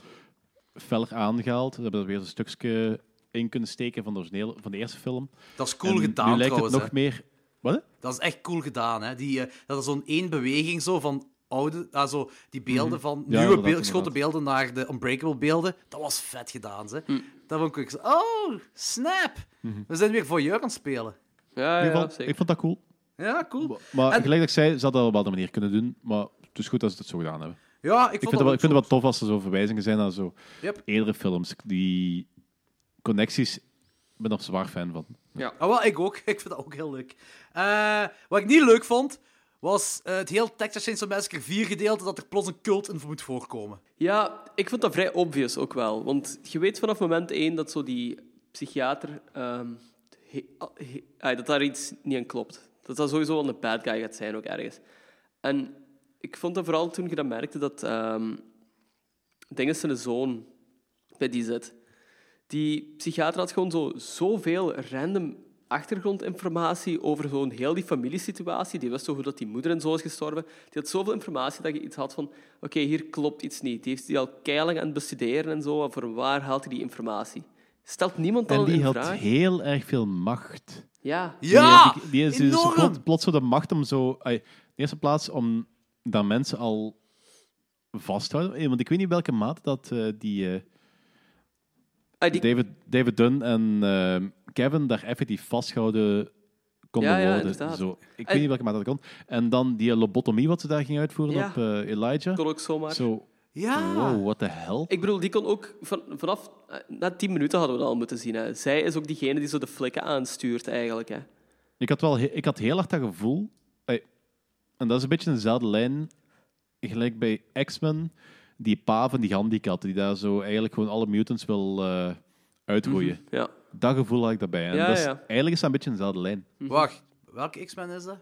S3: feller aangehaald. Ze hebben er weer een stukje in kunnen steken van de, originele, van de eerste film.
S2: Dat is cool
S3: En
S2: gedaan,
S3: Nu lijkt
S2: trouwens,
S3: het nog
S2: hè.
S3: meer... Wat?
S2: Dat is echt cool gedaan, hè. Die, eh, dat is zo'n één beweging zo van oude... ah, zo die beelden
S3: Mhm.
S2: van
S3: Ja,
S2: nieuwe
S3: inderdaad,
S2: beelden,
S3: inderdaad.
S2: geschoten beelden naar de Unbreakable beelden. Dat was vet gedaan, hè. Dat vond ik ook zo... Oh, snap!
S3: Mhm.
S2: We zijn weer voyeur aan het spelen.
S1: Ja,
S3: In ieder geval,
S1: zeker.
S3: ik vond dat cool.
S2: Ja, cool.
S3: Maar
S2: En-
S3: gelijk dat ik zei, ze hadden dat op een andere manier kunnen doen. Maar het is goed dat ze het zo gedaan hebben.
S2: Ja, ik vond
S3: ik vind,
S2: dat
S3: het wel,
S2: ook
S3: ik vind het wel tof als er zo verwijzingen zijn naar zo
S2: Yep.
S3: eerdere films. Die connecties, ik ben daar zwaar fan van.
S1: Ja.
S2: Ah, wel, ik ook. Ik vind dat ook heel leuk. Eh, wat ik niet leuk vond, was eh, het heel Texas Chainsaw Massacre 4 gedeelte dat er plots een cult in moet voorkomen.
S1: Ja, ik vond dat vrij obvious ook wel. Want je weet vanaf moment één dat zo die psychiater... ehm, he- ah, he- ah, dat daar iets niet aan klopt. Dat dat sowieso wel een bad guy gaat zijn ook ergens. En ik vond dat vooral toen je dat merkte dat... ehm dingen zijn zoon bij die zit. Die psychiater had gewoon zo, zoveel random achtergrondinformatie over gewoon heel die familiesituatie. Die wist zo goed dat die moeder en zo is gestorven. Die had zoveel informatie dat je iets had van... Oké, hier klopt iets niet. Die heeft die al keilang aan het bestuderen en zo. En voor waar haalt hij die informatie? Stelt niemand
S3: En
S1: al
S3: die
S1: een
S3: had
S1: vraag?
S3: heel erg veel macht.
S1: Ja.
S3: Ja! Die, die is dus
S1: Enorm!
S3: plot- plots zo de macht om zo... ai, in de eerste plaats om dat mensen al vasthouden. Eh, Want ik weet niet welke mate dat eh, die, eh,
S1: Ah,
S3: David, David Dunn en eh, Kevin daar effectief vastgehouden konden
S1: Ja, ja,
S3: worden.
S1: inderdaad.
S3: Zo. Ik
S1: En-
S3: weet niet welke mate dat kon. En dan die lobotomie wat ze daar gingen uitvoeren
S1: Ja.
S3: op eh, Elijah.
S1: Kon ook zomaar.
S3: Zo,
S1: Ja.
S3: Wow, what the hell?
S1: Ik bedoel, die kon ook van, vanaf eh, na tien minuten hadden we dat al moeten zien. Hè. Zij is ook diegene die zo de flikken aanstuurt eigenlijk. Hè.
S3: Ik had, wel he- ik had heel hard dat gevoel. ey, en dat is een beetje dezelfde lijn. Gelijk bij X-Men, die pa van die gehandicapte, die daar zo eigenlijk gewoon alle mutants wil eh, uitroeien.
S1: Mhm, ja.
S3: Dat gevoel had ik daarbij. En
S2: Ja,
S3: dat is,
S2: ja.
S3: Eigenlijk is dat een beetje dezelfde lijn.
S2: Wacht, welke X-Men is dat?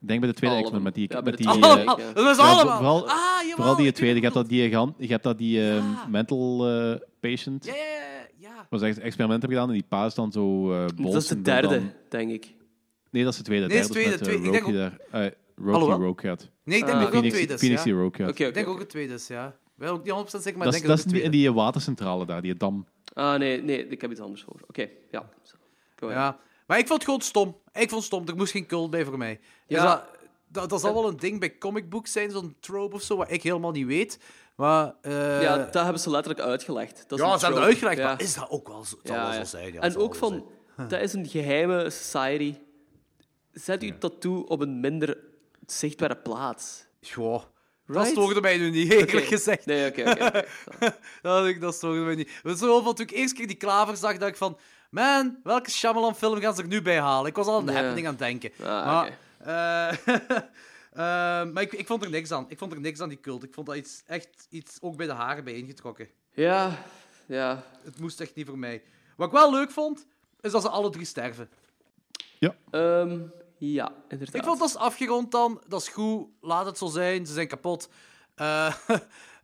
S3: Ik denk bij de tweede
S2: Allemaal.
S3: X-Men, met die...
S2: Ja, bij
S3: met
S2: de
S3: die
S2: tweede,
S3: eh,
S2: ja. Allemaal. Dat is
S3: vooral-
S2: allemaal.
S3: Vooral,
S2: Ah, jawel,
S3: vooral die
S2: ik
S3: tweede. Je hebt dat die, gehand- je hebt dat die eh, mental eh, patient.
S2: Ja, ja, ja, ja.
S3: Waar ze echt experimenten hebben gedaan en die pa is dan zo eh bol.
S1: Dat is de
S3: en dan-
S1: derde, denk ik.
S3: Nee, dat is de tweede.
S2: Nee, dat is
S3: Derde
S2: tweede,
S3: met, eh,
S2: tweede. Ik
S3: Rogue
S2: denk
S3: die daar. eh, Rogue
S2: Alhoewel-
S3: die Rogue gaat.
S2: Nee, ik denk
S3: Ah.
S2: dat het wel
S3: Phoenix-
S2: tweede is.
S3: Phoenix
S2: ja.
S3: die Rogue gaat.
S2: Ik denk ook het tweede is, ja. Ik ben ook niet 100% zeker, maar
S3: dat
S2: ik
S3: is,
S2: denk dat
S3: dat
S2: het
S3: is in die, in die watercentrale daar, die dam.
S1: Ah, nee, nee, ik heb iets anders voor. Oké, ja. Zo. Go ahead.
S2: Ja, maar ik vond het gewoon stom. Ik vond het stom. Er moest geen cult bij voor mij. Dus
S1: Ja.
S2: dat, dat, dat zal wel een ding bij comic books zijn, zo'n trope of zo, wat ik helemaal niet weet. Maar, eh,
S1: ja, dat hebben ze letterlijk uitgelegd. Dat is
S2: Ja,
S1: een
S2: ze hebben
S1: trope.
S2: uitgelegd, maar is dat ook wel zo? Het zal wel zo zijn, ja, het
S1: en
S2: zal
S1: ook
S2: wel
S1: van, dat is een geheime society. Zet uw tattoo op een minder zichtbare plaats.
S2: Goh, dat
S1: Right?
S2: stoorde mij nu niet, eerlijk
S1: Oké.
S2: gezegd.
S1: Nee, oké, oké, oké.
S2: dat, dat stoorde mij niet. Maar zo vond ik eerst keer die klaver zag, dat ik van... Man, welke Shyamalan-film gaan ze er nu bij halen? Ik was al aan de
S1: Ja.
S2: happening aan het denken.
S1: Ah,
S2: maar
S1: oké.
S2: eh, eh, maar ik, ik vond er niks aan. Ik vond er niks aan die cult. Ik vond dat iets, echt iets ook bij de haren bij ingetrokken.
S1: Ja, ja.
S2: Het moest echt niet voor mij. Wat ik wel leuk vond, is dat ze alle drie sterven.
S1: Ehm, ja, inderdaad.
S2: Ik vond dat is afgerond dan. Dat is goed. Laat het zo zijn. Ze zijn kapot. Eh,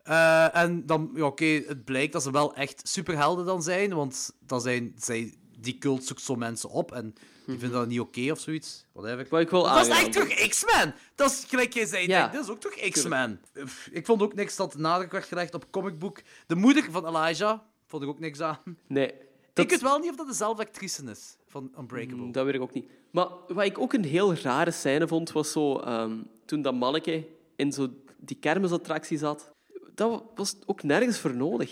S2: eh, en dan, ja, oké, het blijkt dat ze wel echt superhelden dan zijn. Want dan zijn zij, die cult zoekt zo mensen op. En die vinden dat niet oké of zoiets. Whatever.
S1: Maar Mhm. ik wil
S2: dat is echt
S1: aangenaam.
S2: toch X-Men? Dat is gelijk jij zei.
S1: Ja.
S2: nee, Dat is ook toch X-Men? Pff, Ik vond ook niks dat nadruk werd gelegd op comicboek. De moeder van Elijah vond ik ook niks aan.
S1: Nee.
S2: Ik weet wel niet of dat dezelfde actrice is van Unbreakable.
S1: Mm, Dat weet ik ook niet. Maar wat ik ook een heel rare scène vond, was zo ehm, toen dat manneke in zo die kermisattractie zat. Dat wa- was ook nergens voor nodig,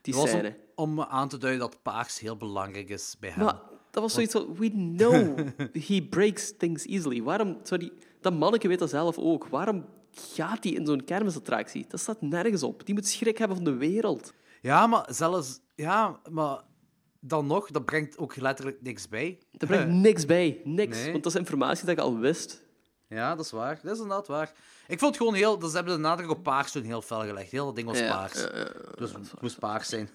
S1: die
S2: Dat was
S1: scène.
S2: Om, om aan te duiden dat paars heel belangrijk is bij hem.
S1: Maar dat was zoiets van, we know he breaks things easily. Waarom zou die... Dat manneke weet dat zelf ook. Waarom gaat hij in zo'n kermisattractie? Dat staat nergens op. Die moet schrik hebben van de wereld.
S2: Ja, maar zelfs... Ja, maar dan nog, dat brengt ook letterlijk niks bij.
S1: Dat brengt niks bij. Niks.
S2: Nee.
S1: Want dat is informatie dat ik al wist.
S2: Ja, dat is waar. Dat is inderdaad waar. Ik vond het gewoon heel... Dus ze hebben de nadruk op paars toen heel fel gelegd. Heel dat ding was
S1: Ja,
S2: paars.
S1: ja, eh, ja, ja,
S2: dus het moest paars zijn.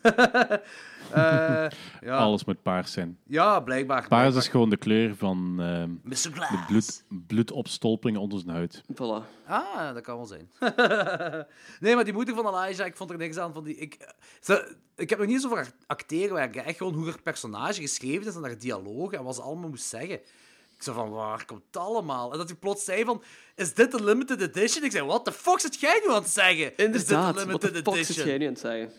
S2: Eh, ja.
S3: Alles moet paars zijn.
S2: Ja, blijkbaar.
S3: Paars is gewoon de kleur van ehm,
S2: Mr. Glass.
S3: de bloed, bloedopstolpingen onder zijn huid.
S1: Voilà.
S2: Ah, dat kan wel zijn. nee, maar die moeder van Elijah, ik vond er niks aan. Van die, ik, ze- ik heb nog niet eens over haar acteerwerk. hè. Echt gewoon hoe haar personage geschreven is en haar dialogen en wat ze allemaal moest zeggen. Ik zei van, waar komt het allemaal? En dat hij plots zei van, is dit een limited edition? Ik zei, what the fuck zit jij nu aan het zeggen? is dit
S1: Inderdaad.
S2: een
S1: Wat de
S2: limited
S1: fuck zit
S2: edition?
S1: jij nu aan het zeggen?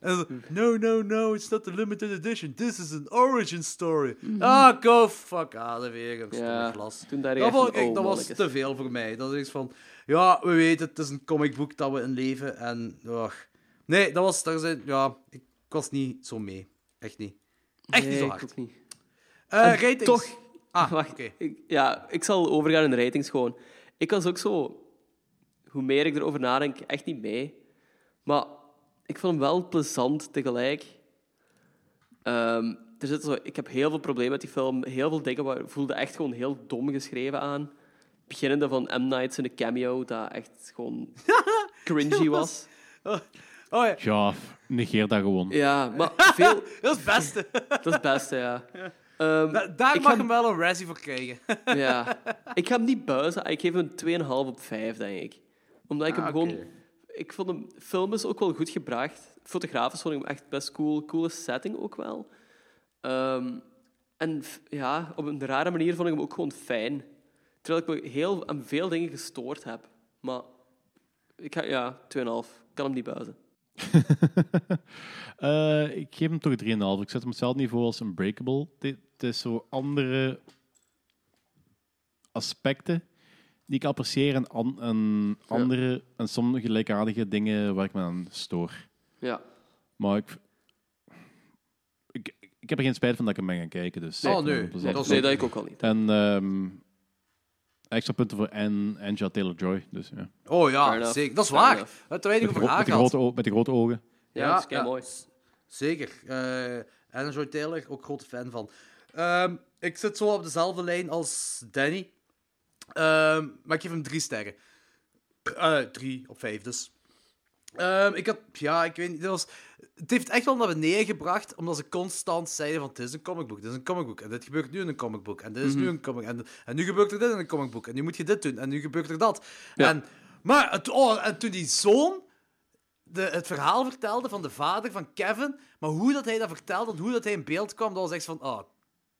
S2: En zo,
S1: Mm.
S2: no, no, no, it's not a limited edition. This is an origin story. Ah, go fuck out of here. Ik
S1: Mm-hmm. Ja,
S2: glas.
S1: toen dacht ik
S2: dat
S1: echt van,
S2: vond ik,
S1: oh,
S2: dat was
S1: mannetjes.
S2: te veel voor mij. Dat is van, ja, we weten, het is een comicboek dat we in leven. En, och. Nee, dat was, daar zijn, ja, ik was niet zo mee. Echt niet. Echt niet
S1: Nee,
S2: zo
S1: ik
S2: hard.
S1: ook niet.
S2: Eh,
S1: En
S2: ratings.
S1: Toch.
S2: Ah,
S1: wacht.
S2: oké.
S1: Ik, ja, ik zal overgaan in de ratings gewoon. Ik was ook zo, hoe meer ik erover nadenk, echt niet mee. Maar ik vond hem wel plezant tegelijk. Ehm, er zit zo, ik heb heel veel problemen met die film. Heel veel dingen waar, voelde echt gewoon heel dom geschreven aan. Beginnende van M. Night's in een cameo, dat echt gewoon cringy was.
S2: Oh ja.
S3: Ja, f- negeer dat gewoon.
S1: Ja, maar veel...
S2: dat is het beste.
S1: dat is het beste, ja. Ehm,
S2: Da- daar
S1: ik
S2: mag
S1: ga-
S2: hem wel een Razzie voor krijgen.
S1: Ja. Ik ga hem niet buizen. Ah, Ik geef hem een 2,5 op 5, denk ik. Omdat ik
S2: Ah,
S1: hem gewoon...
S2: oké.
S1: Ik vond hem... Film is ook wel goed gebracht. Fotografisch vond ik hem echt best cool. Coole setting ook wel. Ehm, En f- ja, op een rare manier vond ik hem ook gewoon fijn. Terwijl ik me heel aan veel dingen gestoord heb. Maar ik ga, ja, 2,5. Ik kan hem niet buiten.
S3: Eh, ik geef hem toch een 3,5. Ik zet hem op hetzelfde niveau als Unbreakable. Dit dit is zo andere aspecten die ik apprecieer en, an- en andere en sommige gelijkaardige dingen waar ik me aan stoor.
S1: Ja.
S3: Maar ik, ik, ik heb er geen spijt van dat ik hem ben gaan kijken. Dus
S1: Nee. Oh,
S3: eh,
S1: nee.
S3: dat is
S1: Nee,
S3: altijd
S1: nee,
S3: leuk.
S1: dat ik ook al niet.
S3: En ehm, extra punten voor An- Angela Taylor-Joy. Dus, ja.
S2: Oh
S1: Fair
S2: ja,
S1: enough.
S2: zeker. Dat is
S1: Fair
S2: waar.
S1: enough.
S2: We hebben te weinig
S3: Met
S2: over
S3: gro-
S2: haar
S3: met de
S2: gehad.
S3: grote o- met de grote ogen.
S1: Ja, dat is keimooi.
S2: s- Zeker. Eh en Joy Taylor, ook grote fan van. Ehm, ik zit zo op dezelfde lijn als Danny. Ehm, maar ik geef hem drie sterren. Eh, drie op vijf dus. Ehm, ik had, ja, ik weet niet. dit was, het heeft echt wel naar beneden gebracht, omdat ze constant zeiden van, het is een comicbook, dit is een comicbook, en dit gebeurt nu in een comicbook, en dit is nu
S1: Mhm.
S2: een comic, en, en nu gebeurt er dit in een comicbook, en nu moet je dit doen, en nu gebeurt er dat.
S1: Ja.
S2: En, maar, het, oh, en toen die zoon de, het verhaal vertelde van de vader van Kevin, maar hoe dat hij dat vertelde en hoe dat hij in beeld kwam, dat was echt van, oh,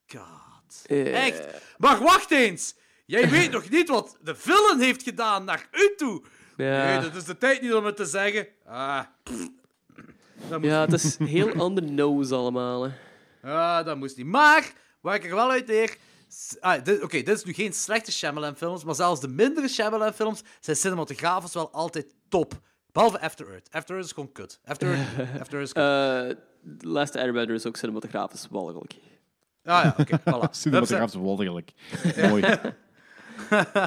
S2: god.
S1: Eh.
S2: Echt. Maar wacht eens! Jij weet nog niet wat de villain heeft gedaan naar u toe.
S1: Ja.
S2: Nee, dat is de tijd niet om het te zeggen. Ah,
S1: Ja, het is heel ander nose allemaal. Hè.
S2: ah dat moest niet. Maar, waar ik er wel uit leer... s- Ah, dit- Oké, dit is nu geen slechte Shyamalan-films, maar zelfs de mindere Shyamalan-films zijn cinematografisch wel altijd top. Behalve After Earth. After Earth is gewoon kut. After Earth, After Earth is kut.
S1: Eh, The Last Airbender is ook cinematografisch walgelijk.
S2: Ah ja, oké. voilà.
S3: Cinematografisch walgelijk. Mooi.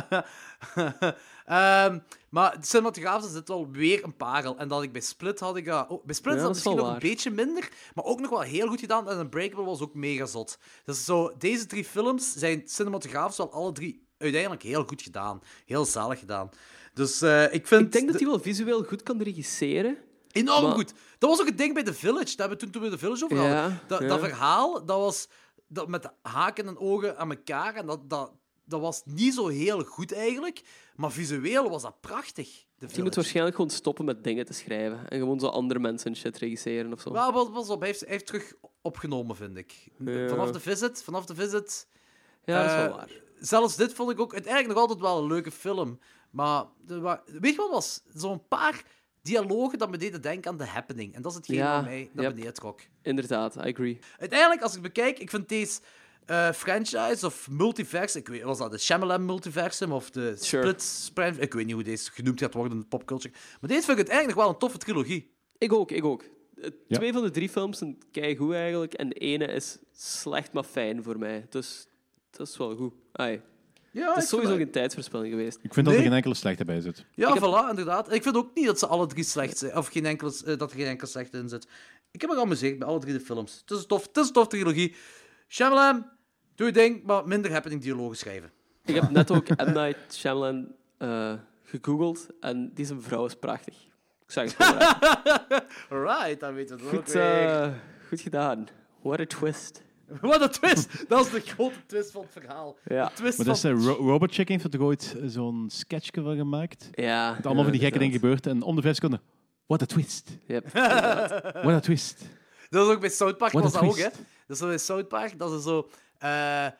S2: Ehm, maar de cinematografisch is dit wel weer een parel. En dat ik bij Split had ik dat... oh, bij Split
S1: Ja,
S2: is dat
S1: dat is wel
S2: misschien nog een
S1: waar.
S2: beetje minder, maar ook nog wel heel goed gedaan. En Unbreakable was ook mega zot. Dus zo, deze drie films zijn cinematografisch wel alle drie uiteindelijk heel goed gedaan. Heel zalig gedaan. Dus eh, ik vind...
S1: Ik denk dat hij wel visueel goed kan regisseren.
S2: Enorm
S1: Maar-
S2: goed. Dat was ook het ding bij The Village. Daar hebben we toen, toen we The Village over hadden.
S1: Ja,
S2: dat,
S1: ja.
S2: dat verhaal, dat was dat met haken en ogen aan elkaar. En dat, dat, dat was niet zo heel goed eigenlijk. Maar visueel was dat prachtig. The
S1: Je moet
S2: Village.
S1: waarschijnlijk gewoon stoppen met dingen te schrijven. En gewoon zo andere mensen hun shit regisseren of zo.
S2: Wel, wel, pas op, hij heeft, hij heeft terug opgenomen, vind ik.
S1: Ja.
S2: Vanaf de visit, vanaf de visit...
S1: Ja, dat is wel
S2: eh,
S1: waar.
S2: Zelfs dit vond ik ook uiteindelijk nog altijd wel een leuke film. Maar er wa- weet je wat was? Zo'n paar dialogen dat me deden denken aan The Happening. En dat is hetgeen
S1: Ja,
S2: wat mij naar
S1: yep.
S2: beneden trok.
S1: Inderdaad, I agree.
S2: Uiteindelijk, als ik het bekijk, ik vind deze eh, franchise of multiverse, ik weet, was dat de Shyamalan multiversum of de Split Spran- ik weet niet hoe deze genoemd gaat worden in de popculture, maar deze vind ik uiteindelijk wel een toffe trilogie.
S1: Ik ook, ik ook. Eh,
S3: Ja.
S1: Twee van de drie films zijn keigoed eigenlijk. En de ene is slecht, maar fijn voor mij. Dus dat is wel goed. Ai.
S2: Ja,
S1: het
S2: Ah, ik
S1: is
S2: vind
S1: sowieso
S2: dat-
S1: geen tijdsverspilling geweest.
S3: Ik vind dat
S2: Nee.
S3: er geen enkele slechte bij zit.
S2: Ja,
S1: Ik heb-
S2: voilà, inderdaad. Ik vind ook niet dat ze alle drie slecht zijn, of geen enkel, eh, dat er geen enkel slecht in zit. Ik heb me geamuseerd bij alle drie de films. Het is een tof, het is een tof trilogie. Shyamalan, doe je ding, maar minder happening dialogen schrijven.
S1: Ik heb net ook M. Night Shyamalan eh, gegoogeld. En die zijn vrouw is prachtig. Ik zeg het gewoon. hè.
S2: Alright, dan weten we het ook
S1: Goed,
S2: weer.
S1: eh, goed gedaan. What a twist.
S2: Wat een twist! Dat is de grote twist van het verhaal.
S1: Ja.
S2: De twist
S3: Maar dat is,
S2: van...
S3: eh, Ro- Robert Chicken heeft er ooit eh, zo'n sketchje van gemaakt.
S1: Ja.
S3: Dat allemaal
S1: ja,
S3: van die
S1: inderdaad.
S3: gekke dingen gebeurt. En om de vijf seconden, what a twist.
S1: Yep.
S3: What a twist.
S2: Dat is ook bij South Park,
S3: What
S2: was
S3: a
S2: dat ook, hè?
S3: twist.
S2: Dat is zo bij South Park, dat ze zo... eh, eh,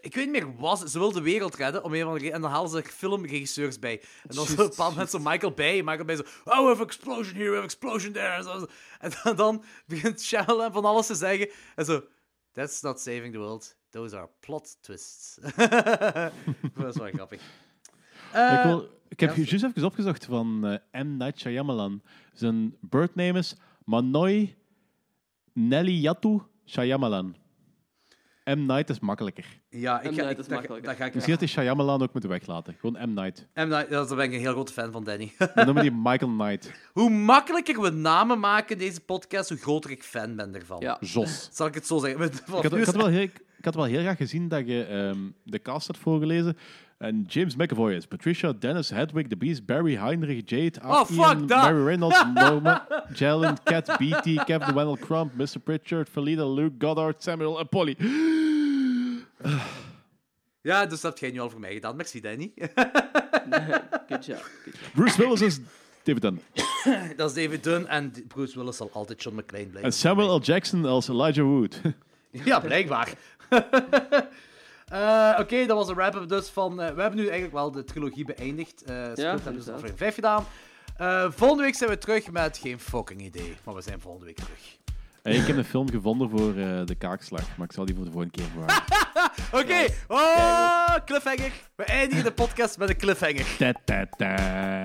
S2: ik weet niet meer wat... Ze wil de wereld redden, om een of andere reden. En dan halen ze er filmregisseurs bij. En dan zo op een bepaald moment zo Michael Bay. Michael Bay zo... Oh, we have explosion here, we have explosion there. En, zo- en dan, dan begint Shyamalan van alles te zeggen. En zo... That's not saving the world. Those are plot twists. dat is wel grappig.
S3: ik,
S2: Eh,
S3: wil- ik heb
S2: ja.
S3: juist even opgezocht van eh, M. Night Shyamalan. Zijn birthname is Manoj Nellyattu Shyamalan. M. Night is makkelijker.
S2: Ja, ik
S1: M.
S2: ga,
S1: Night
S2: ik,
S1: is
S2: dat, ga-
S1: makkelijker.
S2: dat ga ik...
S3: Misschien had hij Shyamalan ook moeten weglaten. Gewoon M. Night.
S2: M. Night, ja, daar ben ik een heel grote fan van, Danny.
S3: Dan noemen die Michael Knight.
S2: Hoe makkelijker we namen maken in deze podcast, hoe groter ik fan ben ervan.
S1: Ja.
S3: Jos.
S2: Zal ik het zo zeggen? Ik
S3: Ik had, ik, had wel heel, ik had wel heel graag gezien dat je ehm, de cast had voorgelezen. En James McAvoy is Patricia, Dennis, Hedwig, The Beast, Barry, Heinrich, Jade,
S2: Oh,
S3: Art,
S2: fuck
S3: Ian,
S2: dat!
S3: Mary Reynolds, Norma, Jalen, Cat, BT, Kevin Wendell Crump, Mr. Pritchard, Felida, Luke, Goddard, Samuel en Polly.
S2: Ja, dus dat heb jij nu al voor mij gedaan. Merci, Danny.
S1: Good job. Good job.
S3: Bruce Willis is David Dunn.
S2: dat is David Dunn en Bruce Willis zal altijd John McClane blijven.
S3: En Samuel L. Jackson als Elijah Wood.
S2: Ja, blijkbaar. Eh, Oké, dat was een wrap-up dus van... eh, we hebben nu eigenlijk wel de trilogie beëindigd. Eh Split hebben dus
S1: inderdaad.
S2: aflevering 5 gedaan. Eh, volgende week zijn we terug met geen fucking idee. Maar we zijn volgende week terug.
S3: Eh, ik heb een film gevonden voor eh, de kaakslag, maar ik zal die voor de volgende keer bewaren.
S2: Oké, oh, cliffhanger. We eindigen de podcast met een cliffhanger.
S3: Ta, ta, ta.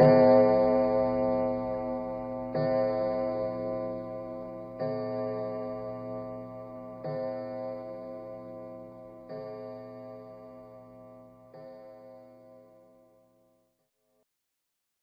S2: Nice.